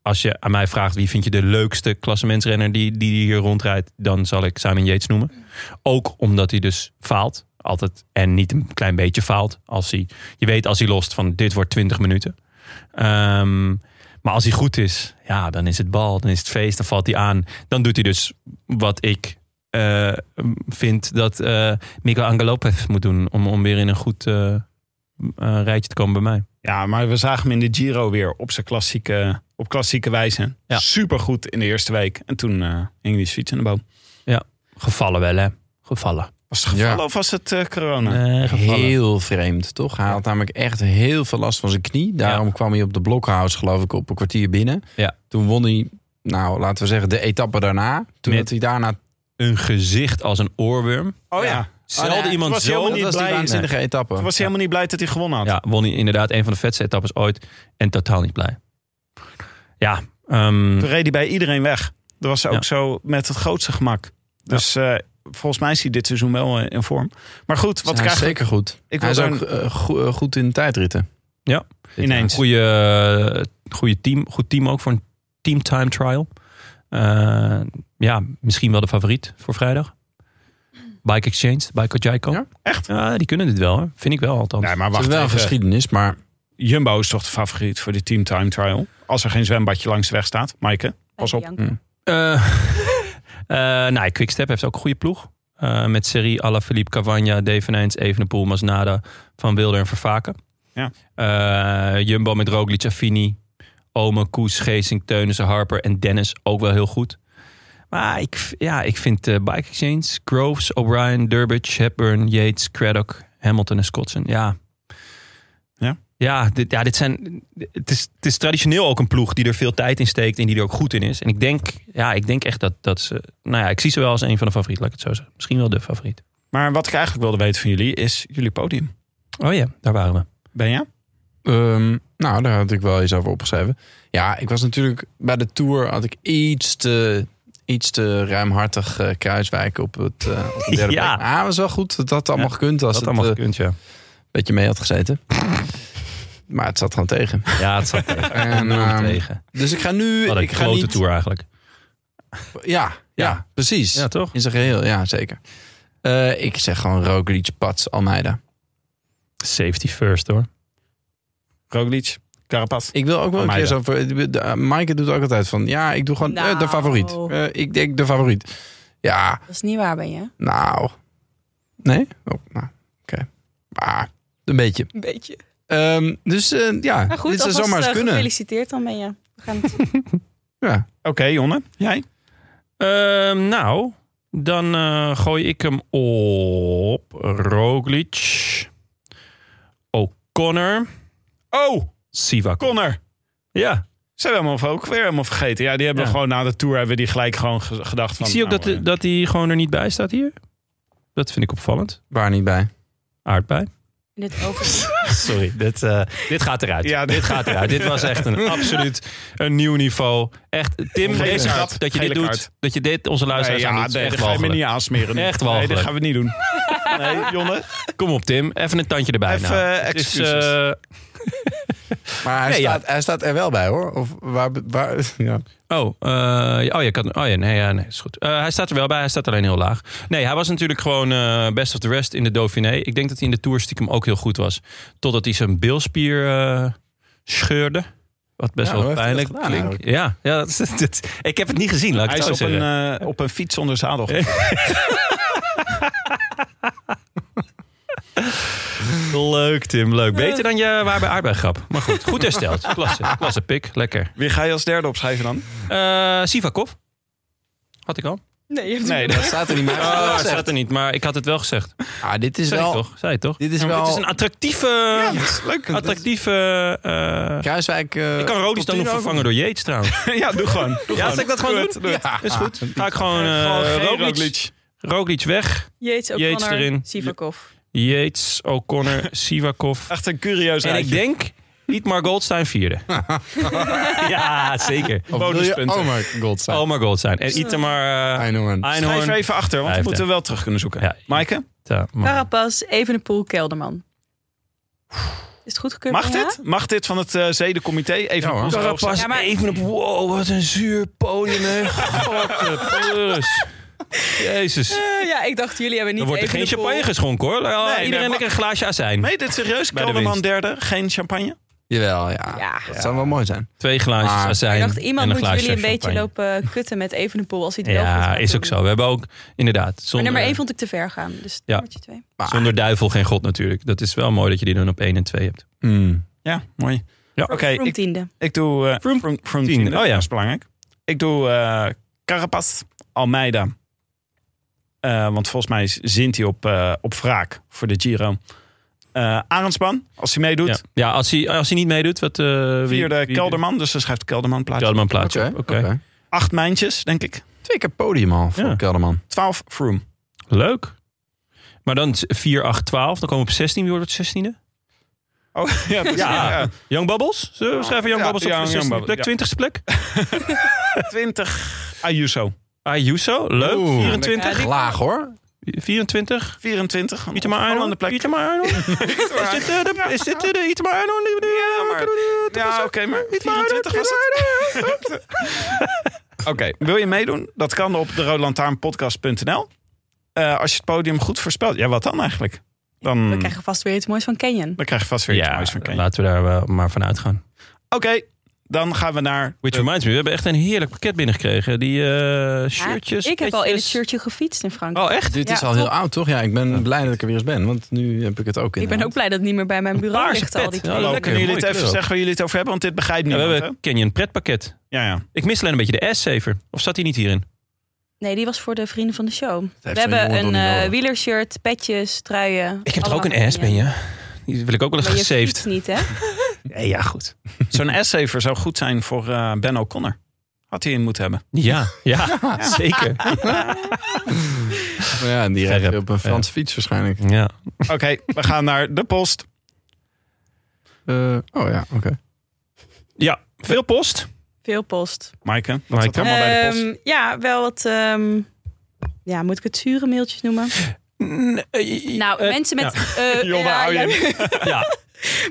A: als je aan mij vraagt wie vind je de leukste klassementsrenner die, die hier rondrijdt, dan zal ik Simon Yates noemen. Ook omdat hij dus faalt. Altijd. En niet een klein beetje faalt. Als hij, je weet als hij lost van dit wordt 20 minuten. Ehm, maar als hij goed is, ja, dan is het bal, dan is het feest, dan valt hij aan. Dan doet hij dus wat ik eh, vind dat eh Miguel Angel Lopez moet doen. Om, om weer in een goed eh, eh, rijtje te komen bij mij.
C: Ja, maar we zagen hem in de Giro weer op zijn klassieke, op klassieke wijze.
A: Ja.
C: Supergoed in de eerste week. En toen eh hing die fiets in de boom.
A: Gevallen wel, hè? Gevallen.
C: Was het gevallen
B: Ja.
C: of was het eh, corona?
A: Eh, gevallen.
B: Heel vreemd, toch? Hij had namelijk echt heel veel last van zijn knie. Daarom kwam hij op de blokhouse, geloof ik, op een kwartier binnen.
A: Ja.
B: Toen won hij, nou, laten we zeggen, de etappe daarna. Toen
A: Met-
B: had hij daarna...
A: Een gezicht als een oorworm.
C: Oh ja.
B: Ja.
A: Zelden
B: nee,
A: iemand
C: was hij
A: zo
B: Dat
C: helemaal niet
B: was die
C: blij,
B: waanzinnige etappe.
C: Toen was hij helemaal niet blij dat hij gewonnen had.
A: Ja, won hij inderdaad een van de vetste etappes ooit. En totaal niet blij. Ja, ehm,
C: Toen reed hij bij iedereen weg. Dat was ook
A: Ja.
C: zo met het grootste gemak. Dus eh, volgens mij is hij dit seizoen wel eh, in vorm. Maar goed,
B: Hij
C: wat
B: is
C: krijg je
B: zeker goed.
C: Ik
B: hij is
C: wil
B: ook eh, go- eh, goed in tijdritten.
A: Ja.
B: Dit
C: Ineens.
B: jaar.
A: goede, eh, goede team, goed team ook voor een team time trial. Eh, ja, misschien wel de favoriet voor vrijdag. Bike Exchange, Bike Jaiko.
B: Ja,
C: echt?
A: Ja, die kunnen dit wel, hè. vind ik wel althans.
C: maar
B: Het is wel geschiedenis, maar
C: Jumbo is toch de favoriet voor die Team Time Trial? Als er geen zwembadje langs de weg staat. Maaike, pas op.
D: Bianca.
A: Eh [laughs] eh, nou, Quickstep heeft ook een goede ploeg. Eh, met serie Ala Philippe Cavagna, Devenijns, Evenepoel, Masnada, Van Wilder en Vervaken.
C: Ja.
A: Eh, Jumbo met Roglic, Affini, Ome, Koes, Geesink, Teunissen, Harper en Dennis ook wel heel goed. Maar ik, ja, ik vind eh, Bike Exchange, Groves, O'Brien, Durbridge, Hepburn, Yates, Craddock, Hamilton en Scottson. Ja,
C: Ja?
A: ja, dit, ja dit zijn, het, is, het is traditioneel ook een ploeg die er veel tijd in steekt en die er ook goed in is. En ik denk, ja, ik denk echt dat, dat ze... Nou ja, ik zie ze wel als een van de favorieten, laat ik het zo zeggen. Misschien wel de favoriet.
C: Maar wat ik eigenlijk wilde weten van jullie is jullie podium.
A: Oh ja, daar waren we.
C: Ben je?
B: Ehm, nou, daar had ik wel eens over opgeschreven. Ja, ik was natuurlijk bij de tour had ik iets te, iets te ruimhartig eh, Kruiswijk op het eh, op
A: [laughs]
B: de derde
A: Ja.
B: plek. Maar het was wel goed. Dat had allemaal gekund als
A: dat
B: het
A: allemaal
B: eh,
A: gekund, ja.
B: een beetje mee had gezeten. maar het zat gewoon tegen.
A: [laughs] Ja, het zat tegen.
B: [laughs] En,
A: Enorm
B: ehm,
A: tegen.
B: Dus ik ga nu.
A: Wat een
B: ik ga
A: grote
B: niet,
A: tour eigenlijk.
B: Ja, ja,
A: Ja.
B: precies.
A: Ja, toch?
B: In zijn geheel, ja, zeker. Eh, ik zeg gewoon Roglic, Pats, Almeida.
A: Safety first, hoor.
C: Roglic, Carapaz.
B: Ik wil ook wel een
C: Almeida.
B: keer zo voor. de- eh, Maaike doet ook altijd van. Ja, ik doe gewoon eh, de
D: Nou.
B: favoriet. Eh, ik denk de favoriet. Ja,
D: Dat is niet waar, ben je?
B: nou. Nee? Oh, nou, oké. Maar een beetje.
D: Een beetje.
B: Ehm, dus eh, ja,
D: Maar goed,
B: dit zou
D: alvast,
B: zomaar eens
D: eh,
B: kunnen.
D: gefeliciteerd dan ben je. We gaan het
B: Ja.
C: Oké, Jonne. Jij?
A: Ehm, nou, dan eh, gooi ik hem op Roglic, O'Connor,
C: Oh,
A: Sivak.
C: Connor.
A: Ja,
C: Zijn we hem ook weer helemaal vergeten. Ja, die hebben
A: Ja.
C: we gewoon na de tour hebben we die gelijk gewoon ge- gedacht
A: ik
C: van...
A: zie ook
C: nou,
A: dat,
C: eh,
A: dat hij gewoon er niet bij staat hier. Dat vind ik opvallend.
B: Waar niet bij.
A: Aardbei.
D: Dit over...
A: [laughs] Sorry, dit, eh, dit gaat eruit.
C: Ja,
A: dit
C: dit-
A: gaat eruit. dit was echt
C: [laughs]
A: een absoluut een nieuw niveau. Echt, Tim,
C: Gele
A: deze
C: kaart.
A: grap dat je
C: Gele
A: dit doet.
C: kaart.
A: Dat je dit onze luisteraars
C: Nee,
A: aan
C: ja,
A: doet, is
C: nee,
A: echt
C: dat ga je me
A: walgelijk.
C: niet aansmeren. nu.
A: Echt
C: Nee,
A: walgelijk.
C: dat gaan we niet doen. [laughs] Nee, Jonne.
A: Kom op, Tim. Even een tandje erbij.
C: Even,
A: nou.
C: eh,
A: Het is,
C: excuses.
A: eh,
B: Maar hij,
A: Nee, ja.
B: staat, hij staat er wel bij hoor. Of waar, waar, [laughs] ja.
A: Oh, eh, oh, ja, kan, oh ja, nee, ja, nee, is goed. Eh, hij staat er wel bij, hij staat alleen heel laag. Nee, hij was natuurlijk gewoon eh, best of the rest in de Dauphiné. Ik denk dat hij in de Tour stiekem ook heel goed was. Totdat hij zijn bilspier eh, scheurde. Wat best
B: Ja, hoe
A: wel
B: heeft hij dat
A: pijnlijk
B: gedaan
A: klinkt. Ja, ja dat, is- dit- ik heb het niet gezien, laat ik
C: Hij
A: het
C: is
A: zo
C: op een,
A: zeggen.
C: eh, op een fiets zonder zadel.
A: Leuk, Tim, leuk. Beter dan je waar bij aardbeigrap. Maar goed, goed
B: [laughs]
A: hersteld. Klasse, klasse pik, lekker.
C: [laughs] Wie ga je als derde opschrijven dan?
A: Eh Sivakov? Had ik al.
D: Nee, je
C: [laughs]
D: hebt
C: Nee,
B: Dat staat er niet bij.
A: Oh, dat staat er niet, maar ik had het wel gezegd.
B: Ah, dit Ah, is
A: Zei ik
B: wel...
A: toch? Zei het toch?
B: Dit is
A: Ja, maar
B: wel...
A: Het is een attractieve... [laughs]
C: Leuk.
A: Attractieve. eh,
B: Kruiswijk... eh,
A: ik kan Rodis dan nog
B: Contino.
A: vervangen door Yates trouwens.
C: [laughs] ja, doe gewoon. Doe
A: ja, zal ik dat gewoon
C: Goed,
A: doen?
C: doe het.
A: Ja, is goed.
B: Ah,
A: Ga ik gewoon,
C: Gewoon
A: eh
C: geen
A: Roglic,
C: Roglic.
A: Roglic weg.
D: Jeets ook
A: Yates erin.
D: Sivakov.
A: Yates,
C: [laughs]
A: O'Connor, Sivakov.
C: Echt een curieus
A: En ik
C: rijtje.
A: denk Itmar Goldstein
C: [laughs]
A: vierde. ja, zeker.
B: Of wil je-
C: bonuspunten.
B: Oh my god. Zijn.
A: Omar Goldstein. En Itmar eh,
B: Einhorn.
C: Schrijf
A: Einhorn.
C: even achter, want
A: Vijfde.
C: we moeten wel terug kunnen zoeken.
A: Ja.
C: Maaike,
A: Ja, maar-
D: Carapas, Evenepoel, Kelderman. Is het goed gekeurd?
C: mag
D: bij jou?
C: dit? Mag dit van het eh, zedencomité? Even
B: Ja, hoor.
C: onze hoogste-
A: Carapaz
D: Ja, maar-
A: even op... Wow, wat een zuur podium. hè. God, de plus. Jezus.
D: Eh, ja, ik dacht, jullie hebben niet
A: Er wordt er geen
D: Evenepoel.
A: champagne geschonken hoor.
C: nee,
A: Iedereen
C: maar-
A: lekker een glaasje azijn.
C: Meen je dit serieus?
A: Bij de
C: Kelderman
A: winst.
C: derde, geen champagne?
B: Jawel, ja.
D: Ja.
B: Dat zou wel mooi zijn.
A: Twee glaasjes
B: Maar-
A: azijn
D: Ik dacht,
A: en
D: iemand
A: een
D: moet jullie
A: glaasje
D: een beetje
A: champagne.
D: lopen kutten met Evenepoel als hij het wel goed
A: Ja,
D: gaat
A: is
D: doen.
A: ook zo. We hebben ook, inderdaad,
D: Maar
A: zonder,
D: nummer één vond ik te ver gaan. Dus
A: Ja.
D: nummertje twee.
B: Maar,
A: zonder duivel geen god natuurlijk. Dat is wel mooi dat je die dan op één en twee hebt.
B: Hmm.
C: Ja, mooi.
A: Ja.
C: Oké,
D: Vroom
C: ik,
D: tiende.
C: ik doe... eh,
A: Vroom-
C: vroom- vroom
A: tiende.
C: tiende.
A: Oh ja.
C: Dat is belangrijk. Ik doe eh Carapaz, Almeida. Eh, want volgens mij is- zint hij op, eh, op wraak voor de Giro. Eh Arendsman, als hij meedoet.
A: Ja, ja als, hij, als hij niet meedoet, wat... eh wie-
C: Vierde
A: wie-
C: Kelderman, dus dan schrijft Kelderman plaats.
A: Kelderman plaats.
B: Oké.
A: Oké.
B: oké.
C: Acht mijntjes, denk ik.
B: Twee keer podium al voor
A: Ja.
B: Kelderman.
C: Twaalf Froome.
A: Leuk. Maar dan 4, 8, 12. Dan komen we op 16. Wie wordt het 16e?
C: Oh, [laughs] ja, precies.
A: Ja.
C: ja.
A: Young Bubbles? Zullen we schrijven Young
C: Ah, Ja,
A: Bubbles op
C: ja,
A: de
C: Young
A: 16e
C: Bubbles,
A: plek?
C: ja.
A: 20 e plek?
C: Twintig Ayuso.
A: Ayuso? Leuk.
B: Oeh.
A: 24?
B: Laag hoor.
A: 24?
C: 24. Een
A: Itema Arnold?
C: opvallende plek.
A: Itema
C: [laughs]
A: Arnold? Is dit eh, de- is dit, eh, de Itema Arnold? die we nu, eh,
C: maar-
A: kunnen doen, eh,
C: Ja, oké, maar
A: Itema Arnold,
C: 24 was
A: Itema
C: het. [laughs] Oké, wil je meedoen? Dat kan op de roodlantaarnpodcast.nl. Eh, als je het podium goed voorspelt. Ja, wat dan eigenlijk? Dan,
A: Hmm.
D: We krijgen vast weer iets moois van Kenyon.
C: dan krijg je vast weer iets
A: Ja,
C: moois van Kanye.
A: laten we daar wel maar van uitgaan.
C: Oké, dan gaan we naar... Eh,
A: Which
C: de-
A: reminds me, we hebben echt een heerlijk pakket binnengekregen. Die eh,
D: Ja,
A: shirtjes.
D: ik heb al in het
A: petjes.
D: shirtje gefietst in Frankrijk.
A: Oh, echt?
B: Dit
D: Ja,
B: is al
D: top.
B: heel oud toch? Ja, ik ben blij dat ik er weer eens ben. Want nu heb ik het ook in
D: ik ben
B: de hand.
D: ook blij dat het niet meer bij mijn bureau
A: nou. paarse
D: ligt. Al
A: pet. Nou, Ja,
D: die
A: leuk.
D: kleding.
C: Dan kunnen jullie
A: mooie
C: het even
A: kleur ook.
C: zeggen waar jullie het over hebben? Want dit begrijpt
A: Ja, we
C: niemand. hè?
A: hebben Canyon pretpakket.
C: ja, ja.
A: Ik mis alleen een beetje de S-saver. Of zat die niet hierin?
D: Nee, die was voor de vrienden van de show.
B: heeft
D: We
B: zo'n
D: hebben
B: jongen
D: een
B: toch niet
D: eh,
B: nodig?
D: wielershirt, petjes, truien.
A: Ik heb
D: er
A: toch ook een S, ben je? Oh, Die wil ik ook wel eens
D: Maar je
A: gesaved.
D: fietst niet, hè?
A: Nee, ja, goed.
C: Zo'n essayver zou goed zijn voor eh, Ben O'Connor. Had hij in moeten hebben.
D: [laughs]
A: Ja,
C: [laughs]
A: ja, zeker.
B: Ja, en die
A: Scherp.
B: rijdt weer op een Franse fiets waarschijnlijk.
A: Ja.
C: Oké, we gaan naar de post.
B: Eh, oh ja, oké.
A: ja, veel post.
D: Veel post.
C: Maaike, wat
A: Maaike.
C: zat er allemaal bij de post?
D: Ehm, ja, wel wat... ehm, ja, moet ik het zure mailtjes
A: [laughs]
D: noemen?
A: Eh,
D: Nou, mensen met... eh,
A: [laughs]
C: Jonne,
D: ja,
C: hou je
D: ja, [laughs]
A: Ja,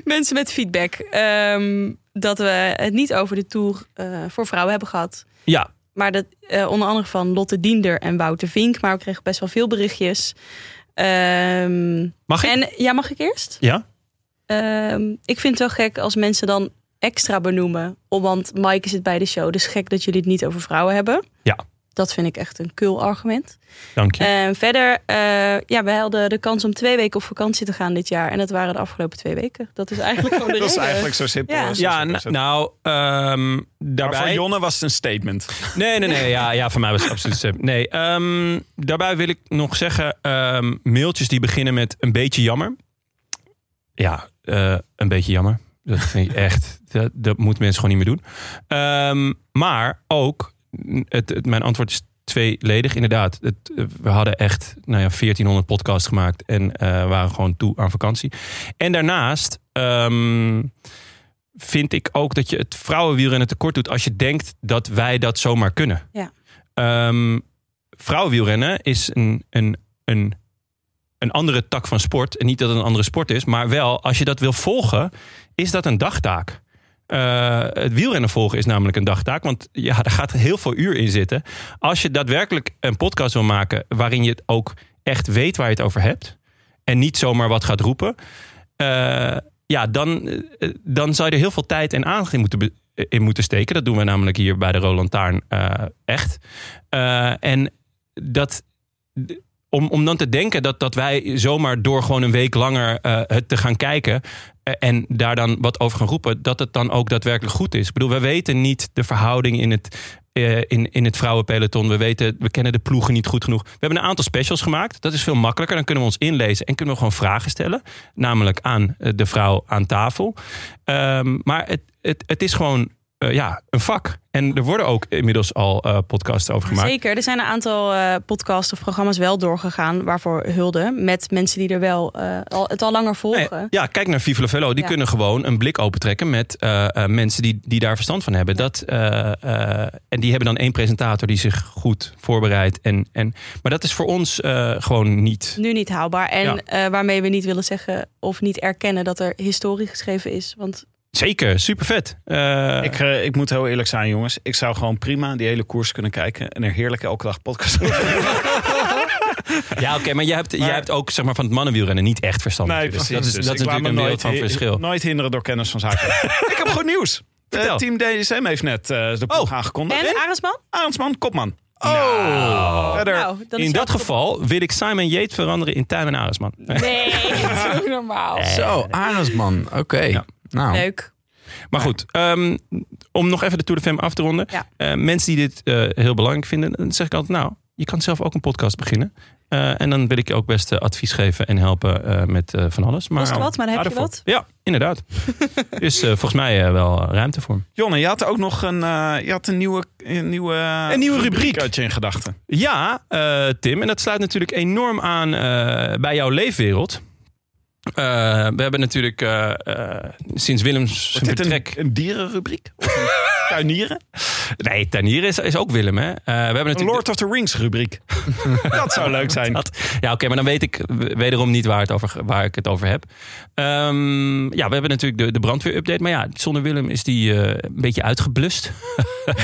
D: mensen met feedback. Ehm, dat we het niet over de Tour eh, voor vrouwen hebben gehad.
A: ja.
D: Maar dat eh, onder andere van Lotte Diender en Wouter Vink. Maar we kregen best wel veel berichtjes. Ehm,
A: Mag ik?
D: en ja, mag ik eerst?
A: Ja.
D: Ehm, ik vind het wel gek als mensen dan extra benoemen. om- Want Mike zit bij de show. Dus gek dat jullie het niet over vrouwen hebben.
A: Ja.
D: Dat vind ik echt een kul argument.
A: Dank je.
D: En Ehm, verder, eh, ja, we hadden de kans om twee weken op vakantie te gaan dit jaar. En dat waren de afgelopen twee weken. Dat is eigenlijk gewoon de
C: [laughs] Dat is
D: reden.
C: eigenlijk zo simpel.
D: Ja.
C: als-
A: ja,
C: zo
A: n-
C: is het.
A: nou, ehm,
C: Maar voor
A: daarbij...
C: Jonne was het een statement.
A: Nee, nee, nee. Ja, ja voor mij was het absoluut stem. Nee, ehm, daarbij wil ik nog zeggen... ehm, mailtjes die beginnen met een beetje jammer. Ja, eh, een beetje jammer. Dat vind ik echt... Dat, dat moeten mensen gewoon niet meer doen. Ehm, maar ook... Het, het- mijn antwoord is tweeledig. Inderdaad, het, eh, we hadden echt nou ja, 1400 podcasts gemaakt en eh, waren gewoon toe aan vakantie. En daarnaast ehm, vind ik ook dat je het vrouwenwielrennen tekort doet als je denkt dat wij dat zomaar kunnen.
D: Ja.
A: Ehm, vrouwenwielrennen is een, een, een, een andere tak van sport. En niet dat het een andere sport is, maar wel als je dat wil volgen, is dat een dagtaak. Eh, het wielrennen volgen is namelijk een dagtaak, want ja, daar gaat heel veel uur in zitten. Als je daadwerkelijk een podcast wil maken waarin je het ook echt weet waar je het over hebt en niet zomaar wat gaat roepen, eh, ja, dan, eh, dan zou je er heel veel tijd en aandacht in moeten, be- in moeten steken. Dat doen we namelijk hier bij de Roland Taarn eh, echt. Eh, en dat. d- Om, om dan te denken dat, dat wij zomaar door gewoon een week langer eh, het te gaan kijken. eh, en daar dan wat over gaan roepen. dat het dan ook daadwerkelijk goed is. Ik bedoel, we weten niet de verhouding in het. eh, In, in het vrouwenpeloton. We, weten, we kennen de ploegen niet goed genoeg. We hebben een aantal specials gemaakt. Dat is veel makkelijker. Dan kunnen we ons inlezen en kunnen we gewoon vragen stellen. Namelijk aan eh, de vrouw aan tafel. Ehm, maar het, het, het is gewoon eh, ja, een vak. En er worden ook inmiddels al eh, podcasts over gemaakt.
D: Zeker, er zijn een aantal eh, podcasts of programma's wel doorgegaan waarvoor hulde. Met mensen die er wel eh, al, het al langer volgen.
A: Nee, ja, kijk naar Vive la Velo. Die
D: Ja.
A: kunnen gewoon een blik opentrekken met eh, eh, mensen die, die daar verstand van hebben. Dat, eh, eh, en die hebben dan één presentator die zich goed voorbereidt. En, en, maar dat is voor ons eh, gewoon niet.
D: Nu niet haalbaar. En
A: Ja.
D: eh, waarmee we niet willen zeggen of niet erkennen dat er historie geschreven is. Want
A: Zeker, super vet.
C: Ik, eh, ik moet heel eerlijk zijn, jongens. Ik zou gewoon prima die hele koers kunnen kijken. En er heerlijk elke dag podcast over
A: ja, oké, maar, jij hebt, jij hebt ook zeg maar, van het mannenwielrennen niet echt verstand.
C: Nee,
A: natuurlijk.
C: precies.
A: dat is,
C: Dus
A: dat
C: ik
A: is
C: laat
A: natuurlijk
C: me
A: een wereld
C: nooit
A: van
C: hi-
A: verschil.
C: Nooit hinderen door kennis van zaken. [laughs] ik heb goed nieuws. Eh,
A: Vertel.
C: team DSM heeft net eh, de ploeg
A: Oh.
C: aangekondigd.
D: en Arendsman?
C: Arendsman, kopman.
A: Oh.
C: Verder.
D: Nou, dan is
A: In
D: jouw
A: dat
D: top-
A: geval wil ik Simon Yates veranderen in Tijmen Aresman.
D: Nee, doe normaal.
B: Zo, Arendsman. Oké.
A: Ja.
B: Nou, [laughs]
D: Leuk.
A: Maar goed, ehm, om nog even de Tour de Femme af te ronden.
D: Ja.
A: Eh, mensen die dit eh, heel belangrijk vinden, dan zeg ik altijd... nou, je kan zelf ook een podcast beginnen. Eh, en dan wil ik je ook best eh, advies geven en helpen eh, met eh, van alles. Maar,
D: Kost wat, maar dan heb je
A: Aardig
D: wat.
A: voor. Ja,
D: [laughs]
A: inderdaad. dus eh, volgens mij eh, wel ruimte voor.
C: Jonne, je had ook nog een, eh, je had een nieuwe, een nieuwe,
A: Een nieuwe rubriek.
C: had je in gedachten.
A: Ja, eh, Tim. En dat sluit natuurlijk enorm aan eh, bij jouw leefwereld. Eh, we hebben natuurlijk eh, eh, sinds Willems zijn
C: Wordt dit
A: vertrek...
C: een, een dierenrubriek? Of een
A: [laughs]
C: tuinieren?
A: Nee, Tanier is, is ook Willem, hè? Eh, we hebben natuurlijk
C: Een Lord of the Rings rubriek. dat zou leuk
A: [laughs]
C: zijn.
A: Dat- ja, oké, maar dan weet ik w- wederom niet waar, het over, waar ik het over heb. Ehm, ja, we hebben natuurlijk de, de brandweerupdate. Maar ja, zonder Willem is die eh, een beetje uitgeblust.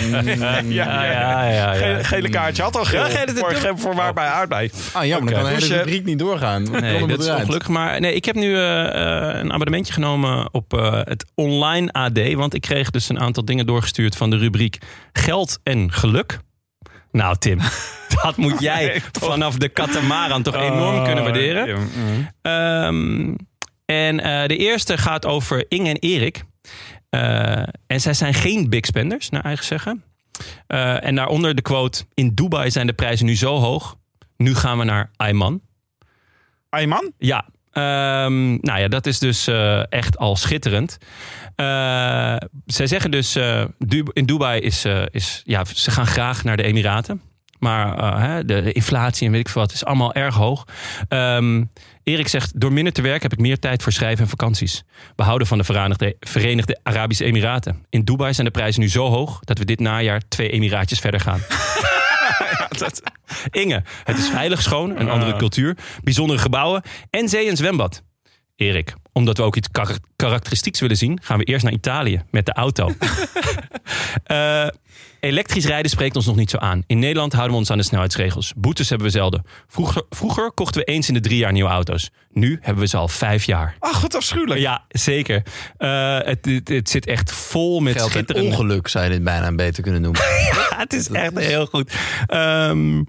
C: ja, ja.
A: Ah, ja.
C: Gele, gele kaartje had al geel.
A: Ja, gele- Oh.
C: voor, ge- voor waar bij aardbei.
B: ah, jammer, dan kan de
A: Dus,
B: hele
A: eh,
B: rubriek niet doorgaan. Dan
A: Nee,
B: komt het
A: dat is
B: eruit.
A: ongelukkig. Maar nee, ik heb nu eh, eh, een abonnementje genomen op eh, het online AD. Want ik kreeg dus een aantal dingen doorgestuurd van de rubriek geld en geluk. Nou, Tim, [laughs] dat moet
C: [laughs]
A: jij vanaf de katamaran toch enorm
C: Oh,
A: kunnen waarderen. Ehm, en eh, de eerste gaat over Inge en Erik. Eh, en zij zijn geen big spenders, naar eigen zeggen. Eh, en daaronder de quote: In Dubai zijn de prijzen nu zo hoog. Nu gaan we naar Ayman.
C: Ayman?
A: Ja. ehm, nou ja, dat is dus eh, echt al schitterend. Eh, zij zeggen dus, eh, Du- in Dubai is, eh, is, ja, ze gaan graag naar de Emiraten. Maar eh, hè, de, de inflatie en weet ik veel wat is allemaal erg hoog. Ehm, Erik zegt, door minder te werken heb ik meer tijd voor schrijven en vakanties. We houden van de Verenigde, Verenigde Arabische Emiraten. In Dubai zijn de prijzen nu zo hoog dat we dit najaar twee Emiraatjes verder gaan. Inge, het is veilig schoon, een andere cultuur, bijzondere gebouwen en zee en zwembad. Erik, omdat we ook iets kar- karakteristieks willen zien, gaan we eerst naar Italië met de
B: [laughs]
A: auto. Eh, elektrisch rijden spreekt ons nog niet zo aan. In Nederland houden we ons aan de snelheidsregels. Boetes hebben we zelden. Vroeger, vroeger kochten we eens in de drie jaar nieuwe auto's. Nu hebben we ze al vijf jaar.
C: Ach, wat
B: Oh
C: afschuwelijk.
A: Ja, zeker. Eh, het, het, het zit echt vol met
B: Geld en
A: schitterende
B: ongeluk zou je dit bijna beter kunnen noemen.
A: ja, het is echt heel goed. Ehm,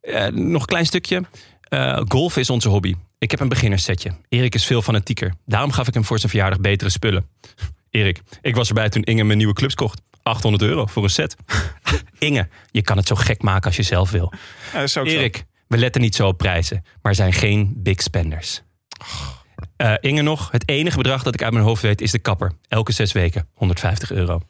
A: eh, nog een klein stukje. Eh, golf is onze hobby. Ik heb een beginnerssetje. Erik is veel fanatieker. Daarom gaf ik hem voor zijn verjaardag betere spullen. [laughs] Erik, ik was erbij toen Inge mijn nieuwe clubs kocht. 800 euro voor een set. [laughs] Inge, je kan het zo gek maken als je zelf wil.
C: Ja, dat is ook Eh, zo.
A: Erik, we letten niet zo op prijzen, maar zijn geen big spenders.
C: Oh.
A: Eh, Inge nog, het enige bedrag dat ik uit mijn hoofd weet
C: [laughs]
A: is de kapper. Elke zes weken 150 euro.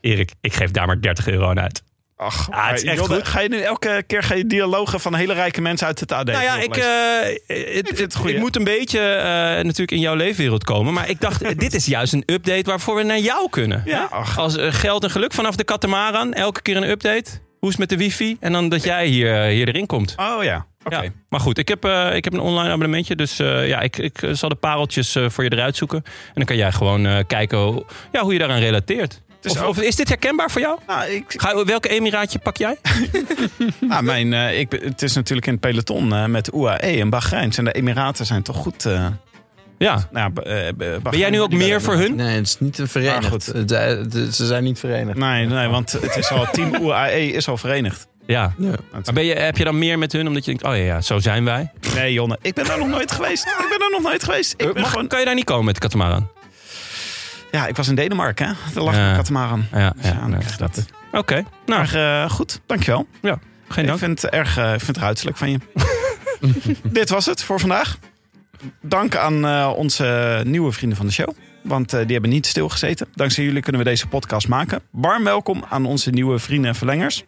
A: Erik, ik geef daar maar 30 euro aan uit.
C: Ach,
A: Ja, het is
C: maar
A: echt
C: Jonne,
A: goed.
C: Ga je nu elke keer ga je dialogen van hele rijke mensen uit het AD?
A: Nou ja, ik,
C: oplezen?
A: eh, het,
C: vind
A: het,
C: het goeie.
A: ik moet een beetje eh, natuurlijk in jouw leefwereld komen. Maar ik
C: [laughs]
A: dacht, dit is juist een update waarvoor we naar jou kunnen.
C: Ja, ach.
A: Als eh, geld en geluk vanaf de katamaran. Elke keer een update. Hoe is het met de wifi? En dan dat jij hier, eh, hier erin komt.
C: Oh ja, oké.
A: Ja, maar goed, ik heb, eh, ik heb een online abonnementje. Dus eh, ja, ik, ik eh, zal de pareltjes eh, voor je eruit zoeken. En dan kan jij gewoon eh, kijken hoe, ja, hoe je daaraan relateert.
C: is
A: of,
C: ook-
A: of is dit herkenbaar voor jou?
C: Nou, ik,
A: Ga, welke emiraatje pak
C: [laughs]
A: jij?
C: nou, mijn, eh, ik, ben- het is natuurlijk in het peloton eh, met UAE en Bahrein. En de Emiraten zijn toch goed. eh, nou,
A: Ja.
C: ja, Ba- eh, Ba-
A: Ben
C: Bahrein-
A: jij nu ook meer voor hun?
B: Nee, het is niet een
C: Maar
B: verenigd.
C: goed.
B: Het- het- het- Ze zijn niet verenigd.
C: Nee, nee, want het is al, team UAE is al verenigd.
A: Ja.
B: Ja.
A: Maar ben je, heb je dan meer met hun omdat je denkt, oh ja, ja zo zijn wij?
C: Nee, Jonne, ik ben daar nog nooit geweest. Ik ben daar nog nooit geweest. Ik ben
A: Ah. Eh, Mag-
C: gewoon...
A: Kan je daar niet komen met de katamaran?
C: Ja, ik was in Denemarken, hè. Daar lag
A: Ja.
C: een katamaran.
A: Ja,
C: Dus
A: ja,
C: ja, dan
A: nee,
C: krijg je
A: dat.
C: dat.
A: Oké, nou,
C: Maar eh, goed, dankjewel.
A: geen
C: ik
A: dank.
C: vind het erg eh, ik vind het ruiterlijk van je. [laughs] Dit was het voor vandaag. Dank aan eh, onze nieuwe vrienden van de show. Want eh, die hebben niet stilgezeten. Dankzij jullie kunnen we deze podcast maken. Warm welkom aan onze nieuwe vrienden en verlengers.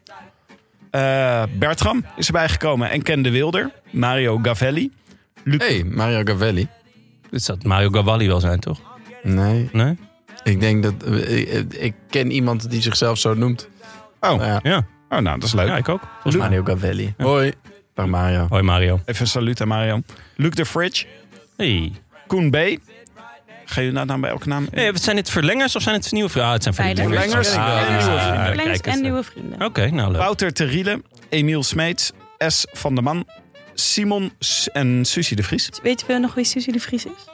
C: Eh, Bertram is erbij gekomen en Ken de Wilder. Mario Gavelli.
B: hey, Mario Gavelli.
A: Het zou Mario Gavalli wel zijn, toch?
B: Nee,
A: Nee?
B: ik denk dat... eh, Ik, ik ken iemand die zichzelf zo noemt.
C: Oh,
B: Ja.
A: Ja,
C: oh nou, dat is leuk.
A: ja ik ook. Volgens mij.
B: Mario Gavelli. Hoi. Dag Mario.
A: Hoi Mario.
C: Even een saluut aan Mario. Luc de Fridge.
A: Hey.
C: Koen B. Ga je nou dan bij elke naam?
A: Hey, wat zijn dit verlengers of zijn het nieuwe vragen? het zijn verlengers.
C: Verlengers.
A: Ah,
C: Verlengers.
A: ah,
C: Verlengers
A: kijk
D: Verlengers
A: eens.
D: en nieuwe vrienden.
A: Oké, nou leuk.
C: Wouter Teriele. Emiel Smeets. S. van der Man. Simon S- en Susie de Vries.
D: Weet je nog wie Susie de Vries is?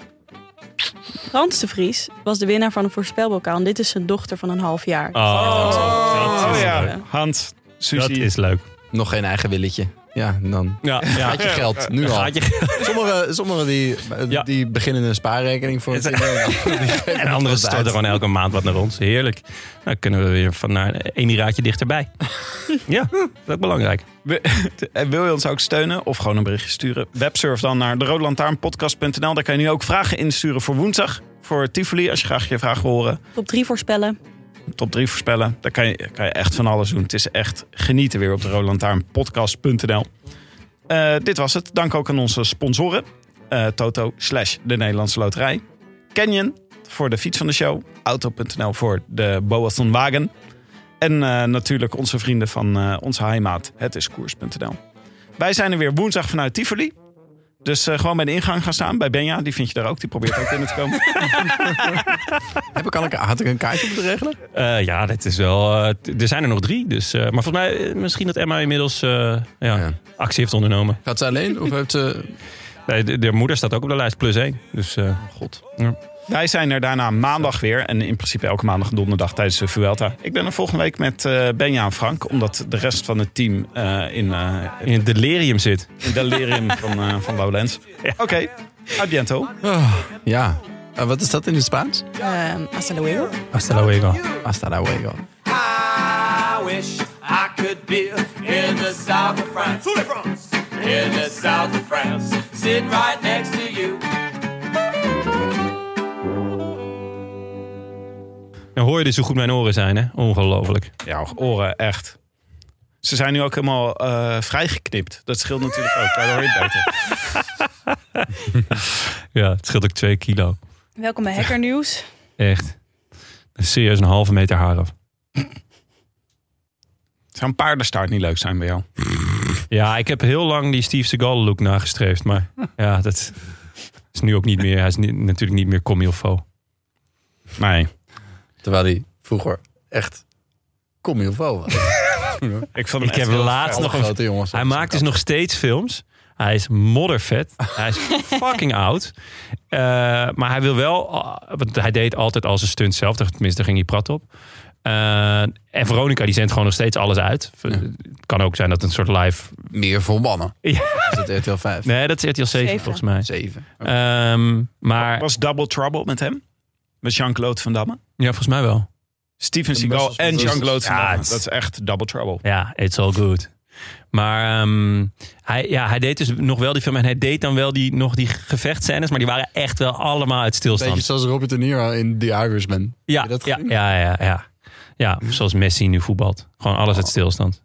D: Frans de Vries was de winnaar van een voorspelbokaal. En dit is zijn dochter van een half jaar.
A: Oh,
C: Oh
A: dat is leuk.
C: ja, Hans,
A: Dat
C: Susie.
A: is leuk.
B: Nog geen eigen willetje. Ja, dan
A: Ja, ja.
B: gaat je geld. Nu al.
A: Gaat je
B: Sommigen sommige die, eh,
A: Ja.
B: die beginnen een spaarrekening voor het
A: [laughs] En anderen storten gewoon elke maand wat naar ons. Heerlijk. Dan kunnen we weer van naar een raadje dichterbij. ja, dat is ook belangrijk.
C: En eh, wil je ons ook steunen of gewoon een berichtje sturen? Websurf dan naar deroodlantaarnpodcast.nl. Daar kan je nu ook vragen insturen voor woensdag. Voor Tivoli, als je graag je vraag wil horen.
D: Top drie voorspellen.
C: Top 3 voorspellen. Daar kan je, kan je echt van alles doen. Het is echt genieten weer op deroodlantaarnpodcast.nl. Eh dit was het. Dank ook aan onze sponsoren. Eh, Toto slash de Nederlandse Loterij. Canyon voor de fiets van de show. Auto.nl voor de Boathon Wagen. En eh, natuurlijk onze vrienden van eh, onze heimaat. Het is koers.nl. Wij zijn er weer woensdag vanuit Tivoli. Dus eh, gewoon bij de ingang gaan staan. Bij Benja, die vind je daar ook. Die probeert ook binnen te komen.
B: Heb ik al een, had ik een kaartje moeten regelen?
A: Eh, ja, dit is wel. eh, t- er zijn er nog drie. Dus, eh, maar volgens mij, eh, misschien dat Emma inmiddels eh, ja,
B: Ja.
A: actie heeft ondernomen.
B: Gaat ze alleen? Of heeft ze...
A: Nee, de, de moeder staat ook op de lijst, plus één. Dus eh,
B: God.
C: Wij zijn er daarna maandag weer. En in principe elke maandag en donderdag tijdens de Vuelta. Ik ben er volgende week met eh, Benja en Frank. Omdat de rest van het team eh, in, eh
A: in het delirium zit.
C: in delirium van, eh van Lowlands. Oké, a biento.
B: Ja. Eh, wat is dat in het Spaans?
D: Ehm hasta luego.
A: Hasta luego.
B: Hasta luego.
E: I wish I could be in the south of France. In the south of France. Sitting right next to you.
A: Dan hoor je dus hoe goed mijn oren zijn, hè? Ongelooflijk.
C: Ja, oren, echt. Ze zijn nu ook helemaal eh, vrijgeknipt. Dat scheelt natuurlijk ook. Daar hoor je het beter.
A: Ja, het scheelt ook twee kilo.
D: Welkom bij Hacker Nieuws.
A: Echt. Serieus een halve meter haar af.
C: Zou een paardenstaart niet leuk zijn bij jou?
A: Ja, ik heb heel lang die Steve Seagal look nagestreefd. Maar ja, dat is nu ook niet meer. Hij is ni- natuurlijk niet meer comilfo.
C: Nee.
B: Terwijl hij vroeger echt comilfo was.
C: Ik, vond hem
A: Ik
C: echt
A: heb
C: heel
A: laatst
C: vet.
A: nog
B: Alle
A: een...
B: grote jongens.
A: Hij maakt dus nog steeds films. Hij is moddervet. Hij [laughs] is fucking oud. Eh, maar hij wil wel... eh, Want hij deed altijd al zijn stunt zelf. Tenminste, daar ging hij prat op. Eh, en Veronica, die zendt gewoon nog steeds alles uit. Het kan ook zijn dat het een soort live...
B: Meer volmannen.
A: Ja.
B: Is dat RTL 5?
A: Nee, dat is RTL 7
D: Zeven.
A: volgens mij.
B: 7.
A: Ehm, maar...
C: Was Double Trouble met hem? Met Jean-Claude Van Damme?
A: Ja, volgens mij wel.
C: Steven
B: was
C: Seagal
B: dus-
C: en
B: dat is-
C: Jean-Claude Van
A: Ja,
C: Damme.
A: het is-
C: Dat is echt Double Trouble.
A: Ja, it's all good. Maar ehm, hij, ja, hij deed dus nog wel die film. En hij deed dan wel die, nog die gevechtscènes. Maar die waren echt wel allemaal uit
B: Beetje
A: stilstand.
B: zoals Robert De Niro in The Irishman.
A: Ja,
B: je dat
A: ja,
B: gezien?
A: ja, ja, ja.
B: Oh.
A: Ja, zoals Messi nu voetbalt. Gewoon alles uit stilstand.